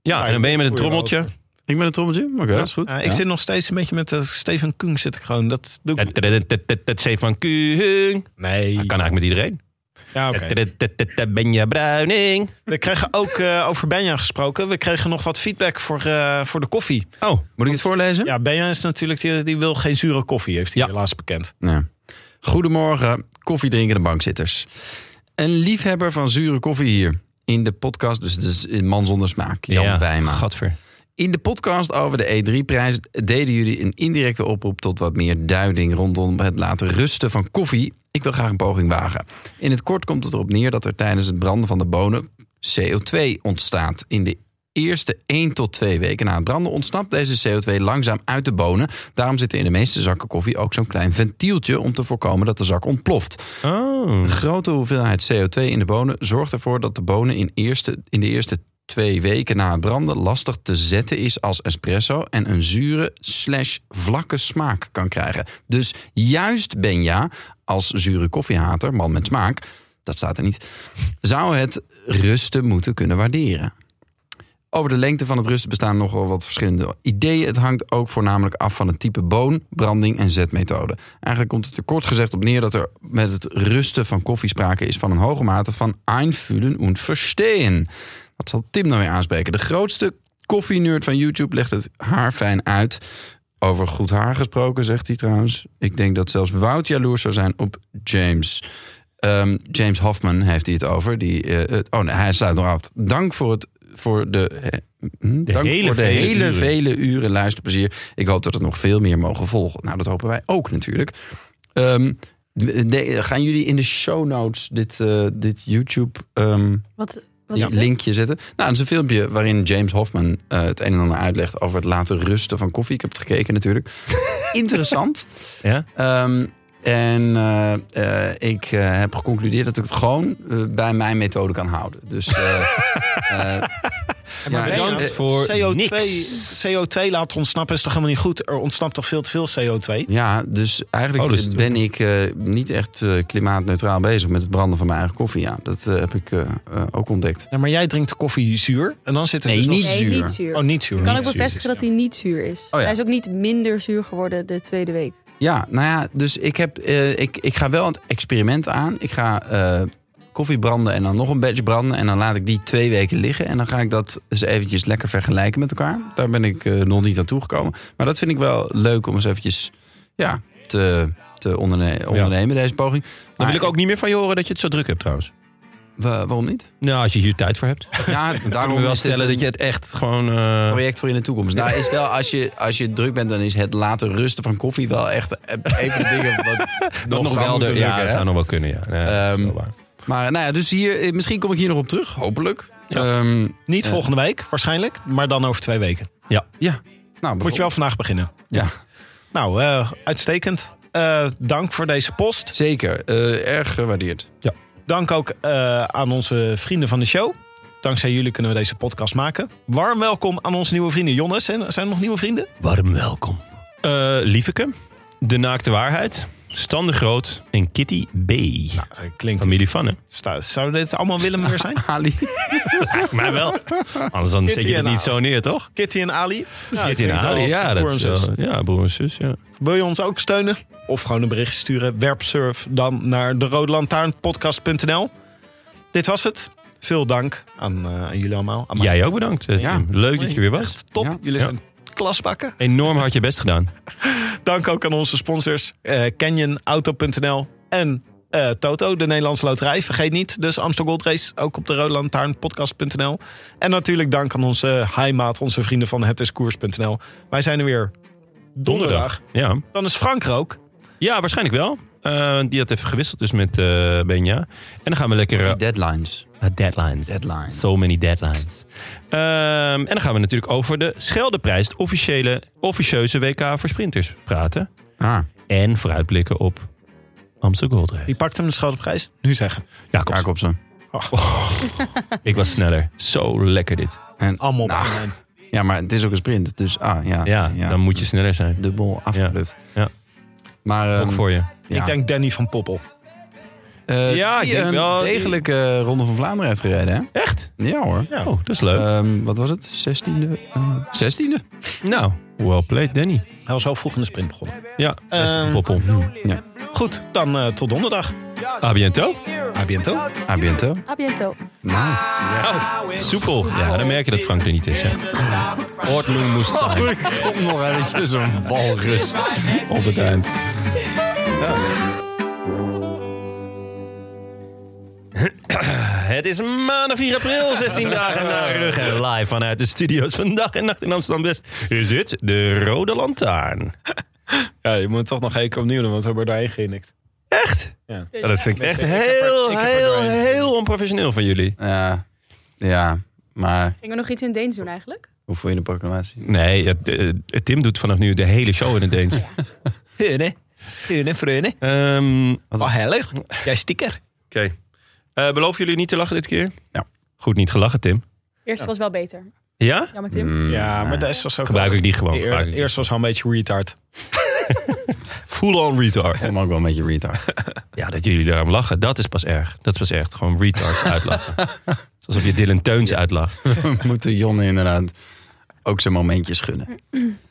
A: Ja, en dan ben je met een
F: Goeie
A: trommeltje.
B: Ik ben een trommeltje. Oké, dat is goed.
F: Ja, Eh, ik
B: Ja.
F: zit nog steeds een beetje met eh, Stefan Kung zit ik gewoon. Dat doe ik.
A: Dat C van Kuhung.
F: Nee.
A: Dat kan eigenlijk met iedereen.
F: Ja, oké.
A: Tetetetetetet, Benja Bruining.
F: We kregen ook eh, over Benja gesproken. We kregen nog wat feedback voor, eh, voor de koffie.
A: Oh,
B: Moet ik het voorlezen?
F: Ja, Benja is natuurlijk, die, die wil geen zure koffie, heeft hij
A: Ja.
F: helaas bekend.
B: Ja. Goedemorgen, koffiedrinkende bankzitters. Een liefhebber van zure koffie hier. In de podcast, dus het is een man zonder smaak, Jan
A: ja.
B: Wijma.
A: Gadver.
B: In de podcast over de E3-prijs deden jullie een indirecte oproep tot wat meer duiding rondom het laten rusten van koffie. Ik wil graag een poging wagen. In het kort komt het erop neer dat er tijdens het branden van de bonen CO2 ontstaat. In de eerste 1 tot 2 weken na het branden ontsnapt deze CO2 langzaam uit de bonen. Daarom zit er in de meeste zakken koffie ook zo'n klein ventieltje om te voorkomen dat de zak ontploft.
A: Oh.
B: Een grote hoeveelheid CO2 in de bonen zorgt ervoor dat de bonen in, eerste, in de eerste twee weken na het branden lastig te zetten is als espresso en een zure slash vlakke smaak kan krijgen. Dus juist Benja, als zure koffiehater, man met smaak, dat staat er niet, zou het rusten moeten kunnen waarderen. Over de lengte van het rusten bestaan nogal wat verschillende ideeën. Het hangt ook voornamelijk af van het type boon, branding en zetmethode. Eigenlijk komt het er kort gezegd op neer dat er met het rusten van koffie sprake is van een hoge mate van einfühlen und verstehen. Dat zal Tim nou weer aanspreken. De grootste koffienerd van YouTube legt het haar fijn uit. Over goed haar gesproken, zegt hij trouwens. Ik denk dat zelfs Wout jaloers zou zijn op James. Ehm, James Hoffman heeft hij het over. Die, eh, het- oh nee, hij sluit nog af. Dank voor, het, voor de, eh, hm, dank
A: hele
B: voor de
A: vele
B: hele
A: uren.
B: vele uren luisterplezier. Ik hoop dat er nog veel meer mogen volgen. Nou, dat hopen wij ook natuurlijk. Ehm, de- de- gaan jullie in de show notes dit, eh, dit YouTube ehm,
D: Wat, wat
B: ja.
D: is het?
B: linkje zetten? Nou, dat is een filmpje waarin James Hoffman eh, het een en ander uitlegt over het laten rusten van koffie. Ik heb het
A: [laughs]
B: gekeken natuurlijk. Interessant.
A: Ja?
B: Ehm, en eh, eh, ik eh, heb geconcludeerd dat ik het gewoon eh, bij mijn methode kan houden. Dus
A: [laughs]
B: eh, eh, ja,
A: bedankt
B: eh,
A: voor
F: CO2,
A: niks.
F: CO2 laten ontsnappen is toch helemaal niet goed? Er ontsnapt toch veel te veel CO2?
B: Ja, dus eigenlijk
A: Oh, dus-
B: ben ik eh, niet echt eh, klimaatneutraal bezig met het branden van mijn eigen koffie. Ja, dat eh, heb ik eh, eh, ook ontdekt.
F: Ja, maar jij drinkt de koffie zuur en dan zit er
B: Nee,
F: dus nog-
B: niet
D: Nee,
B: zuur. Oh,
D: niet zuur.
F: Oh, niet zuur.
D: Ik kan
F: Niet dus,
D: ook
F: zuur.
D: bevestigen dat hij niet zuur is.
B: ja.
D: Hij is ook niet minder zuur geworden de tweede week.
B: Ja, nou ja, dus ik, heb, eh, ik, ik ga wel het experiment aan. Ik ga eh, koffie branden en dan nog een badge branden. En dan laat ik die twee weken liggen. En dan ga ik dat eens eventjes lekker vergelijken met elkaar. Daar ben ik eh, nog niet aan toegekomen. Maar dat vind ik wel leuk om eens eventjes ja, te, te onderne- ondernemen, deze poging.
A: Dan
B: Maar
A: wil ik ook niet meer van je horen dat je het zo druk hebt trouwens.
B: wa- waarom niet?
A: Nou, als je hier tijd voor [laughs] hebt.
B: Ja,
A: Daarom
B: daarom
A: wil wel
B: is dit
A: stellen
B: een-
A: dat je het echt gewoon... eh,
B: project voor in de toekomst. Nou, is wel als je, als je druk bent, dan is het laten rusten van koffie wel echt eh, even de
A: [laughs]
B: dingen wat nog,
A: nog
B: zou
A: wel
B: moeten
A: de, ja,
B: lukken,
A: het
B: hè?
A: zou nog wel kunnen, ja. Nee, dat is
B: Ehm,
A: wel waar.
B: Maar nou ja, dus hier, eh, misschien kom ik hier nog op terug, hopelijk. Ehm, Ja,
F: Niet volgende week waarschijnlijk, maar dan over twee weken.
B: ja. nou,
F: Moet je wel vandaag beginnen.
B: Ja,
F: Nou, eh, uitstekend. Eh, dank voor deze post.
B: zeker. Eh, erg gewaardeerd. [laughs]
F: Dank ook eh, aan onze vrienden van de show. Dankzij jullie kunnen we deze podcast maken. Warm welkom aan onze nieuwe vrienden. Jonas, zijn, zijn er nog nieuwe vrienden?
A: Warm welkom. Eh Lieveke, De Naakte Waarheid, Stan de Groot en Kitty B.
F: Nou, klinkt.
A: Familie van, hè?
F: Sta- Zouden dit allemaal Willem weer zijn?
B: Ali.
A: Mij wel. Anders dan zet
F: Kitty
A: je het
F: en
A: niet
F: Ali.
A: zo neer, toch?
F: Kitty en Ali. Ja,
A: Kitty en
F: klinkt wel
A: Ali,
F: als
A: ja,
F: broer
A: dat
F: en
A: is
F: zus.
A: wel- Ja, broer en zus, ja.
F: Wil je ons ook steunen? Of gewoon een bericht sturen? Werpsurf dan naar de roodlantaarnpodcast.nl. Dit was het. Veel dank aan, eh, aan jullie allemaal. Aan mij.
A: Jij ook bedankt, eh,
B: Ja.
A: Tim. Leuk dat je weer was.
F: Top,
B: Ja.
F: jullie
A: Ja.
F: zijn klasbakken.
A: Enorm hard je best gedaan.
F: Dank ook aan onze sponsors. eh Canyon, Auto.nl en eh, eh, Toto, de Nederlandse Loterij. Vergeet niet, dus Amsterdam Gold Race, ook op de roodlantaarnpodcast.nl. En natuurlijk dank aan onze heimaat, onze vrienden van hetiskoers.nl. Wij zijn er weer donderdag.
A: Ja,
F: Dan is Frank er ook.
A: ja waarschijnlijk wel. Eh, die had even gewisseld dus met eh, Benja. En dan gaan we lekker... eh,
B: Die deadlines.
A: Ah, deadlines.
B: Deadlines.
A: So many deadlines. Ehm, en dan gaan we natuurlijk over de Scheldeprijs, het officiële, officieuze WK voor sprinters praten.
B: Ah,
A: En vooruitblikken op Amsterdam Gold Race.
F: Die pakt hem de schouderprijs. Nu zeggen.
A: Jacobs.
B: Jacobsen.
A: Ik was sneller. Zo lekker dit.
B: En,
I: Allemaal op
B: nou,
I: online.
B: ja, maar het is ook een sprint. Dus ah, ja,
A: Ja, dan moet je sneller zijn.
B: dubbel afgebluft.
A: ja.
B: Maar ehm,
A: Ook voor je.
B: ja,
F: Ik denk Danny van Poppel.
B: eh,
A: Ja, ik
B: die
A: denk
B: een
A: wel-
B: degelijke eh, Ronde van Vlaanderen heeft gereden, hè?
A: Echt?
B: Ja hoor.
A: Oh, dat is leuk.
F: Eh,
B: Ehm, wat was het? Zestiende? eh zestiende?
A: nou, well played Danny.
F: Hij was al vroeg in de sprint begonnen.
A: Ja, best
F: Ehm,
A: een poppel.
B: Ja.
F: Goed, dan eh, tot donderdag.
A: A biento.
F: A bientôt.
B: A biento.
D: A biento.
B: Nou.
A: Soepel. Ja, dan merk je dat Frank er niet is. Hè. Oh. Ortloen moest zijn.
B: Ik kom nog eventjes een walrus.
A: [laughs] Op het eind. Het is maandag 4 april, 16 dagen na rug en live vanuit de studio's van Dag en Nacht in Amsterdam West is het de Rode Lantaarn.
F: Ja, je moet toch nog één keer opnieuw doen, want we hebben er doorheen geïnikt.
A: Echt?
F: Ja.
A: Ja, dat vind ik echt
F: Ik heb er- ik
A: heel,
F: heb er
A: heel,
F: doorheen.
A: heel onprofessioneel van jullie.
B: Ja, ja, maar
D: Gingen we nog iets in Deens doen eigenlijk?
B: hoe voel je de proclamatie?
A: Nee, het- eh, Tim doet vanaf nu de hele show in het Deens.
F: Heune. Heune, vreune.
A: Ehm, Oké.
F: Oh, heilig. Jij sticker.
A: Eh, beloven jullie niet te lachen dit keer?
B: Ja.
A: Goed niet gelachen, Tim.
D: Eerst was wel beter.
A: Ja?
D: Jammer Tim.
B: Mm,
F: Ja, maar dat was ook...
A: Mm, Gebruik ik die gewoon.
F: Eer-
A: gebruik ik die.
F: eerst was hij een beetje retard.
A: Full on retard.
B: Vond me ook wel een beetje retard. [laughs]
A: Ja, dat jullie daarom lachen, dat is pas erg. Dat was echt gewoon retards uitlachen. [laughs] Het is Alsof je Dylan Teuns uitlacht.
B: We moeten Jonne inderdaad ook zijn momentjes gunnen.